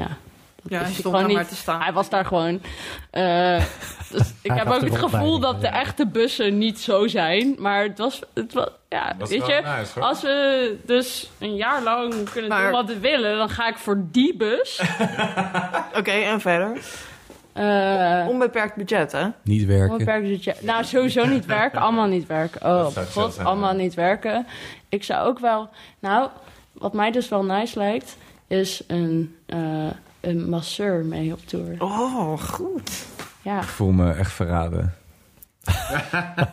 Ja, hij
Dus
stond
gewoon
daar maar
niet-
te staan.
Hij was daar gewoon. Eh, dus ik
Hij
heb
gaf
ook
de
het gevoel
rondleiding,
dat de
ja.
echte bussen niet zo zijn. Maar het was. Het was ja,
Was
weet
wel
je.
nice, hoor.
als we dus een jaar lang kunnen
Maar-
doen wat we willen, dan ga ik voor die bus.
Oké, en verder?
Eh,
Onbeperkt budget, hè?
Niet werken.
Onbeperkt budget. Nou, sowieso niet werken. Allemaal niet werken. Oh,
zou ik zelf
god.
zijn,
Allemaal
ja.
niet werken. Ik zou ook wel... Nou, wat mij dus wel nice lijkt... is een, eh, een masseur mee op tour.
Oh, goed.
Ja,
Ik voel me echt verraden.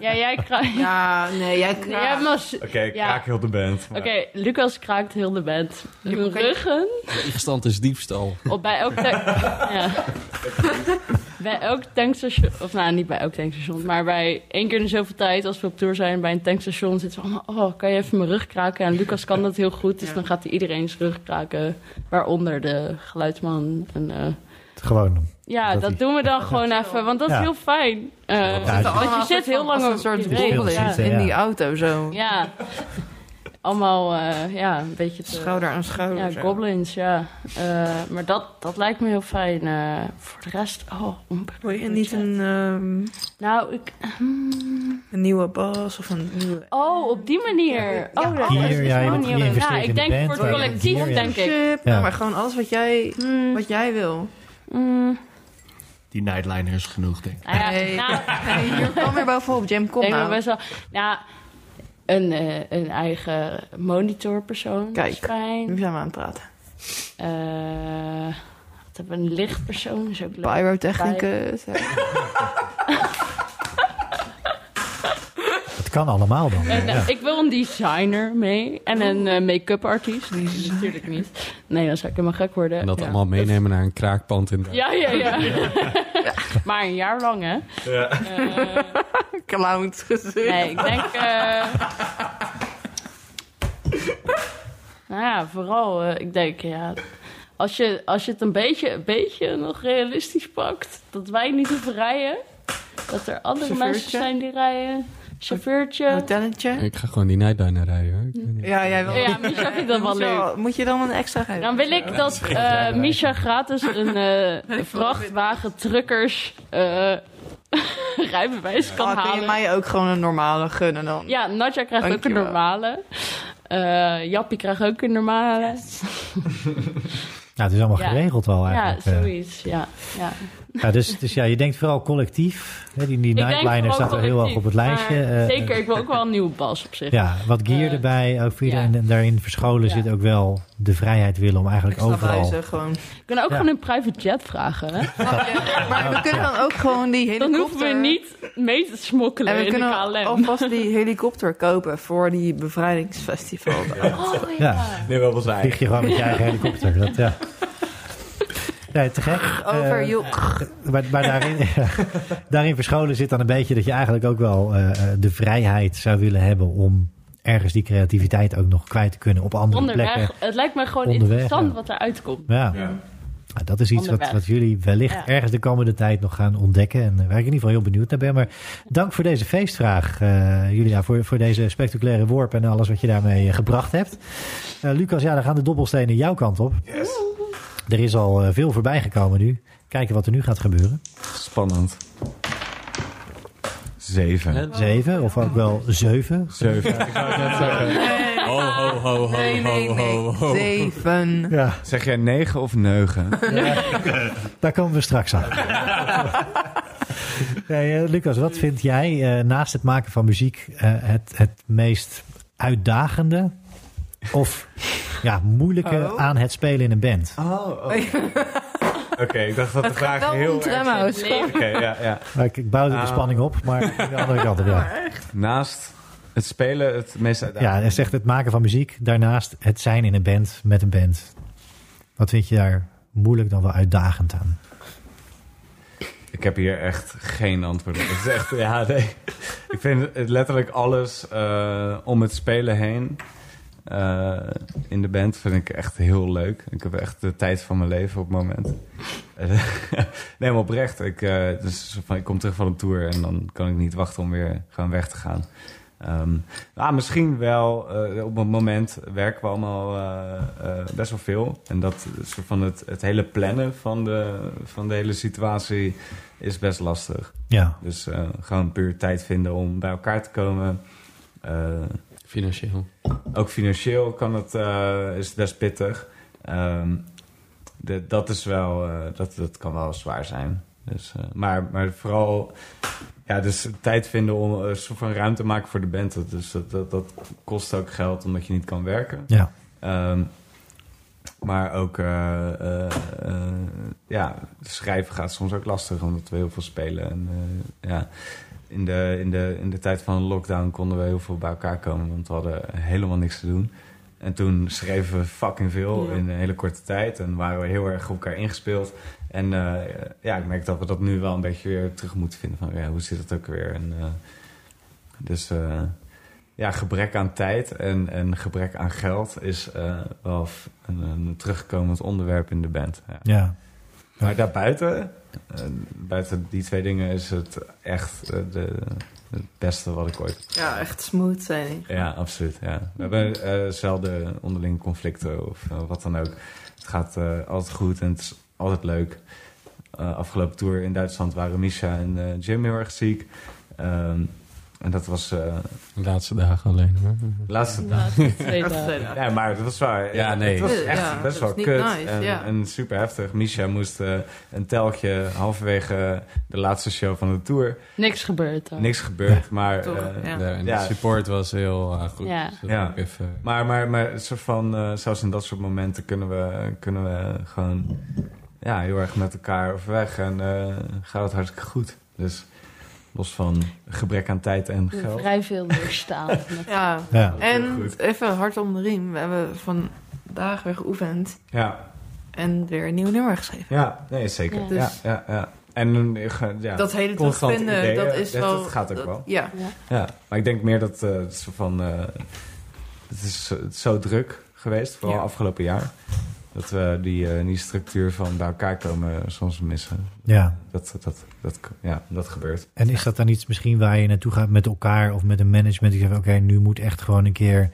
ja jij kraakt... Ja.
Ja, nee, jij
Jij hebt mas-
Oké, ik
Ja.
raak heel de band. maar-
Oké, Lucas kraakt heel de band. Hun
oké.
ruggen
Tegenstand is diefstal.
op bij elk... tank- ja. Bij elk tankstation... Of nou, niet bij elk tankstation. Maar bij één keer in zoveel tijd... als we op tour zijn bij een tankstation... zitten we allemaal... Oh, kan je even mijn rug kraken? En Lucas kan dat heel goed. Dus
Ja.
dan gaat hij iedereen zijn rug kraken. Waaronder de geluidsman. En, eh,
Gewoon.
ja,
Dat
dat,
is-
doen we dan gewoon even. Want dat is
Ja.
heel fijn. Eh,
Ja,
want je zit heel lang op
een soort
die regel,
wolk
Ja.
zitten.
in
ja.
die auto zo.
Ja. Allemaal, eh, ja, een beetje te...
Schouder aan schouder.
Ja,
Oh, zo.
goblins, ja. Eh, maar dat, dat lijkt me heel fijn. eh, voor de rest, oh.
Wil je niet een, ehm,
Nou, ik... hmm.
een nieuwe bas of een nieuwe...
Oh, op die manier. Oh, dat
Hier,
is
ja, je
wel
moet
een nieuwe-
investeren
Nou,
in de
ik denk
band,
voor het
ja.
collectief,
Hier, ja.
denk ik.
Ja.
Ja, maar gewoon alles wat jij,
Hmm,
wat jij wil.
hmm.
Die nightliner is genoeg, denk ik.
Nou ja,
Nee.
nou,
Hey, hier kwam weer bovenop, Jam,
ik
kom
denk wel
nou.
best wel... Nou, een, eh, een eigen monitorpersoon
Kijk.
is fijn.
Nu zijn we aan het praten.
Eh, wat hebben we? Een lichtpersoon is ook leuk.
Pyrotechnicus. hè.
Het kan allemaal dan.
En, eh,
ja.
Ik wil een designer mee en een eh, make-up artiest. Die is natuurlijk niet. Nee, dan zou ik helemaal gek worden.
En dat
ja.
allemaal meenemen naar een kraakpand in
Ja, ja, ja. maar een jaar lang, hè?
Ja.
Eh,
Clowns gezicht.
nee, ik denk. eh, Nou Nou ja, vooral, eh, ik denk, ja, als je, als je het een beetje, een beetje nog realistisch pakt, dat wij niet hoeven rijden, dat er andere mensen
Chauffeurtje.
zijn die rijden, chauffeurtje.
Hotelletje?
Ik ga gewoon die Nightdiner rijden hoor. Ik weet niet.
Oh, Ja, jij wil.
Ja, Misha vindt dat wel
Moet je
leuk.
wel- Moet je dan een extra geven?
Dan wil ik dat eh Misha gratis een eh vrachtwagen truckers eh, rijbewijs kan
Ah, kun je
halen.
mij ook gewoon een normale gunnen dan?
Ja, Nadja krijgt ook
Dankjewel.
een normale. Eh, Jappie krijgt ook een normale.
Nou, het is allemaal
Ja.
geregeld wel
Ja,
eigenlijk. eh.
zoiets. Ja, ja.
Ja, dus, dus ja, je denkt vooral collectief. Hè, die die
Ik denk
Nightliner
gewoon
staat wel heel
collectief,
erg op het lijstje.
maar
eh,
zeker, ik wil ook wel een nieuwe bas op zich.
Ja, wat gear
Eh,
erbij. Ook voor
ja.
iedereen en daarin verscholen
Ja.
zit ook wel de vrijheid willen om eigenlijk
Extra
overal...
buizen, gewoon.
Ik kan ook
Ja.
gewoon een private jet vragen. Hè?
Maar we kunnen dan ook gewoon die helikopter...
Dan hoeven we niet mee te smokkelen
En we
in de
kunnen
KLM.
alvast die helikopter kopen voor die bevrijdingsfestival.
Oh,
Ja.
Nee, wel wel zijn.
Vlieg je gewoon met je eigen helikopter. Dat, ja. Nee, te gek.
Over
Eh,
Joek.
maar maar daarin, daarin verscholen zit dan een beetje dat je eigenlijk ook wel eh, eh, de vrijheid zou willen hebben om ergens die creativiteit ook nog kwijt te kunnen op andere plekken.
Onderweg, het lijkt me gewoon
Onderweg,
interessant
ja.
wat eruit komt.
Ja. Nou, dat is iets wat,
Onderweg.
wat jullie wellicht
Ja.
ergens de komende tijd nog gaan ontdekken. En eh, waar ik in ieder geval heel benieuwd naar ben. Maar dank voor deze feestvraag, eh, Julia. Voor, voor deze spectaculaire worp en alles wat je daarmee eh, gebracht hebt. Eh, Lucas, ja, dan gaan de dobbelstenen jouw kant op. Er is al eh, veel voorbij gekomen nu. Kijken wat er nu gaat gebeuren.
Spannend. Zeven.
Zeven, of ook wel zeven.
Zeven. Ik wou het net zeggen.
Ho, ho, ho, ho, ho, ho, ho.
Zeven.
Ja,
Zeg jij negen of neugen?
daar komen we straks aan. Nee, eh, Lucas, wat vind jij eh, naast het maken van muziek eh, het, het meest uitdagende of ja, moeilijke
Oh.
aan het spelen in een band?
Oh, oh. Oké, ik dacht dat de vraag
Wel
heel
om
erg...
Tremhout.
Oké, ja, ja.
Maar Nou, Ik, ik bouwde de
Ah.
spanning op, maar aan de andere kant op, ja.
Naast het spelen het meest uitdagend.
Ja, hij zegt het maken van muziek, daarnaast het zijn in een band met een band. Wat vind je daar moeilijk dan wel uitdagend aan?
Ik heb hier echt geen antwoord op. Het is echt, ja, nee. Ik vind het letterlijk alles eh, om het spelen heen eh, in de band vind ik echt heel leuk. Ik heb echt de tijd van mijn leven op het moment. nee, maar oprecht. Ik, eh, het is een soort van, ik kom terug van een tour en dan kan ik niet wachten om weer gewoon weg te gaan. Ehm, nou, misschien wel. eh, op het moment werken we allemaal eh, eh, best wel veel. En dat is soort van het, het hele plannen van de, van de hele situatie is best lastig.
Ja,
Dus eh, gewoon puur tijd vinden om bij elkaar te komen. Eh,
Financieel.
ook financieel kan het, eh, is het best pittig. Ehm, de- dat is wel, eh, dat, dat kan wel zwaar zijn. Dus, eh, maar, maar vooral, ja, dus tijd vinden om eh, een soort van ruimte te maken voor de band. Dat, dus dat, dat, dat kost ook geld omdat je niet kan werken.
ja.
Ehm, maar ook, eh, eh, eh, ja, schrijven gaat soms ook lastig omdat we heel veel spelen. En, eh, ja, in, de, in, de, in de tijd van de lockdown konden we heel veel bij elkaar komen, want we hadden helemaal niks te doen. En toen schreven we fucking veel
Ja.
in een hele korte tijd en waren we heel erg op elkaar ingespeeld. En eh, ja, ik merk dat we dat nu wel een beetje weer terug moeten vinden van ja, hoe zit het ook weer. En, eh, dus eh, ja, gebrek aan tijd en, en gebrek aan geld is eh, wel f- een, een terugkomend onderwerp in de band. Ja.
ja.
Maar daarbuiten, eh, buiten die twee dingen, is het echt eh, de, het beste wat ik ooit heb.
Ja, echt smooth zijn.
Ja, absoluut. Ja. We hebben eh, zelden onderlinge conflicten of eh, wat dan ook. Het gaat eh, altijd goed en het is altijd leuk. Eh, afgelopen tour in Duitsland waren Misha en eh, Jim heel erg ziek. Ehm, en dat was eh,
De laatste dagen alleen hoor.
de laatste
De laatste twee
Echt
dagen.
zijn.
Ja, maar dat was waar.
Ja, nee.
Het was
Ja,
echt
dat
best
is
wel
niet
kut.
nice,
en,
ja.
en super heftig. Misha moest eh, een teltje halverwege de laatste show van de tour.
Niks gebeurd dan.
Niks gebeurd, maar...
Toch,
eh,
ja.
Ja, en
Ja.
de support was heel eh, goed.
Ja.
Dus dat
Ja.
heb ik even-
Maar, maar, maar een soort van, eh, zelfs in dat soort momenten kunnen we, kunnen we gewoon ja, heel erg met elkaar overweg. En eh, gaat het hartstikke goed. Dus los van gebrek aan tijd en geld.
Vrij veel doorstaan.
Ja.
ja.
Heel
En
goed.
even hard om de riem. We hebben vandaag weer geoefend
Ja,
en weer een nieuw nummer geschreven.
ja, nee, zeker.
Ja.
Ja, ja, ja. En eh, ja,
Dat hele
constant
terugvinden,
ideeën,
dat is
dat-
wel...
dat gaat ook
dat-
wel.
Ja.
Ja, maar ik denk meer dat eh, het soort van. eh, het is zo- zo druk geweest, vooral
Ja.
afgelopen jaar. Dat we die, eh, die structuur van bij elkaar komen soms missen.
Ja.
Dat, dat, dat, ja, dat gebeurt.
En is dat dan iets misschien waar je naartoe gaat met elkaar of met een management? Die zegt, oké, nu moet echt gewoon een keer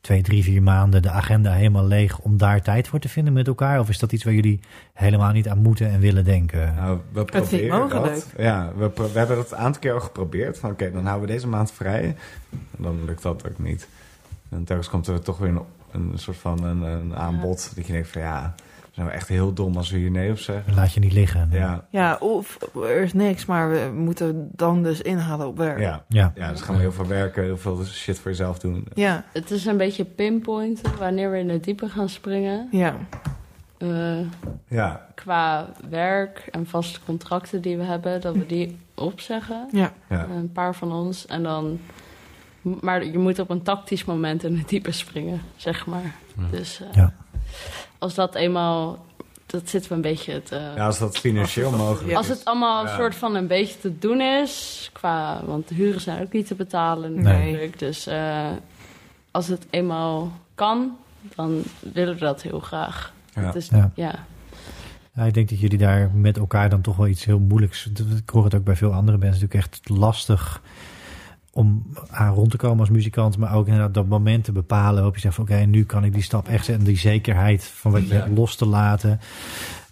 twee, drie, vier maanden de agenda helemaal leeg om daar tijd voor te vinden met elkaar? Of is dat iets waar jullie helemaal niet aan moeten en willen denken?
Nou, we
vind ik
proberen
mogelijk.
dat. Ja, we, pro- we hebben dat een aantal keer al geprobeerd. Van oké, dan houden we deze maand vrij. En dan lukt dat ook niet. En telkens komt er toch weer een, een soort van een, een aanbod. Dat je denkt van ja, zijn we echt heel dom als we hier nee op zeggen.
Laat je niet liggen.
Ja,
Ja, of er is niks, maar we moeten dan dus inhalen op werk.
ja.
Ja.
Ja, dus gaan we heel veel werken, heel veel shit voor jezelf doen.
ja.
Het is een beetje pinpointen wanneer we in het diepe gaan springen.
ja.
Eh,
Ja,
qua werk en vaste contracten die we hebben, dat we die opzeggen.
Ja.
ja.
Een paar van ons. En dan. Maar je moet op een tactisch moment in het diepe springen, zeg maar. Dus eh,
Ja.
als dat eenmaal. Dat zitten we een beetje eh, te.
ja, als dat financieel mogelijk
Als
is.
het allemaal
Ja.
een soort van een beetje te doen is, qua, want de huren zijn ook niet te betalen
Nee.
natuurlijk. Dus eh, als het eenmaal kan, dan willen we dat heel graag.
Ja.
Het is,
Ja.
ja.
Ja, ik denk dat jullie daar met elkaar dan toch wel iets heel moeilijks. Ik hoor het ook bij veel andere mensen natuurlijk echt lastig om aan rond te komen als muzikant, maar ook inderdaad dat moment te bepalen waarop je zegt van oké, nu kan ik die stap echt zetten en die zekerheid van wat je
Ja.
hebt los te laten.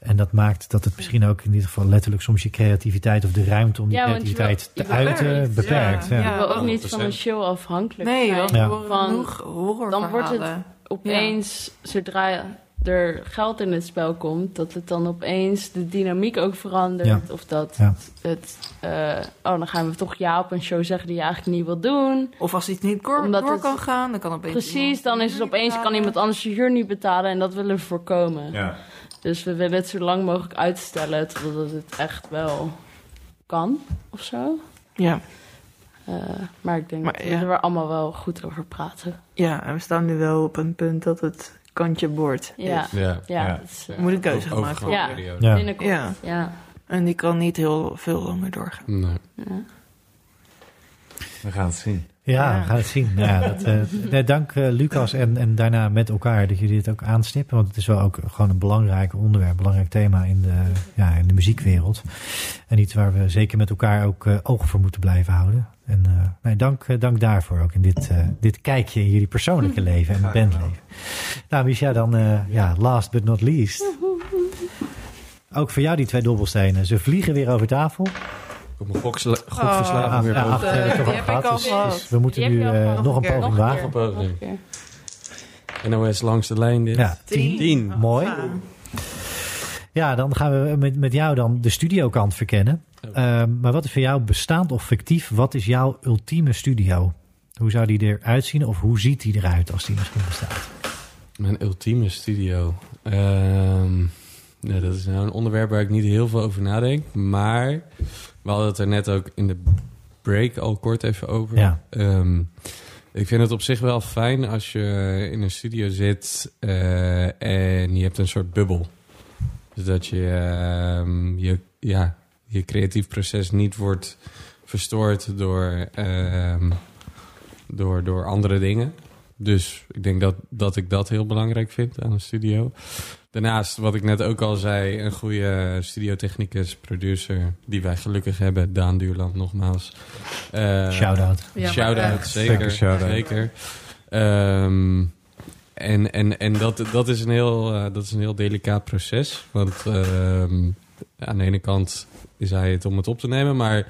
En dat maakt dat het misschien ook in dit geval letterlijk soms je creativiteit of de ruimte om die
Ja, want je
creativiteit
wil-
te
je wil
uiten
werkt.
beperkt. Ja.
Ja,
Ik
ja.
wil ook niet van een
100%.
show afhankelijk
Nee,
zijn.
want
Ja.
we horen
Van-
genoeg horrorverhalen.
dan wordt het- Opeens, zodra er geld in het spel komt, dat het dan opeens de dynamiek ook verandert.
Ja.
Of dat
Ja.
het, eh, oh dan gaan we toch ja op een show zeggen die je eigenlijk niet wil doen.
Of als iets niet door,
Omdat
door
het-
kan gaan, dan kan opeens
Precies,
iemand-
dan is het opeens kan iemand anders je huur niet betalen en dat willen we voorkomen.
Ja.
Dus we willen het zo lang mogelijk uitstellen totdat het echt wel kan of zo.
Ja,
Eh, maar ik denk
Maar
dat
ja.
we er allemaal wel goed over praten.
ja, en we staan nu wel op een punt dat het kantje boord
Ja,
is.
Ja.
ja.
Ja.
dat is, eh,
Er moet een keuze gemaakt
Overgang.
worden.
ja.
periode.
Ja.
Binnenkort,
Ja.
ja.
En die kan niet heel veel langer doorgaan.
Nee.
Ja.
We gaan het zien.
Ja,
Ja.
we gaan het zien. Ja, dat, eh, nee, dank eh, Lucas en, en daarna met elkaar dat jullie dit ook aanstippen. Want het is wel ook gewoon een belangrijk onderwerp, een belangrijk thema in de, ja, in de muziekwereld. En iets waar we zeker met elkaar ook eh, ogen voor moeten blijven houden. En eh, nee, dank, eh, dank daarvoor ook in dit, eh, dit kijkje in jullie persoonlijke leven en het bandleven. Nou, Micha, dan eh, ja, last but not least. Ook voor jou die twee dobbelstenen. Ze vliegen weer over tafel.
Ik heb mijn
Oh.
goksla-
Ah,
gokverslaving weer
ja,
boven.
af- hebben we toch
die
al
heb
gehad,
ik al
dus-
gehad.
dus we moeten
Die
nu
heb je al
eh,
gehad.
nog een
Nog een
poging
keer.
wagen.
Nog een keer.
NOS langs de lijn dit.
Ja,
Tien. Tien.
Oh,
Mooi.
Ja.
Ja, dan gaan we met, met jou dan de studiokant verkennen.
Oh.
Ehm, maar wat is voor jou bestaand of fictief? Wat is jouw ultieme studio? Hoe zou die eruit zien? Of hoe ziet die eruit als die misschien bestaat?
Mijn ultieme studio. Ehm, nou, dat is nou een onderwerp waar ik niet heel veel over nadenk. Maar we hadden het er net ook in de break al kort even over.
Ja.
Ehm, ik vind het op zich wel fijn als je in een studio zit eh, en je hebt een soort bubbel. Dus dat je, ehm, je, ja, je creatief proces niet wordt verstoord door, ehm, door, door andere dingen. Dus ik denk dat, dat ik dat heel belangrijk vind aan een studio. Daarnaast, wat ik net ook al zei, een goede studiotechnicus, producer, die wij gelukkig hebben, Daan Duurland nogmaals. Eh,
Shout-out.
Ja, maar
Shout-out,
echt.
zeker.
Zeker shout-out.
zeker. Ehm, en en, en dat, dat, is een heel, eh, dat is een heel delicaat proces. Want ehm, aan de ene kant is hij het om het op te nemen, maar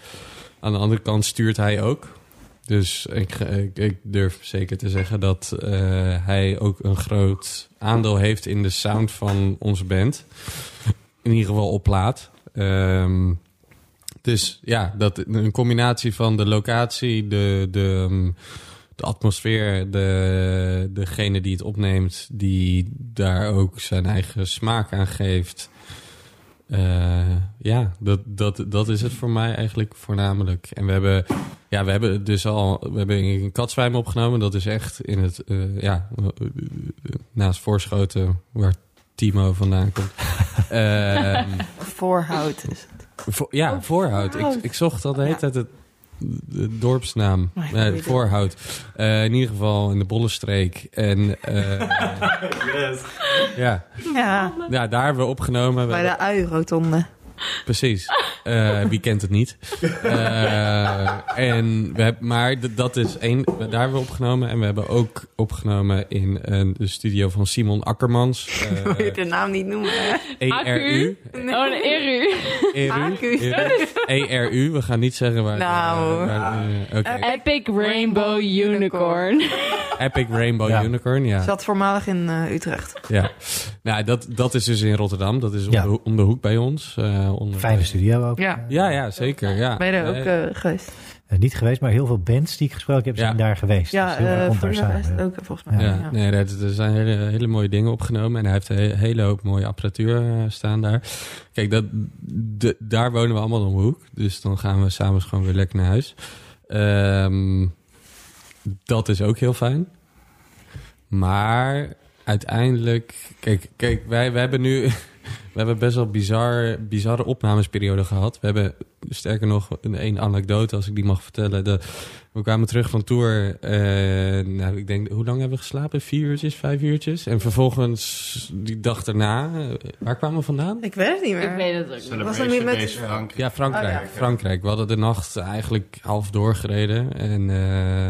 aan de andere kant stuurt hij ook. Dus ik, ge- ik, ik durf zeker te zeggen dat eh, hij ook een groot aandeel heeft in de sound van onze band. In ieder geval op plaat. Ehm, dus ja, dat, een combinatie van de locatie, de, de, ehm, de atmosfeer, de, degene die het opneemt, die daar ook zijn eigen smaak aan geeft. Eh, ja, dat, dat, dat is het voor mij eigenlijk voornamelijk. En we hebben, ja, we hebben dus al we hebben een katzwijm opgenomen. Dat is echt in het, eh, ja, eh, naast Voorschoten, waar Timo vandaan komt. Ehm
Voorhoud is het.
Vo- ja, voorhoud. Ik, ik zocht al de hele tijd het de dorpsnaam.
Maar ik
Nee,
weet het.
voorhout. Eh, in ieder geval in de Bollenstreek. En eh,
Yes.
ja.
Ja,
ja, daar hebben we opgenomen. We
bij de ui-rotonde.
Precies. Eh, wie kent het niet? Eh, en we hebben, maar d- dat is één. Daar hebben we opgenomen. En we hebben ook opgenomen in een, de studio van Simon Akkermans.
Wil je de naam niet noemen? hè?
Eh, ERU.
Oh, een eru.
E ERU. ERU. E We gaan niet zeggen waar.
Nou.
eh, waar- eh, oké.
Epic Rainbow Unicorn.
Epic Rainbow
Ja.
Unicorn. Ja.
Zat voormalig in eh, Utrecht.
ja. Nou, dat, dat is dus in Rotterdam. Dat is om,
Ja.
de, ho- om de hoek bij ons. eh, onder-
Fijne studio ook.
Ja.
Ja, ja, zeker. Ja.
Ben je daar ook
Eh,
eh, geweest?
Eh, niet geweest, maar heel veel bands die ik gesproken heb zijn
Ja.
daar geweest. Dus
Ja,
heel erg
eh
komt
voor
daar
de
samen.
rest ook volgens mij.
Ja,
Ja.
nee, dat, er zijn hele, hele mooie dingen opgenomen. En hij heeft een he- hele hoop mooie apparatuur eh, staan daar. Kijk, dat, de- daar wonen we allemaal om de hoek. Dus dan gaan we s'avonds gewoon weer lekker naar huis. Ehm, dat is ook heel fijn. Maar uiteindelijk... Kijk, kijk wij, wij hebben nu... We hebben best wel bizar, bizarre opnamesperiode gehad. We hebben sterker nog een, een anekdote, als ik die mag vertellen. De, we kwamen terug van tour. eh, nou, ik denk, hoe lang hebben we geslapen? Vier uurtjes, vijf uurtjes? En vervolgens, die dag daarna, eh, waar kwamen we vandaan?
Ik weet het niet meer.
Ik weet het ook niet.
Was
Was
dat
er
niet
niet
met-
met... Frankrijk.
Ja, Frankrijk.
Oh,
Frankrijk. We hadden de nacht eigenlijk half doorgereden. En,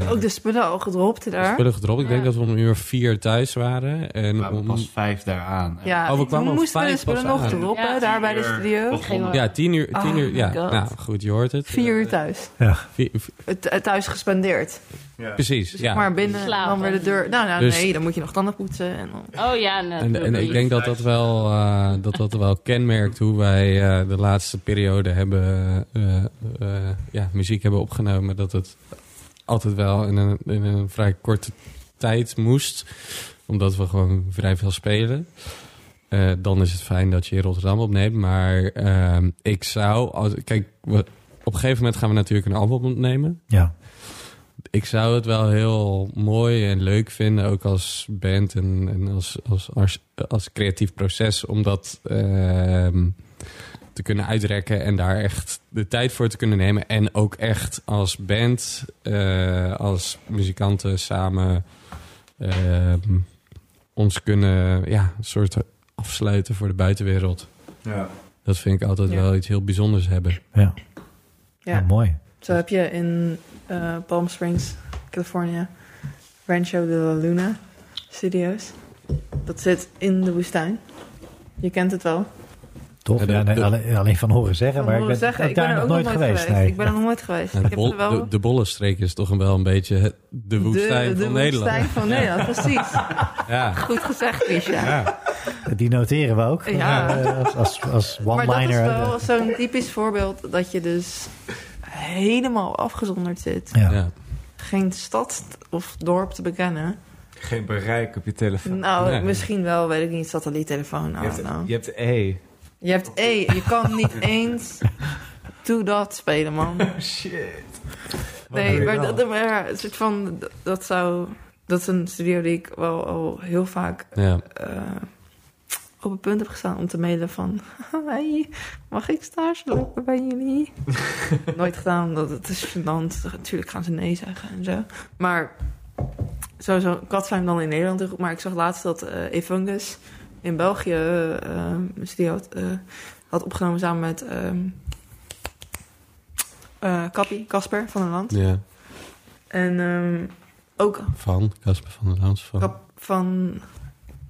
eh,
Ook de spullen al gedropt
de
daar.
spullen gedropt. Ik denk
Ja.
dat we om een uur of vier thuis waren. En
Maar
om-
pas vijf daar aan.
Ja,
Oh, we
we
kwamen om
moesten we de
vijf
spullen
pas
nog
aan.
droppen
Ja,
daar bij de
Vier
studio.
begonnen.
ja, tien uur. Tien
Oh
uur
my
ja,
God.
nou goed, je hoort het. Eh,
Vier uur thuis.
Vier- vier-
Het- eh, Thuis gespendeerd. Dus
Ja.
precies, ja.
Maar binnen
Slapen.
dan weer de deur. Nou, nou
Dus-
nee, dan moet je nog tanden poetsen. En dan...
Oh ja, nee.
En, en ik denk dat dat wel, eh, dat dat wel kenmerkt hoe wij eh, de laatste periode hebben, eh, eh, ja, muziek hebben opgenomen. Dat het altijd wel in een, in een vrij korte tijd moest. Omdat we gewoon vrij veel spelen. Eh, dan is het fijn dat je in Rotterdam opneemt. Maar ehm, ik zou... Als, kijk, we- op een gegeven moment gaan we natuurlijk een album opnemen
Ja.
ik zou het wel heel mooi en leuk vinden, ook als band en, en als, als, als, als creatief proces, om dat ehm, te kunnen uitrekken en daar echt de tijd voor te kunnen nemen. En ook echt als band, eh, als muzikanten samen ehm, ons kunnen ja, een soort afsluiten voor de buitenwereld.
Ja.
Dat vind ik altijd
Ja.
wel iets heel bijzonders hebben.
Ja.
Ja.
Ja, mooi.
Zo heb je in eh, Palm Springs, California, Rancho de la Luna Studios. Dat zit in de woestijn. Je kent het wel.
Toch?
Ja, de-
Ja, nee,
de-
alleen, alleen van horen zeggen,
Van
maar ik
horen
ben,
zeggen.
ook
Ik
daar
ben er
nog
ook
nooit geweest. nee.
Ik ben er nog nooit geweest.
En
ik
de,
heb er
bol,
wel...
de, de bollenstreek is toch wel een beetje het- de woestijn
de
van Nederland.
woestijn van Nederland, precies.
Ja.
Goed gezegd, Misha.
Ja.
Die noteren we ook.
Ja.
eh, als als, als
Maar dat is
one-liner.
wel zo'n typisch voorbeeld dat je dus helemaal afgezonderd zit.
Ja.
Ja.
Geen stad of dorp te bekennen.
Geen bereik op je telefoon.
Nou,
Nee.
misschien wel, weet ik niet, satelliettelefoon.
Je
I don't know.
hebt, je hebt E.
Je hebt E, je kan niet eens to dat spelen, man.
Oh, Shit.
Nee, maar, dat, maar een soort van, dat zou... Dat is een studio die ik wel al heel vaak
Ja.
eh, op het punt heb gestaan om te mailen van... Hey, mag ik stage lopen bij jullie? Nooit gedaan, omdat het is gênant. Natuurlijk gaan ze nee zeggen en zo. Maar sowieso, kat zijn dan in Nederland heel goed. Maar ik zag laatst dat eh Efungus in België eh, een studio had, eh, had opgenomen samen met... ehm eh, Kappie, Casper van den Land.
ja.
En ehm, ook
Van Casper van der Laans. Van.
Kap van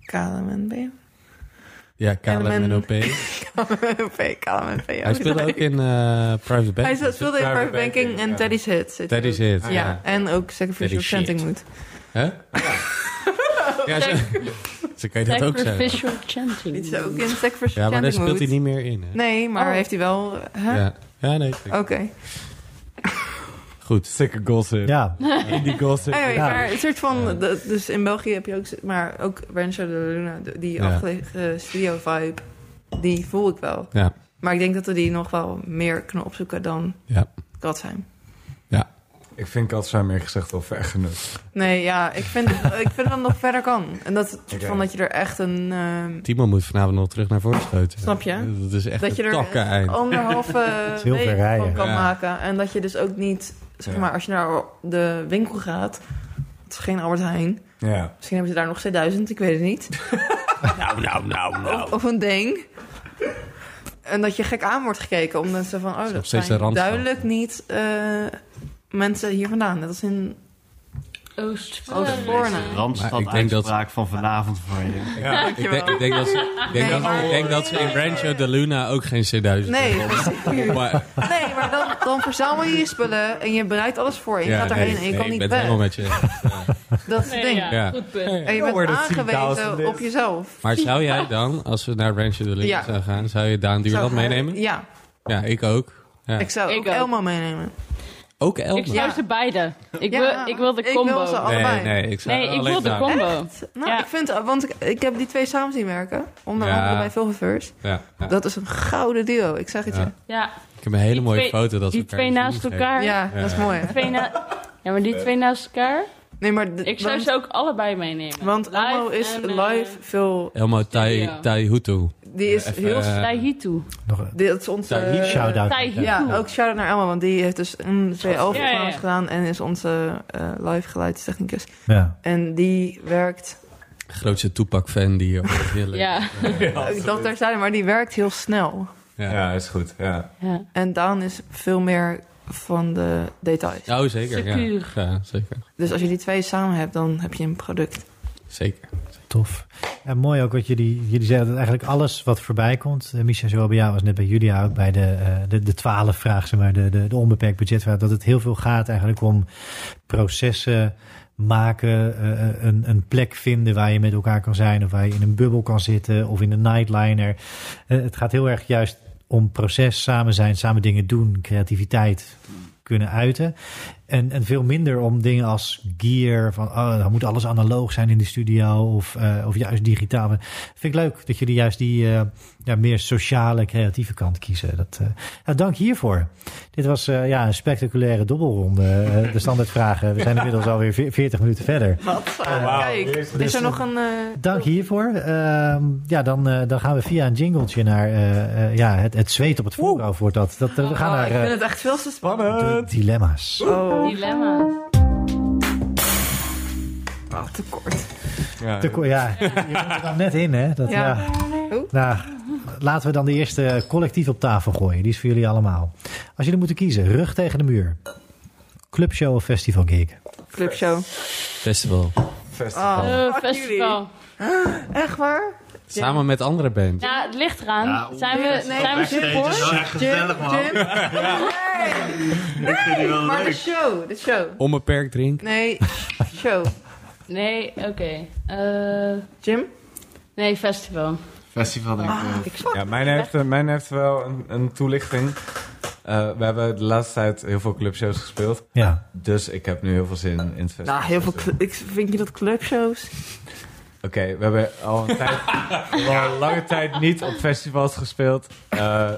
KLMNB.
Ja, KLMNOP.
KLMNP, KLMNP.
Hij speelde ook in eh, Private Bank.
Hij speelde in
Private
Private
Banking,
Banking en
ja.
Teddy's Hit. zit
Teddy's
hij ook.
Hit.
Ja,
Ja. ja.
en ook Sacrificial
Teddy's
Chanting Mood.
Hè? Ja, zo, zo kan je dat ook zeggen.
Sacrificial chanting.
Die zit ook in Sacrificial
Ja, maar daar
Chanting
speelt
Mood.
hij niet meer in. Hè?
Nee, maar
Oh.
heeft hij wel... eh, Hè? Oh.
Ja. ja, nee. ik-
Oké.
Goed.
Sikke gossip.
Ja.
Indie gossip.
Anyway,
Ja.
maar een soort van... de- dus in België heb je ook... Maar ook Rancho de Luna, de- die
Ja.
afgelegen studio-vibe... Die voel ik wel.
Ja.
Maar ik denk dat we die nog wel meer kunnen opzoeken dan
Ja.
Katzheim.
Ik vind Katzheim eerlijk gezegd wel ver genoeg.
Nee, ja, ik vind, ik vind dat het nog verder kan. En dat,
Oké.
van dat je er echt een... ehm,
Timo moet vanavond nog terug naar voren stoten.
Snap je?
Dat is echt
dat je
een
er Oh.
takken eind.
anderhalve
heel
week
ver rijden.
van kan
Ja.
maken. En dat je dus ook niet Zeg
Ja.
maar, als je naar de winkel gaat, het is geen Albert Heijn.
Ja.
Misschien hebben ze daar nog 2000, ik weet het niet.
Nou, nou, nou, nou.
Of een ding. En dat je gek aan wordt gekeken, omdat ze van, oh,
nog
dat
steeds
zijn
een randstad.
duidelijk niet eh, mensen hier vandaan. Dat is in
Oost.
Oh, Oost-Voorne.
Maar
Randstad
ik denk dat-
uitspraak van vanavond voor je.
Ja, ik, denk, ik denk dat ze, ik denk
Nee,
dat,
maar-
ik denk dat ze in Rancho de Luna ook geen C1000
Nee,
hebben.
precies.
Maar,
Nee, maar dan, dan verzamel je je spullen en je bereidt alles voor. En je
ja,
gaat
nee,
daarheen en je
nee,
kan
ik
niet
ben het
weg.
helemaal met je. eens.
Dat is het
Nee,
ding.
ja,
Ja.
goed punt.
En je
Dan
bent
wordt het 10.000
aangewezen
dit.
op jezelf.
Maar zou jij dan, als we naar Rancho de Luna
Ja.
zouden gaan, zou je Daan Duurland
Zou-
meenemen?
Ja,
Ja, ik ook. Ja.
ik zou
Ik
ook
ook.
Elmo meenemen.
Ook
Ik
Elma?
zou
Ja.
ze beide. Ik,
Ja,
wil, ik wil de
ik wil
combo.
ze al-
Nee,
allebei.
nee, ik zou
nee, ik
alleen
wil de
Daan.
combo.
Nou,
Ja.
ik vind, want ik, ik heb die twee samen zien werken. Onder
Ja.
andere bij Vilververse.
Ja, ja.
Dat is een gouden duo, ik zeg het
Ja.
je.
Ja,
Ik heb een hele
Die
mooie
twee-
foto dat we
die
elkaar
twee
de zoen
naast
geven.
elkaar.
Ja, dat is mooi. hè?
Twee na- ja, maar die twee naast elkaar.
Nee, maar d-
Ik zou
want,
ze ook allebei meenemen.
want
Live
Elmo is
en, eh,
live veel...
Elmo Tai,
Studio.
tai Hutu.
Die is
even,
heel...
eh,
Tahitu.
Nog een
Dit is onze...
Tahir,
shout-out.
Tahitu.
Ja, ook shout-out naar Elmo, want die heeft dus een
Ja,
VL-programma's
ja, ja.
gedaan en is onze eh, live geluidstechnicus.
Ja.
En die werkt,
Grootste Tupac-fan die je ooit heel leuk-
Ja.
dat Eh, daar zijn, maar die werkt heel snel.
Ja.
Ja, is goed. Ja.
ja.
En Daan is veel meer van de details.
Oh, zeker. Ja.
Secuur.
ja, zeker.
Dus als je die twee samen hebt, dan heb je een product.
Zeker.
Tof. En mooi ook wat jullie, jullie zeggen, dat eigenlijk alles wat voorbij komt. eh, Micha, zowel bij jou als net bij Julia ook bij de, eh, de, de 12 vraag, zeg maar, de, de, de onbeperkt budgetvraag. Dat het heel veel gaat eigenlijk om processen maken, eh, eh, een, een plek vinden waar je met elkaar kan zijn. Of waar je in een bubbel kan zitten of in een nightliner. Eh, het gaat heel erg juist om proces, samen zijn, samen dingen doen, creativiteit kunnen uiten. En, en veel minder om dingen als gear, van oh, dan moet alles analoog zijn in de studio of, eh, of juist digitaal. Vind ik leuk dat jullie juist die eh, ja, meer sociale, creatieve kant kiezen. Dat, eh, ja, dank hiervoor. Dit was eh, ja, een spectaculaire dobbelronde. eh, de standaardvragen. We zijn inmiddels alweer veer- 40 minuten verder.
Wat?
wauw.
Kijk,
Eerst-
is er nog een... eh,
Dank hiervoor. Ehm, ja, dan, eh, dan gaan we via een jingletje naar eh, eh, ja, het, het zweet op het voorhoofd wordt dat. dat eh, we gaan
oh,
naar
ik vind
eh,
het echt veel te spannend.
de
Spannend.
dilemma's.
Oh,
Dilemma's.
ah, te kort.
Ja.
Te ko- ja, je bent er dan net in, hè? Dat, ja.
Ja.
Nou, laten we dan de eerste collectief op tafel gooien. Die is voor jullie allemaal. Als jullie moeten kiezen, rug tegen de muur. Clubshow of festival gig?
Clubshow.
Festival.
Festival.
Oh,
Eh,
fuck
festival.
Echt waar?
Samen met andere bands.
Ja, het ligt eraan.
Ja, oeh.
zijn we,
Nee,
zijn we
nee,
support?
is wel echt gezellig, man.
Jim? Nee,
vind die wel
maar de
leuk.
show, de show.
Onbeperkt drinken.
Nee, show.
Nee, oké. Eh,
Jim?
nee, festival.
Festival denk ik.
Ah,
wel.
Ja, mijn heeft, eh, mijn heeft wel een, een toelichting. Eh, we hebben de laatste tijd heel veel clubshows gespeeld.
Ja,
Dus ik heb nu heel veel zin in het festival.
Nou, heel veel... cl- Ik vind je dat clubshows?
Oké, we hebben al een, tijd, we hebben al een lange tijd niet op festivals gespeeld. Eh,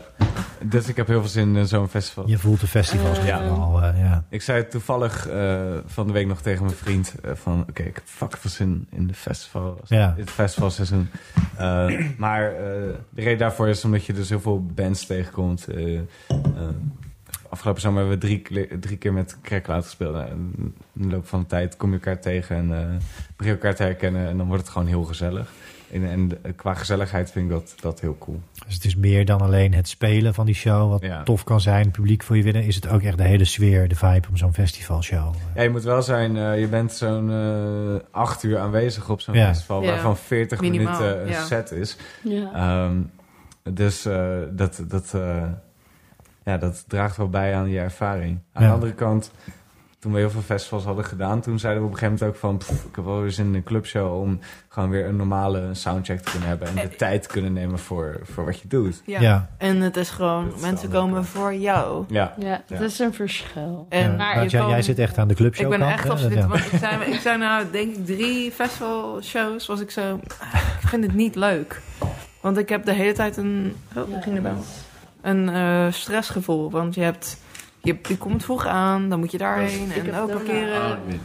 dus ik heb heel veel zin in zo'n festival.
je voelt de festivals
Eh,
ja. al. eh, ja.
Ik zei toevallig eh, van de week nog tegen mijn vriend eh, van... Oké, ik heb fucking veel zin in de festival,
Ja.
in het festivalseizoen. Eh, maar eh, de reden daarvoor is omdat je dus heel veel bands tegenkomt. Eh, eh, afgelopen zomer hebben we drie, kle- drie keer met Cracklaat gespeeld. Nou, in de loop van de tijd kom je elkaar tegen en eh begin je elkaar te herkennen. En dan wordt het gewoon heel gezellig. En, en eh, qua gezelligheid vind ik dat, dat heel cool.
Dus het is meer dan alleen het spelen van die show, wat
Ja.
tof kan zijn, publiek voor je winnen. Is het ook echt de hele sfeer, de vibe om zo'n festivalshow?
Ja, je moet wel zijn, eh, je bent zo'n eh, acht uur aanwezig op zo'n
Ja.
festival,
Ja.
waarvan 40
Minimaal,
minuten een
ja.
set is.
Ja.
Ehm, dus eh, dat, dat, eh, ja, dat draagt wel bij aan je ervaring. Aan
Ja.
de andere kant, toen we heel veel festivals hadden gedaan, toen zeiden we op een gegeven moment ook van, "Pff, ik heb wel weer zin in een clubshow om gewoon weer een normale soundcheck te kunnen hebben en
Eh,
de tijd te kunnen nemen voor, voor wat je doet.
Ja. ja.
En het is gewoon,
Dat is de
mensen
andere
komen
kant.
voor jou.
Ja,
ja, dat
Ja.
is een verschil.
En
Ja,
maar
want
je
jij,
kan-
jij zit echt aan de clubshow
Ik ben
kant,
echt
hè?
absoluut.
Ja.
Want ik zijn, ik zijn nou denk ik drie festivalshows was ik zo. ah, Ik vind het niet leuk. Want ik heb de hele tijd een. Oh, daar ging de bel. Een eh, stressgevoel. Want je hebt. Je, je komt vroeg aan, dan moet je daarheen
heb
en eh, ook
het ook
parkeren.
Oh, ik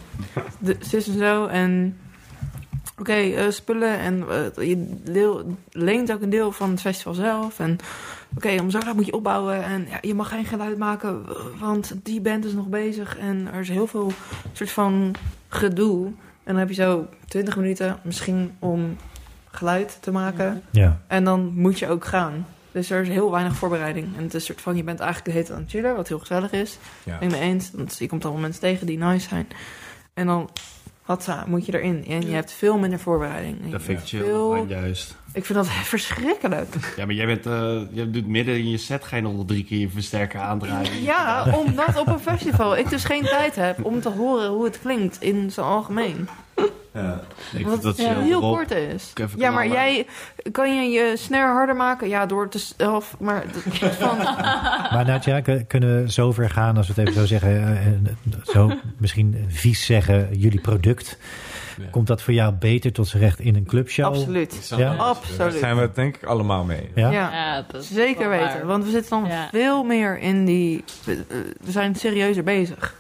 weet-
De, zus en zo. En. Oké, eh, spullen en eh, je deel, leent ook een deel van het festival zelf. En om zo laat moet je opbouwen en ja, je mag geen geluid maken, w- want die band is nog bezig en er is heel veel soort van gedoe. En dan heb je zo 20 minuten misschien om geluid te maken.
Ja.
En dan moet je ook gaan. Dus er is heel weinig voorbereiding. En het is soort van, je bent eigenlijk de hele tijd aan het chillen, wat heel gezellig is.
Ja.
Ben ik mee eens, want je komt allemaal mensen tegen die nice zijn. En dan, hatsa, moet je erin. En je hebt veel minder voorbereiding. En
Dat
je
vind ik
hebt
chill.
veel-
gewoon Juist.
Ik vind dat verschrikkelijk.
Ja, maar jij bent, eh, jij doet midden in je set geen nog drie keer je versterker aandraaien.
Ja, omdat op een festival ik dus geen tijd heb om te horen hoe het klinkt in zijn algemeen.
Ik
Wat
vind dat
Ja.
chill.
heel
Rob,
kort is.
ik even
Ja, maar
knallen.
jij, kan je je snare harder maken? Ja, door te zelf, maar dat is van...
Maar Nadja, kun- kunnen we zover gaan als we het even zo zeggen, eh, eh, zo misschien vies zeggen, jullie product.
Ja.
Komt dat voor jou beter tot zijn recht in een clubshow?
Absoluut.
Ja?
Daar
Absoluut.
zijn we het denk ik allemaal mee.
Ja?
Ja.
Ja, dat is
Zeker
wel
weten,
waar.
want we zitten dan
Ja.
veel meer in die. We, eh, we zijn serieuzer bezig.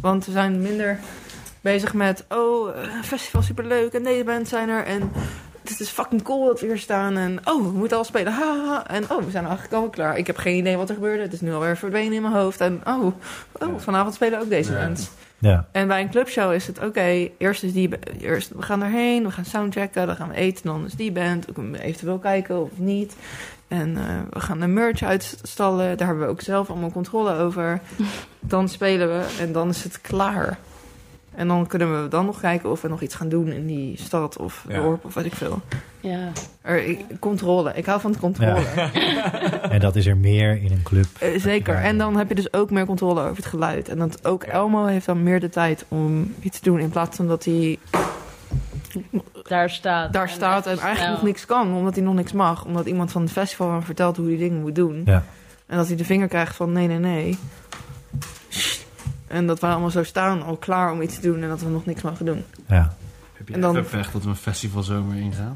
Want we zijn minder bezig met. Oh, eh, festival superleuk en deze band zijn er en. Dit is fucking cool dat we hier staan. En oh, we moeten al spelen. Ha, ha, ha. En oh, we zijn eigenlijk al klaar. Ik heb geen idee wat er gebeurde. Het is nu alweer verdwenen in mijn hoofd. En oh, oh vanavond spelen ook deze
Ja.
band.
Ja.
En bij een clubshow is het oké. eerst is die. Eerst, we gaan erheen, we gaan soundchecken, dan gaan we eten, dan is die band. Ook eventueel kijken of niet. En eh, we gaan de merch uitstallen. Daar hebben we ook zelf allemaal controle over. Dan spelen we en dan is het klaar. En dan kunnen we dan nog kijken of we nog iets gaan doen in die stad of
Ja.
dorp of weet ik veel.
Ja.
Er, ik- controle. Ik hou van controle.
En dat is er meer in een club.
Eh, zeker. En dan heb je dus ook meer controle over het geluid. En dat ook Elmo heeft dan meer de tijd om iets te doen. In plaats van dat hij
Daar staat.
daar staat en eigenlijk nog niks kan, omdat hij nog niks mag. Omdat iemand van het festival hem vertelt hoe hij dingen moet doen.
Ja.
En dat hij de vinger krijgt van nee, nee, nee. En dat wij allemaal zo staan, al klaar om iets te doen en dat we nog niks mogen doen.
Ja.
Heb je
En dan-
echt echt dat we een festivalzomer ingaan?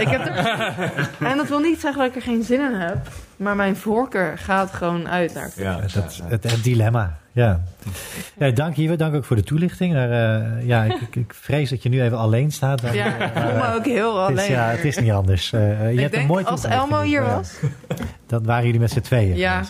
Ik heb er- En dat wil niet zeggen dat ik er geen zin in heb, maar mijn voorkeur gaat gewoon uit naar.
Ja,
Dat,
ja, ja.
het, het dilemma. Ja. ja dank Iwe, dank ook voor de toelichting. Daar, eh, ja, ik, ik, ik vrees dat je nu even alleen staat. eh, Dan,
Ja, ik voel me ook heel
het, is,
alleen.
ja, het is niet anders. Eh, eh, je
ik
hebt een
denk,
mooi
als
toegevoegd,
Elmo
vind ik.
hier
Ja.
was,
Dan waren jullie met z'n tweeën.
Ja.
Dus,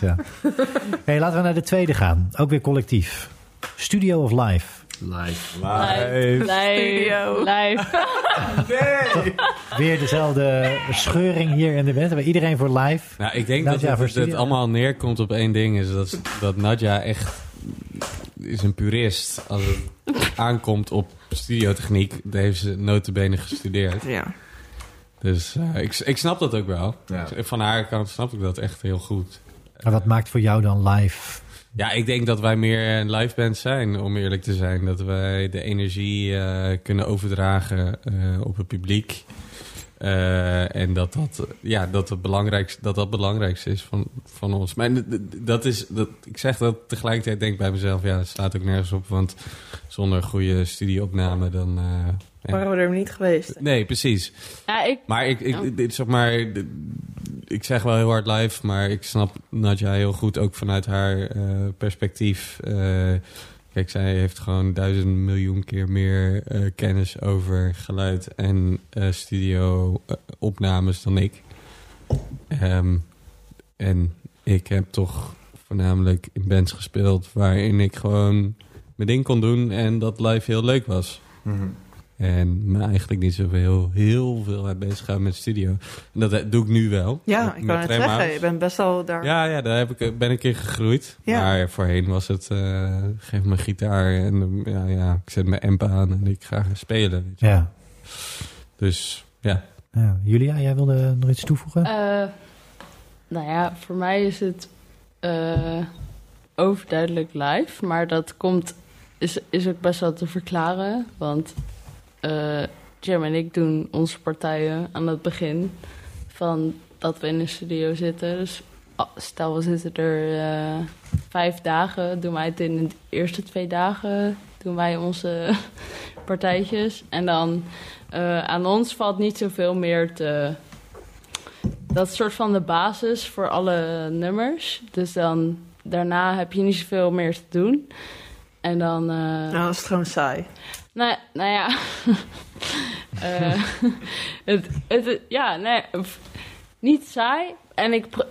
Hey, laten we naar de tweede gaan. Ook weer collectief. Studio of live.
Live.
Live.
Live.
Studio.
Live.
Weer dezelfde scheuring hier in de band. Hebben iedereen voor live.
Nou, ik denk
Nadja voor
dat het, dat het
studio.
allemaal neerkomt op één ding. Is dat, dat Nadja echt is een purist. Als het aankomt op studiotechniek. Daar heeft ze notabene gestudeerd.
ja.
Dus eh, ik, ik snap dat ook wel.
Ja.
Van haar kant snap ik dat echt heel goed.
Maar wat maakt voor jou dan live?
Ja, ik denk dat wij meer een live band zijn, om eerlijk te zijn. Dat wij de energie eh, kunnen overdragen eh, op het publiek. Eh, en dat dat, ja, dat, het belangrijkste, dat dat het belangrijkste is van, van ons. Maar d- d- dat is, dat, ik zeg dat tegelijkertijd denk ik bij mezelf, ja, dat slaat ook nergens op. Want zonder goede studieopname dan... eh, ja.
waren we er niet geweest.
Nee, precies.
Ja, ik,
Maar ik, ik,
Ja.
dit is zeg maar, d- ik zeg wel heel hard live, maar ik snap Nadja heel goed ook vanuit haar eh, perspectief. Eh, kijk, zij heeft gewoon duizend miljoen keer meer eh, kennis over geluid en eh, studio-opnames dan ik. Ehm, en ik heb toch voornamelijk in bands gespeeld waarin ik gewoon mijn ding kon doen en dat live heel leuk was.
Mhm.
En me eigenlijk niet zoveel heel, heel veel heb bezig gehouden met studio. En dat eh, doe ik nu wel.
Ja,
Met-
ik
met
kan het
Tremhouse.
zeggen. Je bent best wel daar.
Ja, ja, daar heb ik, eh, ben ik in gegroeid.
Ja.
Maar voorheen was het, eh, geef me gitaar en eh, ja, ja, ik zet mijn amp aan en ik ga gaan spelen. weet je.
Ja.
Dus ja.
Ja. Julia, jij wilde nog iets toevoegen?
eh, nou ja, voor mij is het eh, overduidelijk live. Maar dat komt, is, is ook best wel te verklaren. Want eh, Jim en ik doen onze partijen aan het begin van dat we in een studio zitten. Dus ah, stel, we zitten er eh, vijf dagen. Doen wij het in de eerste twee dagen. Doen wij onze partijtjes. En dan eh, aan ons valt niet zoveel meer te. Dat is soort van de basis voor alle nummers. Dus dan daarna heb je niet zoveel meer te doen. En dan. eh,
Nou, dat is gewoon saai.
nou, nou ja. Eh, het, het, ja, nee. f- Niet saai. En ik. pr-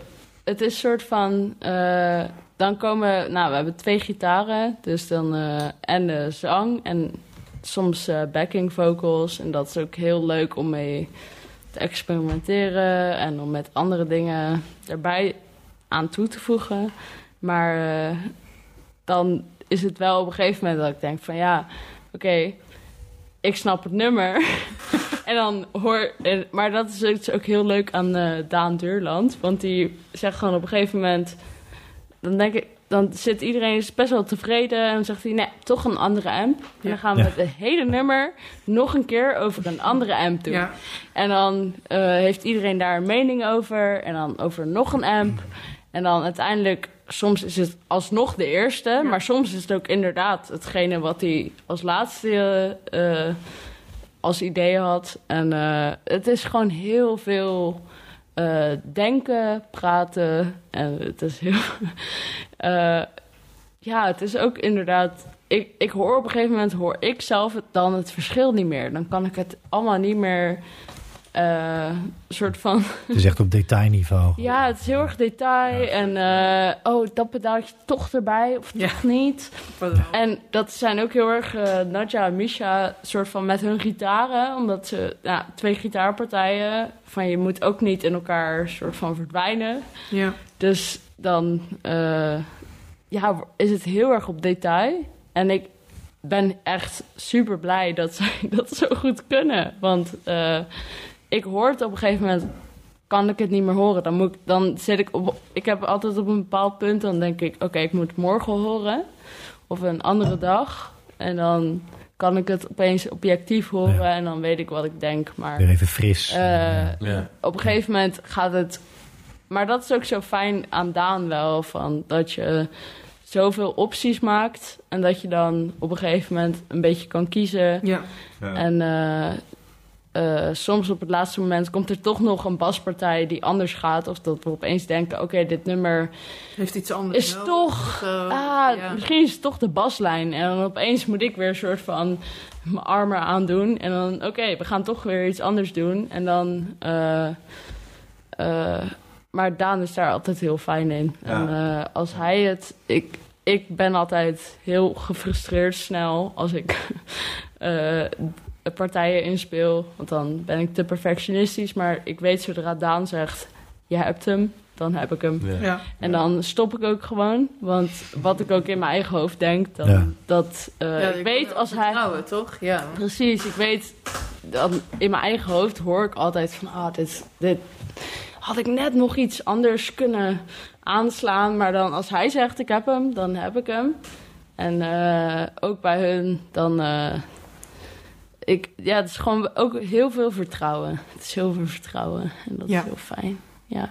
het is soort van. eh, dan komen. Nou, we hebben twee gitaren. Dus dan. eh, en de zang. En soms eh, backing vocals. En dat is ook heel leuk om mee te experimenteren. En om met andere dingen erbij aan toe te voegen. Maar eh, dan is het wel op een gegeven moment dat ik denk: van ja, oké. ik snap het nummer. En dan hoor. en- maar dat is ook- is ook heel leuk aan eh, Daan Deurland. Want die zegt gewoon op een gegeven moment. Dan denk ik. Dan zit iedereen is best wel tevreden. En dan zegt hij: nee, toch een andere amp. En dan gaan we
Ja.
het hele nummer nog een keer over een andere amp doen.
Ja.
En dan eh, heeft iedereen daar een mening over. En dan over nog een amp. En dan uiteindelijk, soms is het alsnog de eerste. Maar soms is het ook inderdaad hetgene wat hij als laatste eh, als idee had. En eh, het is gewoon heel veel eh, denken, praten. En het is heel. eh, ja, het is ook inderdaad. Ik, ik hoor op een gegeven moment hoor ik zelf het, dan het verschil niet meer. Dan kan ik het allemaal niet meer. eh soort van
Het is echt op detailniveau.
ja, het is heel erg detail. En eh, oh, dat pedaaltje toch erbij of
Ja.
toch niet. En dat zijn ook heel erg eh Nadja en Misha, soort van met hun gitaren. Omdat ze, ja, twee gitaarpartijen. Van je moet ook niet in elkaar soort van verdwijnen.
Ja.
Dus dan eh, ja, is het heel erg op detail. En ik ben echt super blij dat zij dat zo goed kunnen. Want eh, ik hoor het op een gegeven moment, kan ik het niet meer horen. Dan, moet ik, dan zit ik op, ik heb altijd op een bepaald punt, dan denk ik, oké, ik moet het morgen horen. Of een andere dag. En dan kan ik het opeens objectief horen
Ja.
en dan weet ik wat ik denk. Maar
Weer even fris.
eh,
Ja.
op een gegeven moment gaat het. Maar dat is ook zo fijn aan Daan wel. Van dat je zoveel opties maakt. En dat je dan op een gegeven moment een beetje kan kiezen.
Ja.
En eh, eh, soms op het laatste moment komt er toch nog een baspartij die anders gaat. Of dat we opeens denken: oké, dit nummer
Heeft iets anders.
is
nodig
toch.
of zo.
Ah,
eh, ja.
misschien is het toch de baslijn. En dan opeens moet ik weer een soort van mijn armen aandoen. En dan, oké, we gaan toch weer iets anders doen. En dan. eh, eh, maar Daan is daar altijd heel fijn in. En eh, als hij het. Ik, ik ben altijd heel gefrustreerd snel als ik eh, partijen inspeel. Want dan ben ik te perfectionistisch. Maar ik weet zodra Daan zegt: Je hebt hem, dan heb ik hem.
Ja.
En dan stop ik ook gewoon. Want wat ik ook in mijn eigen hoofd denk, dan,
Ja.
dat eh,
Ja,
ik
je
weet
kan
als
wel
hij.
vertrouwen, toch? Ja.
Precies, ik weet dan in mijn eigen hoofd hoor ik altijd van ah, dit, dit had ik net nog iets anders kunnen aanslaan. Maar dan als hij zegt ik heb hem, dan heb ik hem. En eh, ook bij hun, dan. eh, ik, ja, het is gewoon ook heel veel vertrouwen. Het is heel veel vertrouwen. En dat
Ja.
is heel fijn. Ja.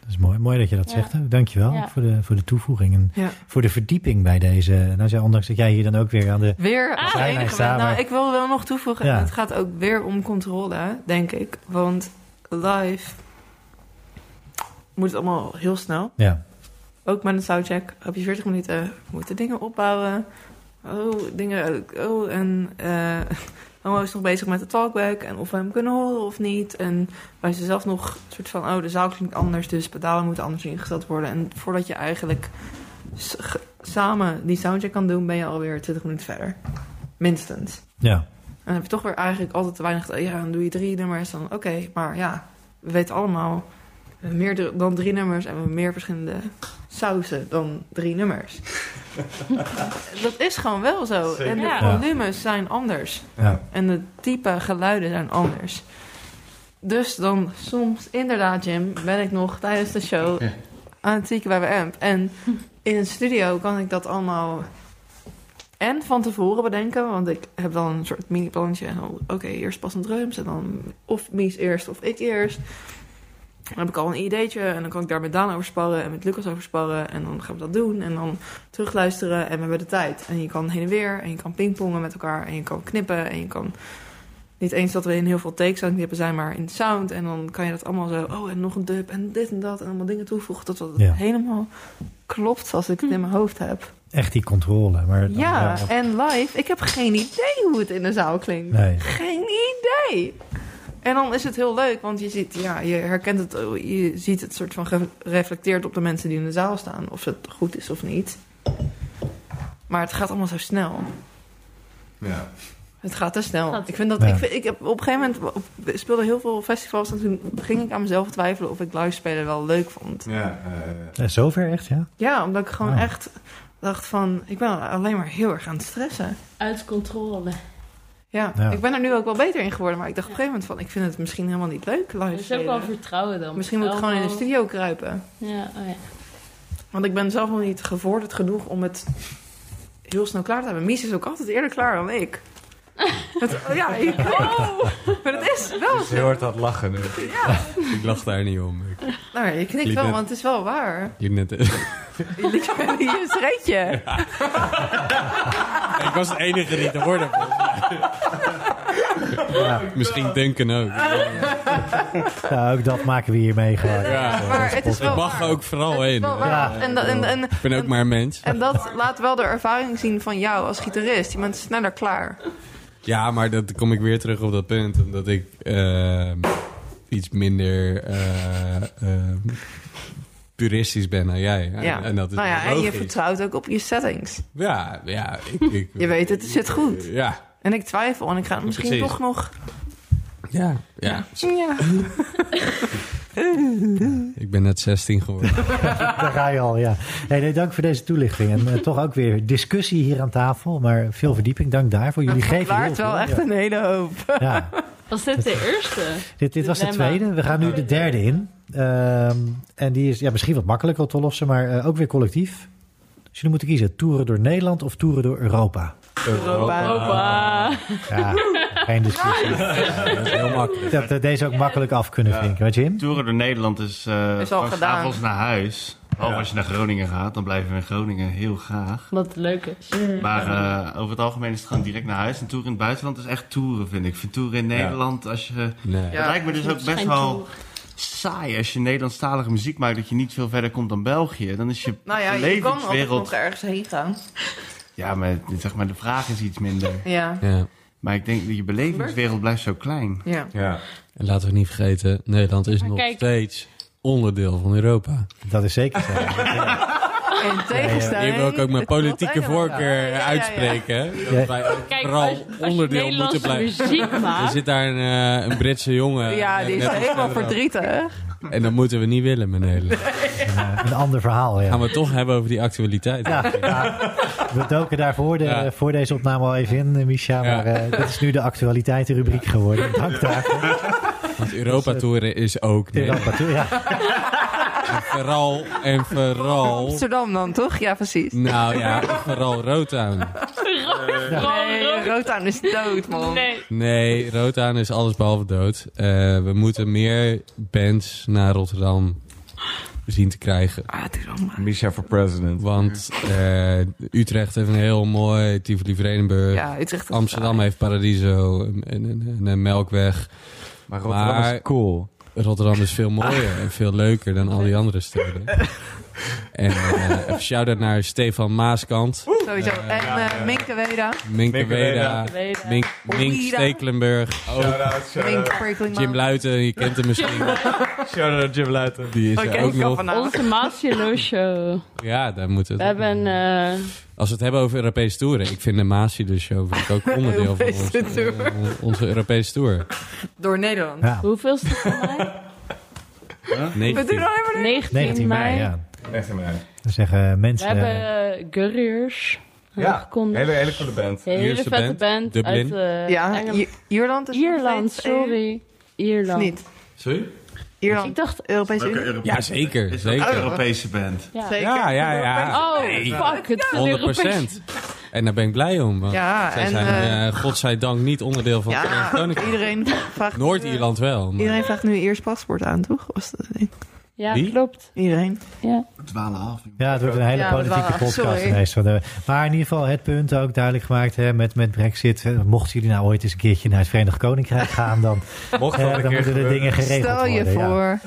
Dat is mooi, mooi dat je dat
Ja.
zegt. hè. Dankjewel
Ja.
voor, de, voor de toevoeging en
Ja.
voor de verdieping bij deze. Nou, zei- ondanks dat jij hier dan ook weer aan de...
Weer
Ah,
als
zijn wij
enige bent.
samen.
Nou, ik wil wel nog toevoegen.
Ja.
Het gaat ook weer om controle, denk ik. Want live moet het allemaal heel snel.
Ja,
Ook met een soundcheck heb je 40 minuten. Moeten dingen opbouwen. Oh, dingen. Oh, en eh Homo is nog bezig met de talkback. En of we hem kunnen horen of niet. En wij zijn zelf nog een soort van. Oh, de zaal klinkt anders. Dus pedalen moeten anders ingesteld worden. En voordat je eigenlijk s- ge- samen die soundcheck kan doen, ben je alweer 20 minuten verder. Minstens.
ja.
En dan heb je toch weer eigenlijk altijd te weinig. Ja, dan doe je drie nummers. Dan oké, maar ja, we weten allemaal. we hebben Meer dr- dan drie nummers en we hebben meer verschillende sausen dan drie nummers. dat is gewoon wel zo. En de
Ja.
volumes zijn anders.
ja.
En de type geluiden zijn anders. Dus dan soms, inderdaad, Jim, ben ik nog tijdens de show
Ja.
aan het zieken bij mijn amp. En in een studio kan ik dat allemaal en van tevoren bedenken. Want ik heb dan een soort mini-plantje. En dan, Oké, eerst pas een drums en dan of Mies eerst of ik eerst. Dan heb ik al een ideetje en dan kan ik daar met Daan over sparren en met Lucas over sparren. En dan gaan we dat doen en dan terugluisteren en we hebben de tijd. En je kan heen en weer en je kan pingpongen met elkaar en je kan knippen en je kan... Niet eens dat we in heel veel takes aan het knippen zijn, maar in sound. En dan kan je dat allemaal zo, oh en nog een dub en dit en dat. En allemaal dingen toevoegen tot dat het
Ja.
helemaal klopt zoals ik het in mijn hoofd heb.
Echt die controle. Maar dan-
Ja,
ja,
en live, ik heb geen idee hoe het in de zaal klinkt.
Nee.
Geen idee. En dan is het heel leuk, want je, ziet, ja, je herkent het, eh, je ziet het soort van gereflecteerd op de mensen die in de zaal staan. Of het goed is of niet. Maar het gaat allemaal zo snel.
Ja.
Het gaat te snel.
Gaat-
Ik vind dat,
Ja.
ik, vind- ik heb op een gegeven moment op, speelde heel veel festivals en toen ging ik aan mezelf twijfelen of ik live spelen wel leuk vond.
Ja, eh,
Eh, Zover echt, ja?
Ja, omdat ik gewoon
Ja.
echt dacht van, ik ben alleen maar heel erg aan het stressen.
Uit controle.
Ja,
Ja.
ik ben er nu ook wel beter in geworden, maar ik dacht op een gegeven moment van, ik vind het misschien helemaal niet leuk
Er
live
is ook wel
spelen.
vertrouwen dan.
Oh, Misschien moet ik gewoon in de
Elmo.
studio kruipen.
Ja, oh ja.
Want ik ben zelf nog niet gevorderd genoeg om het heel snel klaar te hebben. Mies is ook altijd eerder klaar dan ik. Het, oh ja,
Oh!
ik, maar het is wel
dus je hoort dat lachen nu.
Ik lach daar niet om. Ik
Nou, je knikt
Liep
wel,
net-
want het is wel waar.
liep net...
Hier is Retje.
ik was de enige die te worden. Misschien Duncan ook.
Oh,
Ja, ook dat maken we hiermee gewoon.
Ja.
Maar het is wel
Ik mag
waar.
ook vooral
Het is
heen.
wel waar.
Ja.
En, dat- en, en,
Ik ben ook maar een mens.
en dat laat wel de ervaring zien van jou als gitarist. Je bent sneller klaar.
Ja, maar dat kom ik weer terug op dat punt. Omdat ik ehm, iets minder eh, ehm, puristisch ben dan jij. En-
Ja.
En dat is
nou ja, en je
logisch.
vertrouwt ook op je settings.
Ja, ja. Ik, ik-
Je weet het, het zit goed.
Ja,
En ik twijfel en ik ga het misschien
Precies.
toch nog...
ja, ja.
Ja.
Ik ben net 16 geworden.
Daar ga je al, ja. Nee, nee, dank voor deze toelichting. En eh, toch ook weer discussie hier aan tafel, maar veel verdieping. Dank daarvoor. Jullie
Het
geven heel
verklaart
veel.
wel echt
Ja.
een hele hoop.
Ja.
Was dit de eerste?
Dit, dit was de
Dilemma.
tweede. We gaan nu de derde in. Ehm, en die is ja, misschien wat makkelijker te lossen, maar eh, ook weer collectief. Dus jullie moeten kiezen: toeren door Nederland of toeren door Europa?
Ah.
Europa.
Opa.
Ja, geen discussie.
Dat is heel makkelijk.
Dat we deze ook makkelijk af kunnen
Ja.
vinken, weet je? Jim?
Toeren door Nederland is, eh
Is al
van
gedaan.
s'avonds naar huis. Behalve
Ja.
als je naar Groningen gaat, dan blijven we in Groningen heel graag.
Wat leuk is.
Mm.
Maar eh, over het algemeen is het gewoon direct naar huis. En toeren in het buitenland is echt toeren, vind ik. Ik vind toeren in
Ja.
Nederland, als je...
Nee.
Ja.
Het lijkt me dus
Dat
ook
is
best
geen
wel
toer.
saai als je Nederlandstalige muziek maakt... dat je niet veel verder komt dan België. Dan is je
Nou ja, je kan altijd nog
levenswereld...
ergens heen gaan.
Ja, maar, zeg maar de vraag is iets minder.
Ja.
Ja.
Maar ik denk dat je belevingswereld blijft zo klein.
Ja.
Ja.
En laten we niet vergeten, Nederland is
Maar
nog
kijk.
steeds onderdeel van Europa.
Dat is zeker zo.
In tegenstelling...
Hier wil ik ook mijn
het wordt
politieke
Engeland. Ja,
voorkeur
ja, ja, ja.
uitspreken. hè.
Ja.
Dat wij ook
Kijk,
vooral
als, als je
onderdeel moeten
Nederlandse
blijven.
muziek
Er
maakt,
zit daar een, eh, een Britse jongen.
Ja,
eh,
die is
net als
helemaal
Nederland.
verdrietig.
En dat moeten we niet willen, meneer. Nederland.
Een ander verhaal, ja.
Gaan we het toch hebben over die actualiteit.
Ja, ja. we doken daar voor, de,
Ja.
voor deze opname al even in, eh, Misha.
Ja.
Maar eh, dit is nu de actualiteitenrubriek geworden. Dank daarvoor.
Want Europa toeren is ook Nederland.
Europa toe, ja.
Vooral en vooral.
Amsterdam dan, toch? Ja, precies.
Nou ja, vooral Rotown.
Nee, Rotaan is dood, man.
nee.
Nee, Rotown is alles behalve dood. Eh, we moeten meer bands naar Rotterdam zien te krijgen.
Ah, het is allemaal...
Misha for president.
Want eh, Utrecht heeft een heel mooi Tivoli-Vredenburg.
Ja, Utrecht is
Eh, Amsterdam heeft Paradiso en, en, en- en Melkweg.
Maar Rotterdam is
Maar-
cool.
Rotterdam is veel mooier en veel leuker dan al die andere steden. En eh even shout-out naar Stefan Maaskant,
Sowieso. en eh Minke Weda.
Minke
Minke
Weda,
Weda.
Mink, Mink
Weda.
Stekelenburg, ook
Minke Freakling
Eh, Jim Luiten, je kent hem misschien.
Shout-out Jim Luiten.
Die is
Oké,
er ook
ik kan
nog.
vanavond.
Onze Maasjelo show.
Ja, daar moeten
We
we.
hebben een... eh,
Als we het hebben over Europese toeren, ik vind de Maasie dus show vind ik ook onderdeel van
Europese
onze,
tour.
eh, onze Europese tour.
Door Nederland.
Ja.
hoeveel is het voor mij?
We doen alleen maar...
19,
19 mei, ja.
Echt een
Dan zeggen
We
mensen...
hebben eh, Gurriers.
Ja,
aangekondigd.
hele, hele coole band.
Een hele
Ierse
vette
band,
band,
Dublin.
uit eh,
Ja,
Engeland.
I- Ierland is... nog
Ierland,
steeds EU.
sorry. Ierland.
Of niet?
Sorry?
Ik
Ierland,
dacht...
Europese
Welke
Unie.
Europese
Ja, zeker.
Is dat een
zeker.
Europese band?
Ja.
Zeker.
Ja, ja, ja.
Oh,
Nee.
fuck. Het is een
100
Europese...
En daar ben ik blij om. Want
Ja,
zij
en...
zijn,
eh,
eh, godzijdank, niet onderdeel van het
ja,
Verenigd Koninkrijk.
iedereen vraagt... eh,
Noord-Ierland wel. maar-
Iedereen vraagt nu eerst paspoort aan, toch? Was dat
Ja,
Wie?
klopt.
Iedereen.
Ja.
We dwalen af. jongen.
Ja, het wordt een hele
Ja, we
politieke
dwalen af,
podcast
sorry.
ineens. Van de- maar in ieder geval het punt ook duidelijk gemaakt hè, met, met Brexit. Eh, Mochten jullie nou ooit eens een keertje naar het Verenigd Koninkrijk gaan, dan,
Mocht
eh,
wel een
dan
keer
moeten de
gebeuren.
dingen geregeld
Stel je
worden. ja.
voor.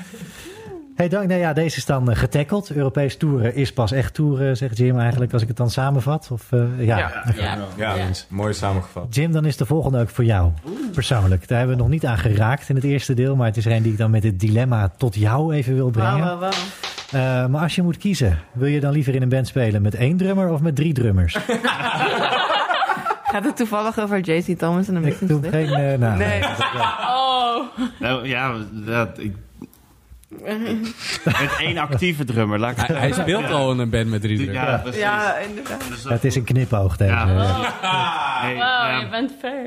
Hey, dank. Nou ja, deze is dan eh, getackled. Europees toeren is pas echt toeren, zegt Jim eigenlijk, als ik het dan samenvat. Of, eh, ja.
Ja.
Ja,
Ja.
Jens, mooi samengevat.
Jim, dan is de volgende ook voor jou, persoonlijk. Daar hebben we nog niet aan geraakt in het eerste deel, maar het is er een die ik dan met het dilemma tot jou even wil brengen.
Wauw, wauw, wauw.
Eh, maar als je moet kiezen, wil je dan liever in een band spelen met één drummer of met drie drummers?
Gaat het toevallig over J.C. Thomas en de
Ik doe
Mixed
geen eh naam.
Nee.
Oh.
Nou ja, dat, ik... Met één actieve drummer. Laat ik
Hij, hij speelt al in Oh, een band met drie drummers.
Ja, precies.
Ja, inderdaad.
Dus dat-
Het is een knipoog tegen.
Ja.
eh.
Hey,
Wow, je
ja,
bent ver.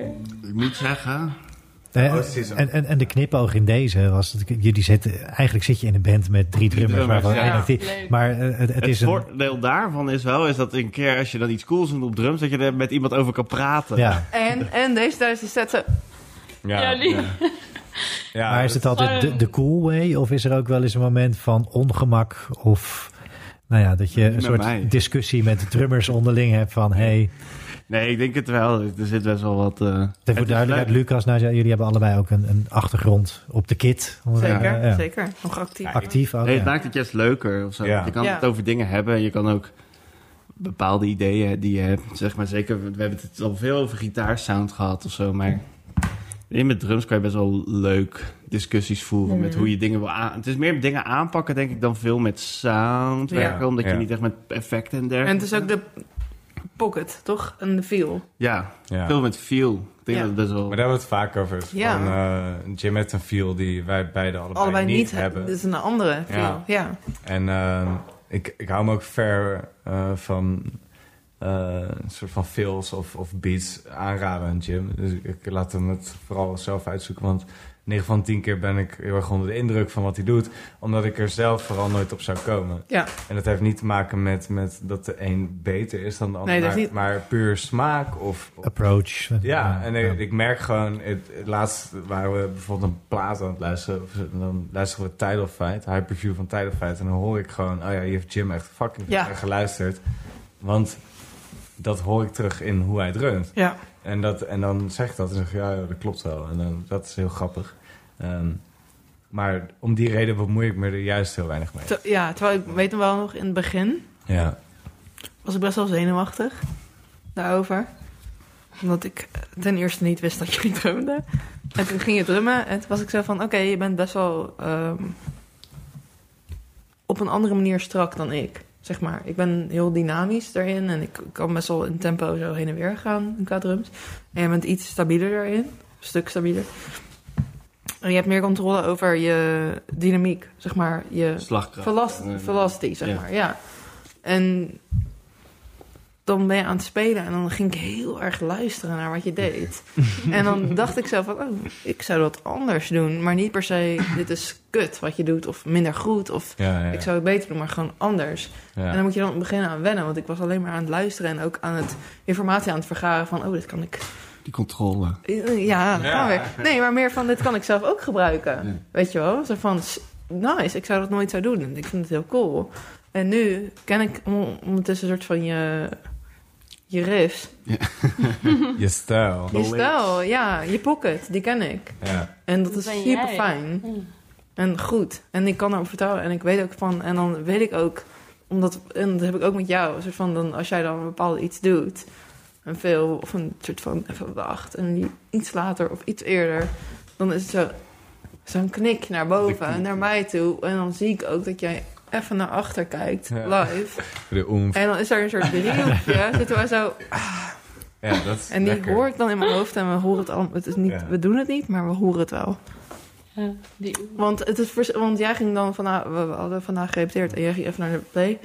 ik moet zeggen...
Eh,
Oh, precies.
en, en, en de knipoog in deze was dat ik- jullie zitten, eigenlijk zit je in een band met drie drummers,
drummers,
waarvan
ja.
één actief-
Leuk.
Maar eh, het, het
Het,
is een.
voordeel daarvan is wel is dat een keer als je dan iets cools doet op drums, dat je er met iemand over kan praten.
Ja.
En, en deze tijdens die set zo...
Ja, die-
Ja,
Maar is het altijd de, de cool way of is er ook wel eens een moment van ongemak of nou ja, dat je een
met
soort
mij.
discussie met de drummers onderling hebt van hey,
Nee, ik denk het wel. Er zit best wel wat... eh, het
ter
is
voor duidelijkheid,
leuk.
Lucas, nou, jullie hebben allebei ook een, een achtergrond op de kit. Om het,
Zeker,
eh, ja.
zeker. Nog actief.
Actief ook.
Nee,
ja.
het maakt het juist leuker of zo.
Ja.
Je kan
Ja.
het over dingen hebben. en Je kan ook bepaalde ideeën die je hebt. Zeg maar zeker, we hebben het al veel over gitaarsound gehad of zo. Maar in met drums kan je best wel leuk discussies voeren met
Mhm.
hoe je dingen wil aan. Het is meer dingen aanpakken, denk ik, dan veel met sound
Ja.
werken. Omdat je
Ja.
niet echt met effecten en
En
dergelijke.
het is ook de pocket, toch? En de feel.
Ja,
ja.
veel met feel. Ik denk
Ja.
dat het best wel.
Maar daar hebben we het vaak over. Is
Ja.
Van, eh, Jim heeft een feel die wij beide allebei,
Allebei
niet,
niet.
hebben.
Het is een andere feel. Ja.
Ja. En eh, ik, ik hou me ook ver eh, van eh, een soort van fills of, of beats aanraden aan Jim. Dus ik, ik laat hem het vooral zelf uitzoeken. Want 9 van 10 keer ben ik heel erg onder de indruk van wat hij doet. Omdat ik er zelf vooral nooit op zou komen.
Ja.
En dat heeft niet te maken met, met dat de een beter is dan de ander.
Nee, dat
maar,
is niet-
maar puur smaak of... of-
Approach.
ja, en eh, ik, ik merk gewoon... Het, het laatst waren we bijvoorbeeld een plaat aan het luisteren. Of, dan luisteren we Tidal Fight, Hyperview van Tidal Fight. En dan hoor ik gewoon... Oh ja, hier heeft Jim echt fucking
Ja.
veel naar geluisterd. Want dat hoor ik terug in hoe hij drumt.
Ja.
En, dat, en dan zeg ik dat en zeg ik, ja, ja, dat klopt wel. En dan, dat is heel grappig. Ehm, maar om die reden bemoei ik me er juist heel weinig mee.
Te- ja, terwijl ik weet hem wel nog in het begin...
Ja.
was ik best wel zenuwachtig daarover. Omdat ik eh, ten eerste niet wist dat jullie drumden. En toen ging je drummen en toen was ik zo van... Oké, je bent best wel ehm, op een andere manier strak dan ik, zeg maar. Ik ben heel dynamisch daarin en ik kan best wel in tempo zo heen en weer gaan qua drums. En jij bent iets stabieler daarin, een stuk stabieler. En je hebt meer controle over je dynamiek, zeg maar. Je
Slagkracht.
Velast,
Eh,
velocity, zeg
ja.
maar, ja. En dan ben je aan het spelen en dan ging ik heel erg luisteren naar wat je deed. en dan dacht ik zo van, oh, ik zou dat anders doen. Maar niet per se, dit is kut wat je doet of minder goed of
Ja, ja,
ik zou het beter doen, maar gewoon anders.
ja.
En dan moet je dan beginnen aan wennen, want ik was alleen maar aan het luisteren en ook aan het informatie aan het vergaren van, oh, dit kan ik
Die controle.
Eh, ja, dat
Ja.
gaan we weer. Nee, maar meer van, dit kan ik zelf ook gebruiken.
Ja.
Weet je wel? Zo van, s- nice, ik zou dat nooit zo doen. En ik vind het heel cool. En nu ken ik on- ondertussen een soort van je, je riffs.
Je stijl.
Je stijl, ja, je pocket, die ken ik.
Ja.
En dat
Dat
is
ben
super
jij.
fijn. En goed. En ik kan erop vertrouwen. En ik weet ook van. En dan weet ik ook. Omdat, en dat heb ik ook met jou. Een soort van, dan, als jij dan een bepaald iets doet. Een veel. Of een soort van. Even wacht. En die iets later of iets eerder. Dan is het zo. Zo'n knik naar boven. En naar mij toe. En dan zie ik ook dat jij even naar achter kijkt.
Ja.
Live.
De oemf.
En dan is er een soort driehoekje. zitten wij zo.
Ja, dat is
En die
lekker.
hoort dan in mijn hoofd. En we horen het allemaal. Het is niet,
Ja.
We doen het niet, maar we horen het wel.
Ja, die-
Want, het is vers- want jij ging dan vandaag, we we hadden vandaag gerepeteerd en jij ging even naar de play.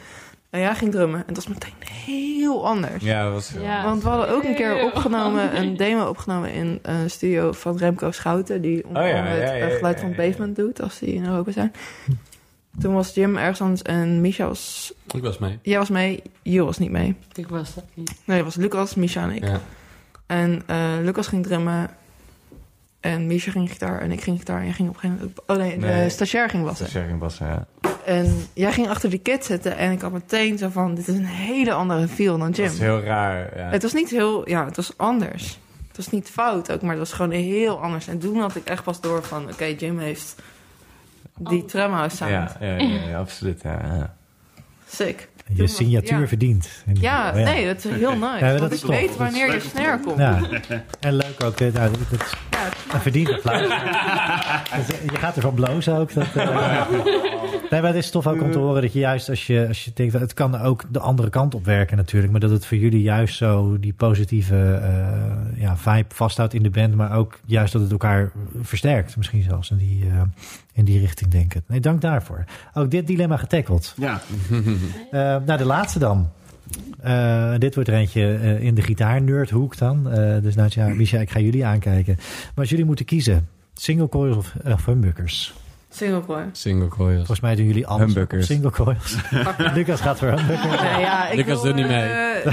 En jij ging drummen. En dat is meteen heel anders.
Ja, dat was heel
Ja.
Want we hadden ook een keer
Heel
opgenomen,
anders.
een demo opgenomen in een studio van Remco Schouten. Die onder
Oh ja,
andere het
ja, ja,
eh, geluid
ja,
van
ja,
Pavement doet als die in Europa zijn. Toen was Jim ergens anders en Misha was...
Ik was mee.
Jij was mee, Jul was niet mee.
Ik was dat niet.
Nee, het was Lucas, Misha en ik.
Ja.
En eh, Lucas ging drummen. En Misha ging gitaar en ik ging gitaar. En jij ging op een gegeven moment... Oh nee, de
Nee.
stagiair ging wassen.
Sharing was, ja.
En jij ging achter die kit zitten en ik had meteen zo van... dit is een hele andere feel dan Jim.
Dat is heel raar. Ja.
Het was niet heel... Ja, het was anders. Het was niet fout ook, maar het was gewoon heel anders. En toen had ik echt pas door van... oké, Jim heeft die tramhouse sound.
Ja, ja, ja, ja, absoluut. Ja, ja.
Sick.
Je signatuur
Ja.
verdient. Oh, En-
Ja, nee, dat is heel nice.
dat
want
is
ik
tof.
weet wanneer je snare komt. Ja.
Ja. En leuk ook. eh, Nou, dat, dat dat verdient applaus. Dat is- Dus je gaat ervan blozen ook. Dat, eh. Nee, maar het is tof ook om te horen dat je juist als je, als je denkt... Het kan ook de andere kant op werken natuurlijk. Maar dat het voor jullie juist zo die positieve eh, ja, vibe vasthoudt in de band. Maar ook juist dat het elkaar versterkt misschien zelfs. In die, eh, in die richting denken. Nee, dank daarvoor. Ook dit dilemma getackled.
Ja,
Eh, nou, de laatste dan. Eh, dit wordt er eentje eh, in de gitaarnerdhoek dan. Eh, dus Nadja, Misha, ik ga jullie aankijken. Maar als jullie moeten kiezen, single coils of, of humbuckers?
Single coil.
Single coils.
Volgens mij doen jullie alles
Humbuckers.
op single coils. Lucas gaat voor humbuckers.
Ja, ja, ik
Lucas
wil,
doet niet mee.
eh,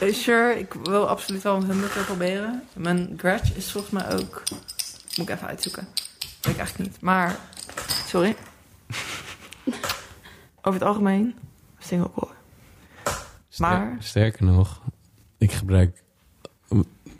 eh, sure, ik wil absoluut wel een humbucker proberen. Mijn grudge is volgens mij ook... Moet ik even uitzoeken. Weet ik eigenlijk niet. Maar, sorry. Over het algemeen, single coil.
Ster-
Maar-
Sterker nog, ik gebruik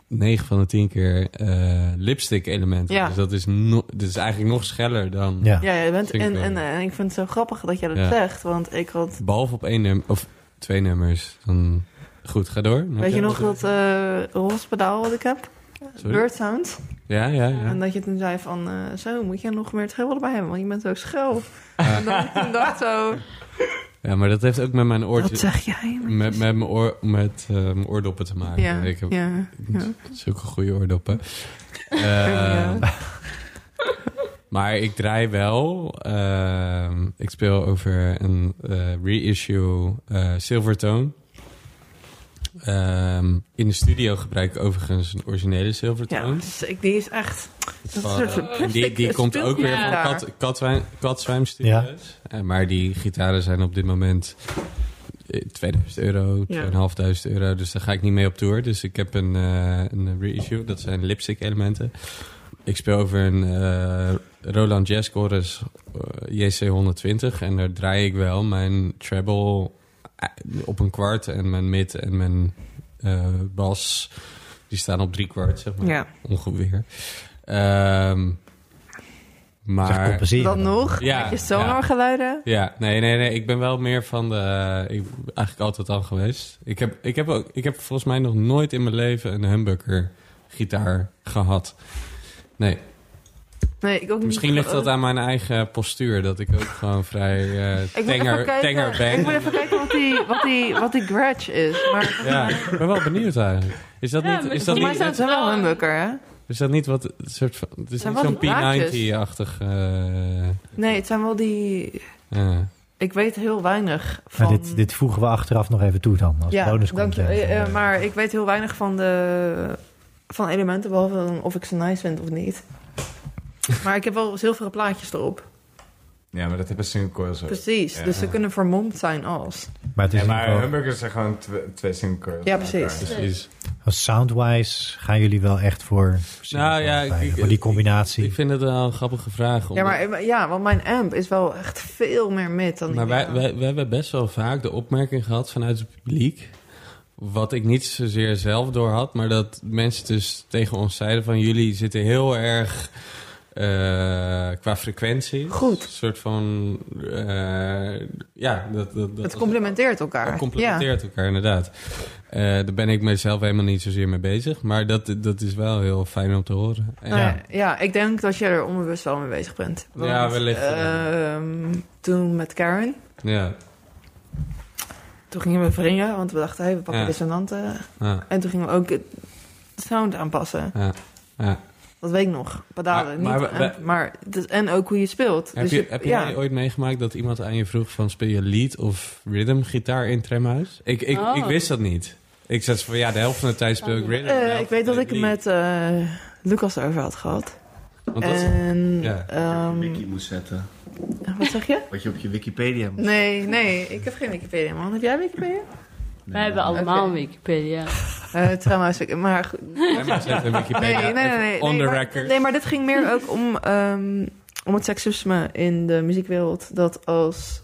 9 van de 10 keer eh, lipstick elementen.
Ja.
Dus dat is, no- dat is eigenlijk nog scheller dan...
Ja.
Ja, je bent,
Vind ik
en,
wel.
en, eh, en ik vind het zo grappig dat jij dat
Ja.
zegt. Want ik had
Behalve op één nummer, of twee nummers. Dan... Goed, ga door.
Weet je nog dat eh rolspedaal wat ik heb?
Sorry?
Bird Sound.
Ja, ja, ja.
En dat je toen zei van... eh, zo, moet jij nog meer treble erbij hebben? Want je bent zo schel.
Ah.
En dat ik toen dacht zo...
Ja, maar dat heeft ook met mijn
Wat
oortje...
zeg jij?
Met, met, mijn, oor, met eh, mijn oordoppen te maken.
Ja,
Ik heb
ja, ja.
zulke goede oordoppen. Eh,
Ja.
Maar ik draai wel. ehm, ik speel over een eh, reissue eh Silvertone. Ehm, in de studio gebruik ik overigens een originele Silvertone.
Ja, sick. die is echt... Dat is een soort van
En eh, die, die
plastic
komt ook weer van
speeltje.
kat, Katwijn- Katzwijm Studios. Eh, Maar die gitaren zijn op dit moment eh, 2000 euro,
Ja.
2500 euro. Dus daar ga ik niet mee op tour. Dus ik heb een, eh, een reissue. Dat zijn lipstick elementen. Ik speel over een eh, Roland Jazz Chorus eh, JC120. En daar draai ik wel mijn treble eh, op een kwart. En mijn mid en mijn eh, bas. Die staan op drie kwart, zeg maar
Ja,
ongeveer. Ehm,
Zeg,
maar
compenseren
dan nog.
Ja,
Met je
ja.
sonargeluiden.
ja, nee, nee, nee. Ik ben wel meer van de. eh, Ik ben eigenlijk altijd al geweest. Ik heb, ik heb ook, ik heb volgens mij nog nooit in mijn leven een humbucker gitaar gehad. Nee,
Nee, ik ook niet.
misschien ligt dat aan mijn eigen postuur dat ik ook gewoon vrij eh,
Ik moet even
tenger,
kijken-
tenger ben.
Ik moet even kijken wat die, wat die, wat die grudge is. Maar volgens
Ja,
mij-
ik ben wel benieuwd eigenlijk. Is dat
Ja,
niet,
maar
is dat
volgens mij
niet,
zijn het wel humbucker, hè?
is dat niet wat een soort van, het is
Zijn
niet
wel
zo'n
die blaadjes.
P90-achtig. eh,
Nee, het zijn wel die...
eh.
Ik weet heel weinig van...
Maar dit, dit voegen we achteraf nog even toe dan. Als
ja,
bonus
dank je. Eh, eh, maar ik weet heel weinig van de van elementen, behalve dan of ik ze nice vind of niet. Maar ik heb wel zilveren plaatjes erop.
Eh,
ja, maar dat hebben single coils ook.
Precies.
Ja.
Dus ze kunnen vermomd zijn als.
Maar het is
Ja,
in ieder
maar
geval-
hamburgers zijn gewoon tw- twee single coils.
Ja,
bij
precies.
elkaar.
Precies.
als soundwise gaan jullie wel echt voor single
Nou, ja,
coils
ik-
bij.
ik-
Voor die
ik-
combinatie.
Ik vind het wel een grappige vraag.
Ja,
omdat-
maar eh, ja, want mijn amp is wel echt veel meer mid dan die
maar wij,
van jou.
wij, wij hebben best wel vaak de opmerking gehad vanuit het publiek. Wat ik niet zozeer zelf door had, maar dat mensen dus tegen ons zeiden van jullie zitten heel erg eh, qua frequentie.
Goed.
Een soort van. eh, ja, dat, dat, dat
Het
was-
complementeert elkaar.
Het complementeert elkaar, inderdaad. Eh, daar ben ik mezelf helemaal niet zozeer mee bezig. Maar dat, dat is wel heel fijn om te horen. En-
Ja. Nou ja, ja, ik denk dat je er onbewust wel mee bezig bent. Want,
Ja, wellicht, ja.
ehm, toen met Karen,
ja.
toen gingen we wringen, want we dachten, hey, we pakken
Ja.
dissonanten.
ja,
En toen gingen we ook het sound aanpassen.
ja, ja.
Dat weet ik nog. Pedalen,
Maar-
maar,
maar
niet.
we-
en- maar het is- en ook hoe je speelt.
Heb,
Dus
je, heb
ja.
jij ooit meegemaakt dat iemand aan je vroeg van speel je lead of rhythm gitaar in tramhuis? Ik, ik,
Oh.
ik wist dat niet. Ik zei van ja, de helft van de tijd speel ik rhythm. de
Eh,
helft
ik weet
van
dat
de
ik het
tijd
met eh, Lucas erover had gehad.
lead. Want dat
eh.
is-
En
ja.
je
ehm,
wiki moet zetten.
wat zeg je?
Wat je op je Wikipedia moet
Nee, nee, ik heb geen Wikipedia man. Heb jij Wikipedia?
Wij hebben allemaal
Oké.
Wikipedia.
Eh trouwens, ik- maar goed.
Nee, maar zet een
Nee,
Wikipedia
nee, nee, nee, nee.
on
nee,
the
maar,
record.
Nee, maar dit ging meer ook om, ehm, om het seksisme in de muziekwereld. Dat als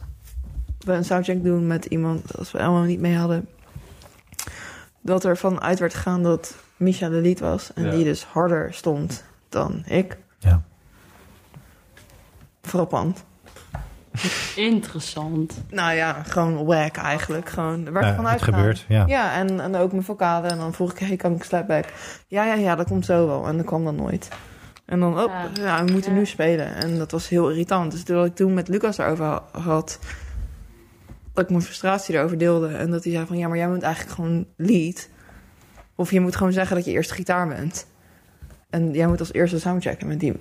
we een soundcheck doen met iemand, als we allemaal niet mee hadden, dat er vanuit werd gegaan dat Misha de lied was en
Ja.
die dus harder stond dan ik.
Ja.
Frappant.
Interessant.
Nou ja, gewoon whack eigenlijk. Gewoon, er werd
Eh,
van
het
uitgegaan.
gebeurt, ja.
Ja, en, en ook mijn vocalen. En dan vroeg ik, hey, kan ik slapback? Ja, ja, ja, dat komt zo wel. En dat kwam dan nooit. En dan, oh,
Ja.
ja, we moeten
Ja.
nu spelen. En dat was heel irritant. Dus toen ik toen met Lucas daarover ha- had... dat ik mijn frustratie erover deelde. En dat hij zei van, ja, maar jij moet eigenlijk gewoon lead. Of je moet gewoon zeggen dat je eerst gitaar bent. En jij moet als eerste soundchecken met die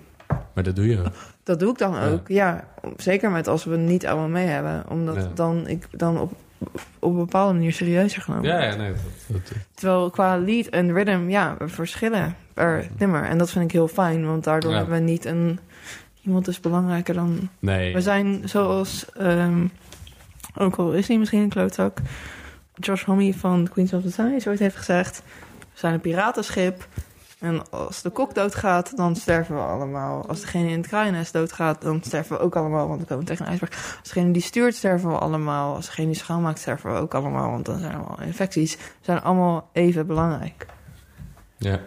Maar dat doe je ook.
dat doe ik dan
Ja.
ook, ja. Zeker met als we niet allemaal mee hebben. Omdat
Ja.
dan ik dan op, op een bepaalde manier serieuzer genomen
Ja,
word.
ja, nee. dat- dat-
Terwijl qua lied en rhythm, ja, we verschillen er nimmer. En dat vind ik heel fijn, want daardoor
Ja.
hebben we niet een... Iemand is belangrijker dan...
nee.
We zijn zoals... ehm, ook al is hij misschien een klootzak... Josh Homme van Queens of the Stone ooit heeft gezegd... We zijn een piratenschip. En als de kok doodgaat, dan sterven we allemaal. Als degene in het kraaiennest doodgaat, dan sterven we ook allemaal, want dan komen we tegen een ijsberg. Als degene die stuurt, sterven we allemaal. Als degene die schoonmaakt, sterven we ook allemaal, want dan zijn er allemaal infecties. We zijn allemaal even belangrijk.
Ja.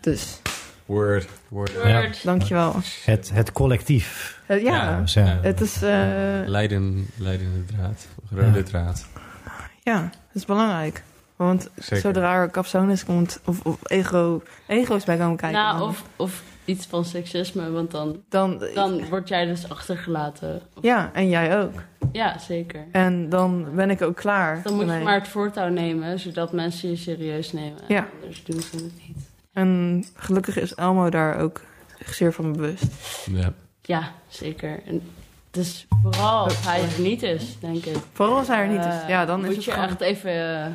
Dus,
Word. Word.
Word.
dankjewel.
Het, het collectief.
Eh, ja,
Ja.
Dus, eh,
Ja.
het is... eh,
Leiden, leidende draad. Rode
Ja.
draad.
Ja, dat is belank. Want
Zeker.
zodra er capsones komt, of, of ego, ego's bij komen kijken,
nou,
dan,
of, of iets van seksisme, want dan,
dan,
dan word jij dus achtergelaten.
Ja, en jij ook.
Ja, zeker.
En dan ben ik ook klaar.
Dan moet je
ermee.
maar het voortouw nemen, zodat mensen je serieus nemen.
Ja.
Anders doen ze het niet.
En gelukkig is Elmo daar ook zeer van bewust. Oh.
Ja.
Ja, zeker. En dus vooral als hij er niet is, denk ik.
Vooral als hij er niet is.
Eh,
Ja, dan
moet
is het
je
gewoon...
echt even... eh,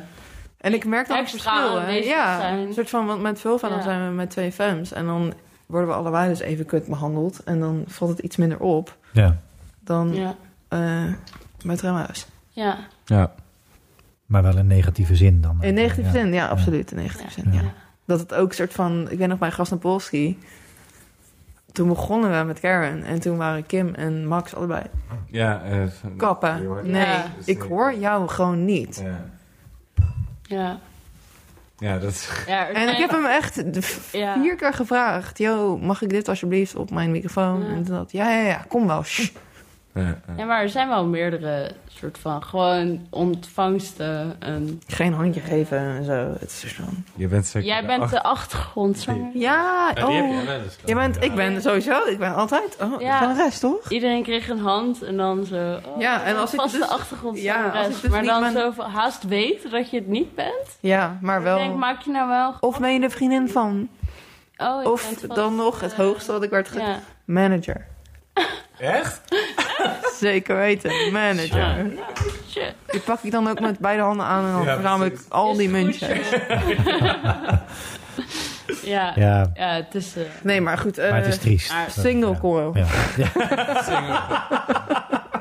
En ik merk dan het
extra
verschil. hè.
aanwezig
Ja,
zijn.
een soort van, want met Vulva dan
Ja.
zijn we met twee femmes. En dan worden we allebei dus even kut behandeld. En dan valt het iets minder op
Ja.
dan
ja.
eh, met Remhuis.
Ja.
Ja.
Maar wel in negatieve zin dan.
In 19
Ja.
zin, ja, absoluut. In 19 zin, ja.
Ja.
Dat het ook soort van... Ik ben nog bij Gasnapolski. Toen begonnen we met Karen. En toen waren Kim en Max allebei.
Ja, eh, van- Je hoort-
Kappen. Nee,
Ja.
Dus, eh,
ik hoor jou gewoon niet.
Ja.
Ja.
ja, dat is...
Ja, er
En ik
zijn-
heb hem echt de v-
Ja.
vier keer gevraagd. Yo, mag ik dit alsjeblieft op mijn microfoon?
Ja.
En dat. Ja, ja, ja, kom wel. Shh.
Ja, ja.
Ja, maar er zijn wel meerdere soort van gewoon ontvangsten. En...
Geen handje geven en zo. Het is dus van...
Je bent zeker Oh,
Jij
de
bent
achter-
de achtergrondzanger.
Ja, oh. Je bent, ik ben sowieso, ik ben altijd oh,
Ja.
van de rest, toch?
Iedereen kreeg een hand en dan zo... oh,
Ja, en als ik
vast
dus-
de achtergrond
ja, als ik dus
Maar
niet
dan
ben-
zo van- haast weet dat je het niet bent.
Ja, maar
Ik denk,
wel...
maak je nou wel...
Of ben je de vriendin van?
Oh, je
Of
bent vast,
dan nog het
eh,
hoogste wat ik werd ge-
Ja.
Manager.
Echt?
Zeker weten, manager.
Shit.
Die pak ik dan ook met beide handen aan en dan
Ja,
verzamel ik al
Is
die
goed,
muntjes.
joh. ja. ja.
Ja,
het is... eh,
Nee, maar goed, eh
maar het is triest.
maar
single
Ja.
coil.
Ja.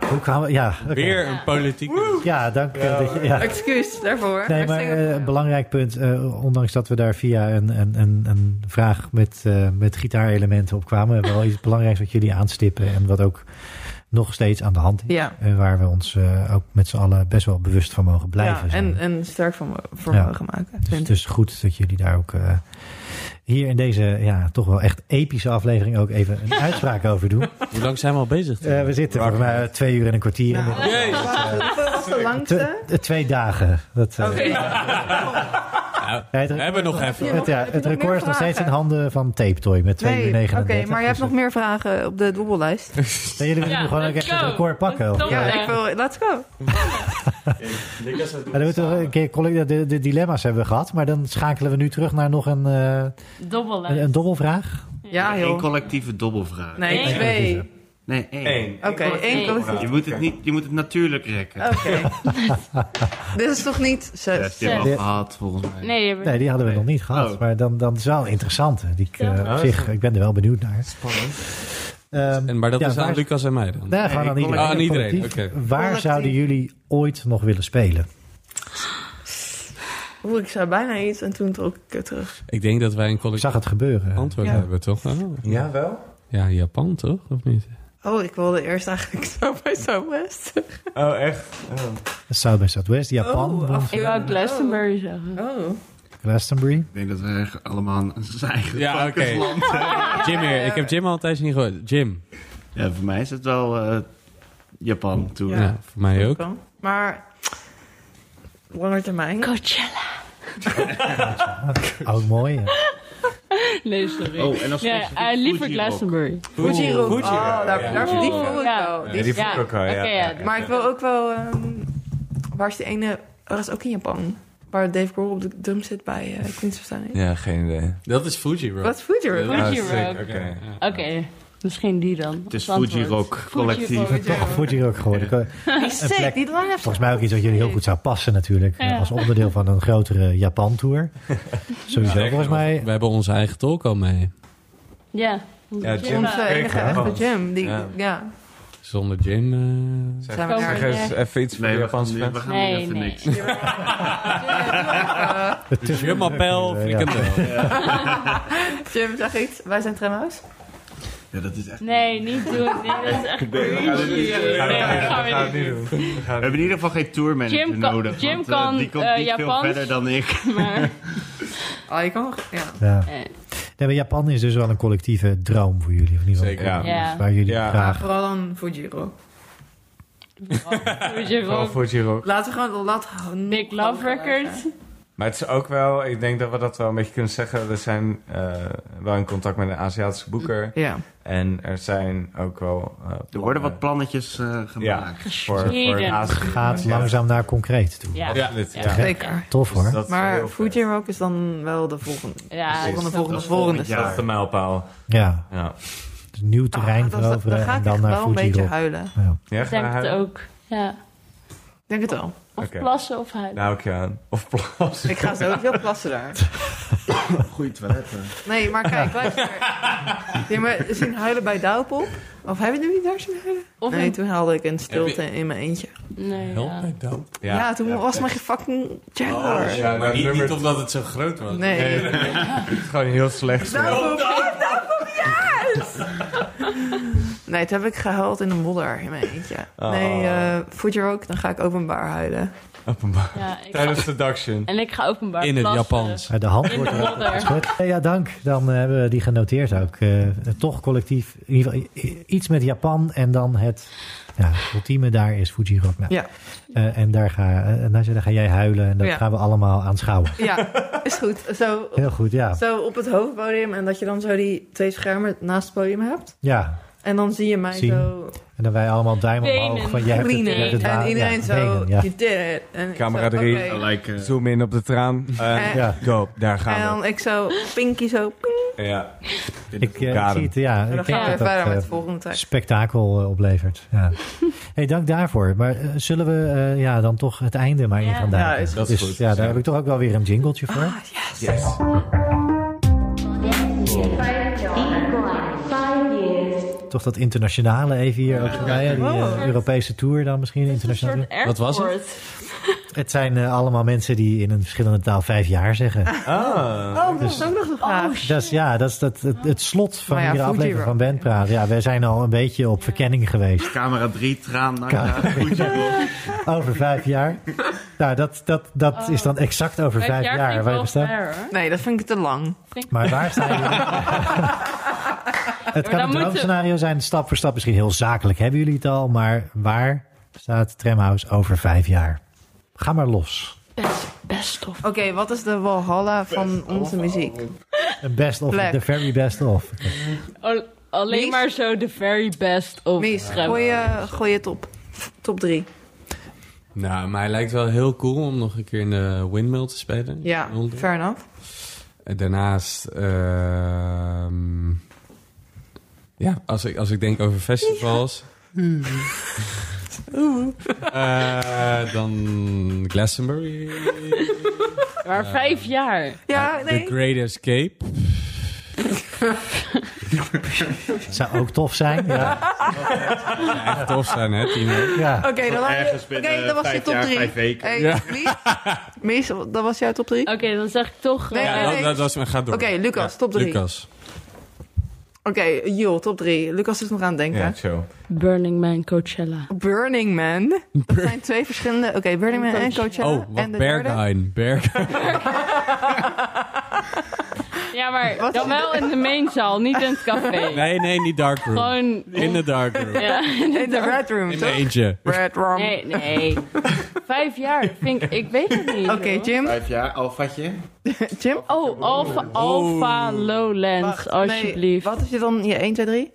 Hoe kwamen we- Ja, oké.
Weer een politieke...
Ja, dank eh, dat je... Ja.
Excuus daarvoor.
Nee, maar
single
eh,
coil.
een belangrijk punt. eh, ondanks dat we daar via een, een, een, een vraag met, eh met gitaarelementen op kwamen... hebben we wel iets belangrijks wat jullie aanstippen... en wat ook nog steeds aan de hand is.
ja.
En waar we ons eh, ook met z'n allen best wel bewust van mogen blijven
ja,
zijn.
en, en sterk van me- voor
Ja.
mogen maken.
Dus
vind ik.
het is goed dat jullie daar ook eh, hier in deze ja, toch wel echt epische aflevering ook even een uitspraak over doen.
Hoe lang zijn we al bezig?
Eh, we zitten volgens mij twee uur en een kwartier.
Nou,
inmiddels.
Jezus.
Wat was de langste?
Te- eh, twee dagen. Dat, eh, ja, het,
We hebben nog even.
het- ja,
Heb je
het
nog
record
meer
is nog steeds in
vragen?
handen van Tape Toy met 2 uur
Nee, oké,
39.
maar je hebt nog meer vragen op de dobbellijst.
Ja, jullie willen
Ja,
nu gewoon ook
let's
echt het
go.
record pakken.
Let's
of-
go.
Ja.
Ja,
Ja.
ik wil... Let's go.
Ja, dan moeten we een keer collega- de, de dilemma's hebben we gehad. Maar dan schakelen we nu terug naar nog een, eh,
Dobbelen.
een, een dobbelvraag.
Ja,
Geen
joh.
collectieve dobbelvraag.
Nee,
Nee.
twee.
Nee, één.
Eén.
Oké, één
Nee.
collectief.
Je moet het, niet, je moet het natuurlijk
Oh,
rekken.
Oké. Dit is toch niet zes?
Zes, die hebben we
Zes.
al gehad, volgens mij.
Nee, je bent-
Nee, die hadden we nog niet gehad.
Oh.
Maar dan, dan is wel interessant. hè, Die ik, eh,
Ja.
op zich, ik ben er wel benieuwd naar. Ehm,
En, maar dat
ja,
is aan
waar-
Lucas en mij dan.
Nee, gewoon aan
Nee,
iedereen.
aan iedereen,
Collectief.
oké.
Waar
Collectief.
zouden jullie ooit nog willen spelen?
Oeh, ik zei bijna iets en toen trok ik het terug.
Ik denk dat wij een
Ik
collectief
zag het gebeuren.
antwoord
Ja.
hebben, toch? Oh.
Ja, wel?
Ja, Japan toch? Of niet?
Oh, ik wilde eerst eigenlijk zo bij Southwest.
Oh, echt? Oh.
South by Southwest, Japan,
Oh, af-
Ik wou Glastonbury zeggen.
Oh.
Glastonbury.
Ik denk dat we eigenlijk allemaal een- zijn eigen
Ja, oké.
focusland hebben.
Jim hier. Ik heb Jim al een tijdje niet gehoord. Jim.
Ja, voor mij is het wel eh, Japan toen.
Ja, voor mij ook.
Kan. Maar lange termijn.
Coachella.
Ook mooi. hè?
Nee, sorry.
Oh, en als
nee,
specifiek
eh, liever
Fuji
Glastonbury.
Fuji-rock.
Fuji-rock.
Oh, daar,
Ja,
daar die
Fuji-rock.
voel ik
Ja.
wel.
Ja,
Die is-
die vond ik
ja,
ook wel, ja.
oké,
ja,
ja.
ja.
Maar ik wil ook wel... ehm, waar is die ene... oh, Dat is ook in Japan. Waar Dave Grohl op de drum zit bij eh Queens of Stone.
Ja, geen idee.
Dat is Fuji, bro.
Wat is Fuji Rock?
Ja. Fuji
Ah, Oh, sick,
Rock.
oké.
Oké, misschien die dan.
Het is
Als antwoord.
Fuji Rock collectief.
Fuji
Toch Fuji ook geworden.
Die is sick,
plek-
die line-up. is
Volgens mij ook iets wat jullie heel goed zou passen natuurlijk.
Ja.
Als onderdeel van een grotere Japan-tour. Sowieso volgens mij.
We hebben onze eigen tolk al mee.
Ja.
Ja, Jim
Onze enige
Ja.
echte gym. Die,
Ja.
ja.
Zonder Jim. eh,
Zeg,
Zijn we
zeg
daar-
eens even iets voor
Nee,
de
we gaan,
Japanse
nu, we
fans.
gaan
Nee,
nu even
nee.
niks.
Het is
Jim Appel,
Ja.
frikandel.
Jim, zeg iets. Wij zijn Tremhouse.
Ja, dat is echt...
Nee, niet doen. Nee, dat is echt cringy. Nee, dat gaan we niet doen.
We hebben in ieder geval geen tourmanager
Jim kan-
nodig.
Jim
want, eh,
kan,
die komt
eh,
niet veel
Japans.
verder dan ik.
Maar
Ah, je kan nog... Ja.
Ja.
eh,
Nee, maar Japan is dus wel een collectieve droom voor jullie. Of niet?
Zeker.
Ja.
Ja.
Waar jullie
Ja.
Maar
graag...
vooral dan Fuji Rock.
Fuji
Vooral
Rock.
Fuji-rock.
Laten we gewoon... Laten
Big Love Records.
Maar het is ook wel, ik denk dat we dat wel een beetje kunnen zeggen. We zijn eh, wel in contact met een Aziatische boeker.
Ja.
En er zijn ook wel. eh,
Er worden wat
plannen
plannetjes eh,
Ja.
gemaakt.
voor, voor een
Gesneden.
Aziatische
Gaat langzaam naar concreet toe.
Ja.
Ja.
Absoluut, ja.
Ja.
Zeker.
Tof
Dus
hoor.
dat is heel
Maar
vet.
Fuji Rock is dan wel de volgende.
Ja,
Precies.
volgende,
dat-
volgende,
volgend
volgende.
jaar.
Dat is de mijlpaal.
Ja.
Ja,
Het is Nieuw terrein
Ah, dat-
veroveren
Dan ga
en
ik
dan
echt
naar
wel een
Fuji
beetje
Rock.
huilen.
Ja.
ja
Ik denk het ook. Ja.
Ik denk het wel.
Of
Oké.
plassen of huilen.
Nou, ik aan. Of plas.
Ik ga sowieso plassen daar.
Goeie toiletten.
Nee, maar kijk, luister. Nee, maar zien huilen bij Douwpop? Of heb je er niet daar zien huilen?
Of
Nee,
een-
toen huilde ik in stilte in mijn eentje.
Nee,
Help
ja.
mij dan.
Ja, toen was mijn fucking Jaguar.
Ja,
Maar
maar
niet,
nummer-
niet omdat het zo groot was.
Nee.
Het is gewoon heel slecht.
Douwpop, yes! Nee, toen heb ik gehuild in de modder in mijn eentje.
Ah.
Nee, eh Fuji Rock, dan ga ik openbaar huilen.
Openbaar.
Ja, ik ga-
Tijdens seduction.
en ik ga openbaar
In het
plassen.
Japans.
Maar Eh, De hand
In
wordt
de
wel
modder.
gezet. Eh, Ja, dank. Dan eh, hebben we die genoteerd ook. Eh, toch collectief. In ieder geval i- iets met Japan en dan het ja, ultieme daar is Fuji Rock. Nou,
Ja.
eh, en daar ga, eh, Nadja, daar ga jij huilen en dat
Ja.
gaan we allemaal aanschouwen.
Ja, is goed. Zo,
Heel goed, ja.
zo op het hoofdpodium en dat je dan zo die twee schermen naast het podium hebt.
Ja.
En dan zie je mij
Zien.
zo
En dan wij allemaal duimen
Benen.
omhoog. Van, jij hebt het-
cleanen.
jij hebt het waar.
en
Ja,
iedereen zo,
benen, ja.
you did it. En ik
Camera
zo,
drie.
oké.
Like, eh,
Zoom in op de traan. En
Eh,
Ja.
go, daar
En
gaan
dan ik zo, pinky zo. ping.
we. Ja.
Ik, eh, ik
Kader.
zie het, ja.
En
Ik
dan
denk
gaan we weer
dat dat,
verder met
eh,
de volgende track.
spektakel eh, oplevert. Ja. hey, dank daarvoor. Maar eh, zullen we eh, ja, dan toch het einde maar in
Ja.
gaan duiken?
Ja, is
goed. Dat is goed.
Ja, daar
Ja.
heb ik toch ook wel weer een jingletje voor.
Ah, yes.
Yes.
Five years.
Toch dat internationale even hier ook voorbij. hè? Die eh, Europese tour dan misschien.
Een soort
Internationale.
airport.
Wat was het?
Het zijn eh, allemaal mensen die in een verschillende taal vijf jaar zeggen.
Ah.
Oh, dat is ook nog zo gaaf.
Dat is, ja, dat is dat, het, het slot van
Maar ja,
iedere
Fuji
aflevering van
Rock.
Bandpraat. Ja, wij zijn al een beetje op verkenning geweest.
Camera 3, traan, nou ja, goed, Jim.
Over vijf jaar. Nou, dat, dat, dat is dan exact over vijf, jaar.
vind ik
waar
wel
we staan.
fair, hoor.
Nee, dat vind ik te lang.
Maar waar sta je? het kan
dan
een
moeten-
droomscenario zijn, stap voor stap. Misschien heel zakelijk hebben jullie het al. Maar waar staat Tramhouse over vijf jaar? Ga maar los.
Best, best of.
Oké, wat is de Walhalla van onze muziek?
Een best of,
Plek.
the very best of.
Al- alleen
Mies?
maar zo de very best of.
Mies,
Trem.
gooi je, gooi je top. Top drie.
Nou, mij lijkt wel heel cool om nog een keer in de windmill te spelen.
Ja,
Londen.
fair enough.
En Daarnaast, ehm, ja, als ik, als ik denk over festivals.
Hmm.
Eh, dan Glastonbury.
Maar vijf jaar.
Ja,
The
nee.
Great Escape.
Het zou ook tof zijn. Ja.
Echt tof zijn, hè, Timo?
ja.
Oké, dan laat
Ergens
je...
binnen
Oké, dat was je
vijf
top
jaar,
drie.
vijf weken.
Hey,
Ja.
Mies? Mies, dat was jouw top drie?
Oké,
Oké,
dan zeg ik toch.
Nee,
eh,
Ja,
nee,
dat, dat was mijn gaat door.
Oké, Lucas,
Ja,
top drie.
Lucas.
Jul, top drie. Lucas is nog aan het denken.
Ja, chill.
Burning Man Coachella.
Burning Man. Dat zijn twee verschillende... Oké, Burning Man en Coachella.
Oh, wat
en de derde?
Berghain. Berghain.
Ja, maar dan wel in de mainzaal, niet in het café.
Nee, nee, niet darkroom.
Gewoon...
In de darkroom.
Ja, in de
In de Red Room,
In mijn
toch?
eentje.
Red Room.
Nee, nee. Vijf jaar. Vind ik, ik weet het niet.
Oké,
joh.
Jim.
Vijf jaar, alfatje.
Jim?
Oh, Alpha, Alpha Lowlands,
Wacht, nee,
alsjeblieft.
Wat is je dan? Je 1, 2, 3?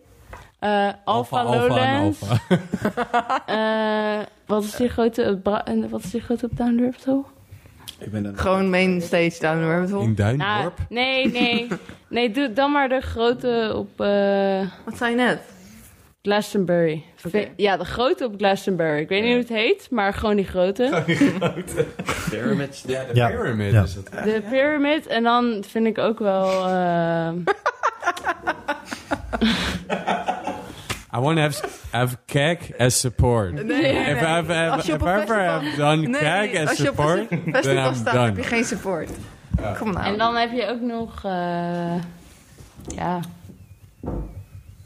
Eh,
Alpha,
Alpha,
alpha en
Lowlands.
alpha.
Eh, wat is die grote... bra- en Wat is die grote op Down Durftel?
Ik ben een...
Gewoon main stage down the rabbit hole.
In
Nou,
Duindorp.
nee, nee. Nee, doe dan maar de grote op eh,
Wat zei je net?
Glastonbury.
Oké.
Ja, de grote op Glastonbury. Ik weet niet hoe het heet, maar gewoon die grote.
Pyramid. Ja,
Ja.
Pyramid
Ja.
is het.
De Pyramid. En dan vind ik ook wel... eh,
I want to have, have keg as support. If I have, have-
Als je op
if
een
I ever
festival-
have done keg as
als je op
support,
een festival
then I'm
staat, heb je
done.
geen support. Kom nou.
En dan heb je ook nog... eh, ja...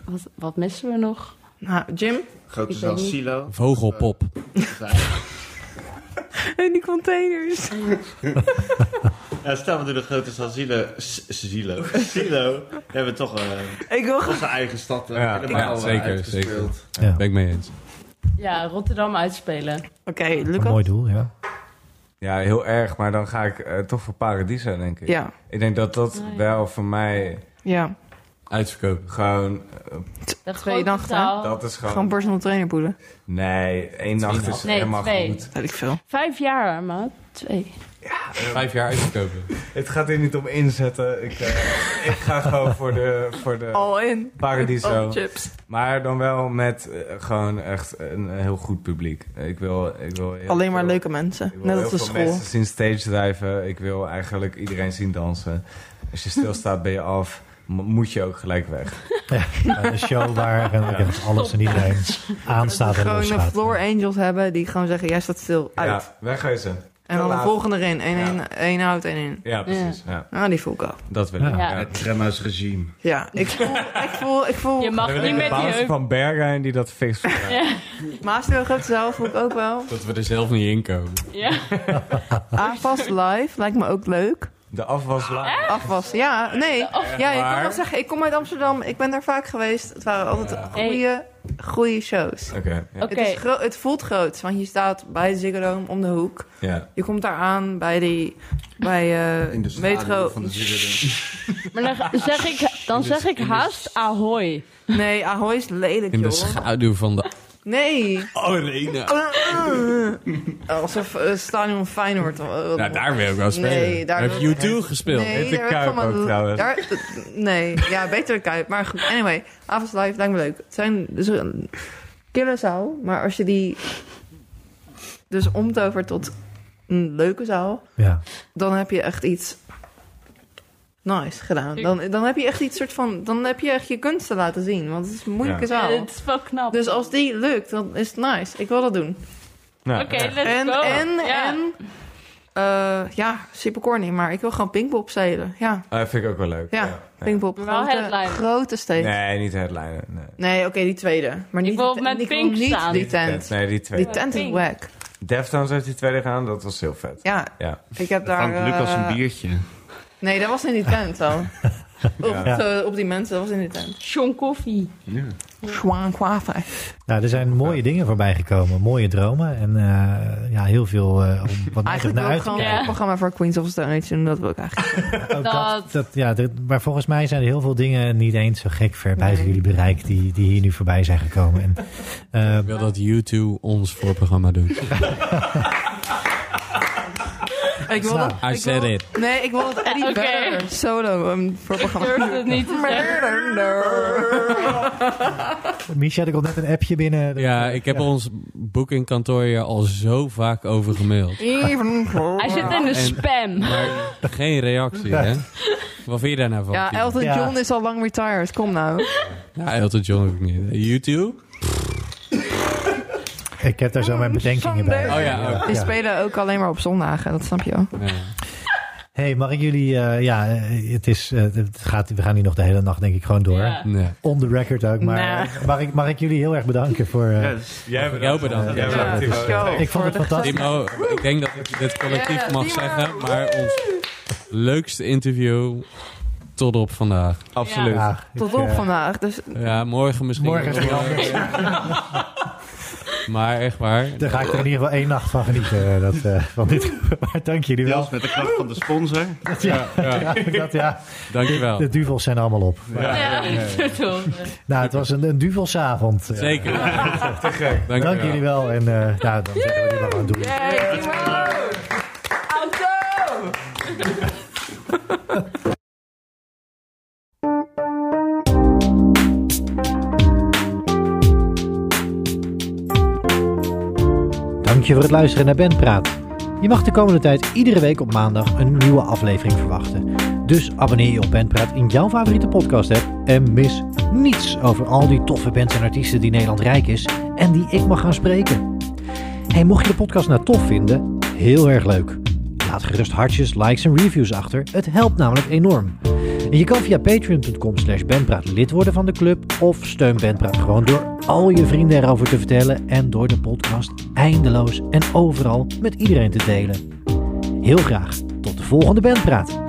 Wat, wat missen we nog?
Nou, Jim?
Grote
Ik weet
zaal
niet.
Silo.
Vogelpop.
En die containers.
Ja, stel we doen de grote zaal Silo. S- Silo. Silo. We hebben toch eh,
Ik wil
onze eigen stad eh,
Ja,
helemaal
ja, zeker,
uitgespeeld.
zeker.
Ja.
Ben ik mee eens.
Ja, Rotterdam uitspelen.
Oké,
Een
Lucas.
mooi doel, ja.
Ja, heel erg. Maar dan ga ik eh, toch voor Paradiso, denk ik.
Ja,
Ik denk dat dat
Nee.
wel voor mij
ja.
Uitverkoop.
gewoon...
De
Twee
grote
nachten, hè?
zaal.
Dat is gewoon...
Gewoon personal trainer boelen.
Nee, één nacht is
Nee,
helemaal
twee.
goed.
Weet ik veel.
Vijf jaar, maat. Twee.
Vijf jaar uitverkopen.
Het gaat hier niet om inzetten. Ik, eh, ik ga gewoon voor de, voor de
All in.
Paradiso.
Oh, chips.
Maar dan wel met eh, gewoon echt een heel goed publiek. Ik wil, ik wil heel
Alleen maar
veel-
leuke mensen.
Ik wil
Net
heel
als de
veel
school.
mensen zien stage drijven. Ik wil eigenlijk iedereen zien dansen. Als je stilstaat ben je af. M- moet je ook gelijk weg.
Ja, Een show waar eh, alles en iedereen aan staat en
Gewoon een
losgaat.
floor angels hebben die gewoon zeggen, jij staat stil, uit.
Ja, wegwezen.
en dan de
laat.
volgende erin. 1 één out, 1 in.
Ja, precies. Ja,
Nou, die voel ik al.
dat wil ik.
Ja.
Ja.
Ja.
Het Tremma's regime.
Ja, ik voel, ik voel, ik voel.
Je mag
Dan wil
niet
ik de
met die
baas
heup.
van Bergijn die dat fixt.
Maasdeel grote zaal voel ik ook wel.
Dat we er zelf niet in komen.
Ja.
Afwas live lijkt me ook leuk.
De afwas laag.
Afwas, ja, nee. Ja, je kan wel zeggen, ik kom uit Amsterdam, ik ben daar vaak geweest. Het waren altijd goede, goede shows.
Oké, ja.
Oké.
Het, is gro- het voelt groot, want je staat bij de Ziggo Dome om de hoek.
ja.
Je komt daar aan bij die, bij eh
In de
metro.
stadion van de Ziggo
Maar dan zeg ik, dan zeg ik haast ahoy.
Nee, Ahoy is lelijk,
In de
joh.
schaduw van de
Nee.
arena.
Alsof eh, Stadion eh, fijn wordt.
Nou, daar wil ik wel spelen.
Nee, daar
heb
wil
je
ik-
U2 gespeeld?
Nee,
Heet de
daar
Kuip
werd van
ook
een-
trouwens.
daar- nee, ja, beter de Kuip. Maar goed, anyway. Avonds Live lijkt me leuk. Het zijn dus een kille zaal. Maar als je die dus omtovert tot een leuke zaal...
Ja.
dan heb je echt iets nice gedaan. Dan, dan heb je echt iets soort van... dan heb je echt je kunsten laten zien. Want het is een moeilijke
Ja,
zaal.
Het is wel knap.
Dus als die lukt, dan is het nice. Ik wil dat doen.
Nou,
Oké,
ja.
let's
En,
go.
en,
Ja.
en... eh, ja, super corny, maar ik wil gewoon Pinkpop zeilen. Ja,
Ah, vind ik ook wel leuk.
ja, Pinkpop.
Maar wel
Grote,
headliner.
grote stage. Nee,
Nee, niet headliner. Nee.
oké, die tweede. Maar niet,
wil
die,
met
ik wil
Pink
niet
staan.
die tent.
Nee, die twee.
Die tent is
Pink.
wack.
Deftones heeft die tweede gedaan, dat was heel vet.
Ja,
Ja.
ik heb daar...
Dome. Frank Lucas
eh,
een biertje.
Nee, dat was in die tent dan. op,
Ja.
zo, op die mensen, dat was in die tent.
Sean Coffee.
Schwaan kwafe.
Nou, er zijn mooie dingen voorbij gekomen. Mooie dromen. En eh, ja, heel veel eh, om wat mij betreft
Eigenlijk
naar uit
wil ik
te
gewoon
kijken.
een programma voor Queens of the Stone Age doen. Dat wil ik eigenlijk.
Ook
Dat-
dat, Oh, dat, ja, dat- maar volgens mij zijn er heel veel dingen niet eens zo gek ver buiten
Nee.
jullie bereik die, die hier nu voorbij zijn gekomen. En, eh,
Ik wil dat U2 ons voorprogramma doet.
Ik wil dat,
I said it.
nee, ik wil dat Eddie
Oké.
Vedder solo een
Ik
programma
durf het niet te zeggen.
Misha, er komt net een appje binnen.
Ja, ik heb ons boekingkantoor hier al zo vaak over gemaild.
Even
Hij zit in de
En-
spam.
Maar geen reactie, hè? Wat vind je daar nou van?
Ja,
Timo?
Elton
Ja.
John is al lang retired. Kom nou.
Ja, Elton John ook niet. U2?
Ik heb daar zo mijn bedenkingen bij.
Oh ja, ook.
Die
Ja.
spelen ook alleen maar op zondagen, dat snap je wel.
Ja.
Hey, mag ik jullie... eh, ja, eh, het is, eh, het gaat, we gaan hier nog de hele nacht denk ik gewoon door.
Ja.
Nee.
On the record ook. Maar
Nee.
mag, ik, mag ik jullie heel erg bedanken voor... eh,
Jij
Jou bedankt.
Jij
Ja,
bedankt.
dat is-
Timo.
Ik vond het fantastisch.
Timo, ik denk dat ik dit collectief
Ja,
mag
Timo.
zeggen, maar ons leukste interview tot op vandaag.
Absoluut.
Ja.
Ja, ik,
Tot op
eh,
vandaag. Dus
Ja, morgen misschien.
Morgen is het
wel.
anders.
Maar echt waar.
Daar ga ik er in ieder geval één nacht van genieten. eh, Dat, eh, van dit. Maar dank jullie wel.
Zelfs met de kracht van de sponsor.
Ja, ja.
Dat, ja,
Dankjewel.
de duvels zijn allemaal op.
Ja, toch.
Nou, het was een, een duvelsavond. Eh,
Zeker. Te gek.
Dank jullie wel. En eh, nou, dan zeggen we dit nog aan doen.
Auto!
Dank je voor het luisteren naar Ben Praat. Je mag de komende tijd iedere week op maandag een nieuwe aflevering verwachten. Dus abonneer je op Ben Praat in jouw favoriete podcast app en mis niets over al die toffe bands en artiesten die Nederland rijk is en die ik mag gaan spreken. Hey, mocht je de podcast nou tof vinden, heel erg leuk. Laat gerust hartjes, likes en reviews achter. Het helpt namelijk enorm. En je kan via patreon.com slash benpraat lid worden van de club of steun Benpraat gewoon door al je vrienden erover te vertellen en door de podcast eindeloos en overal met iedereen te delen. Heel graag tot de volgende Benpraat.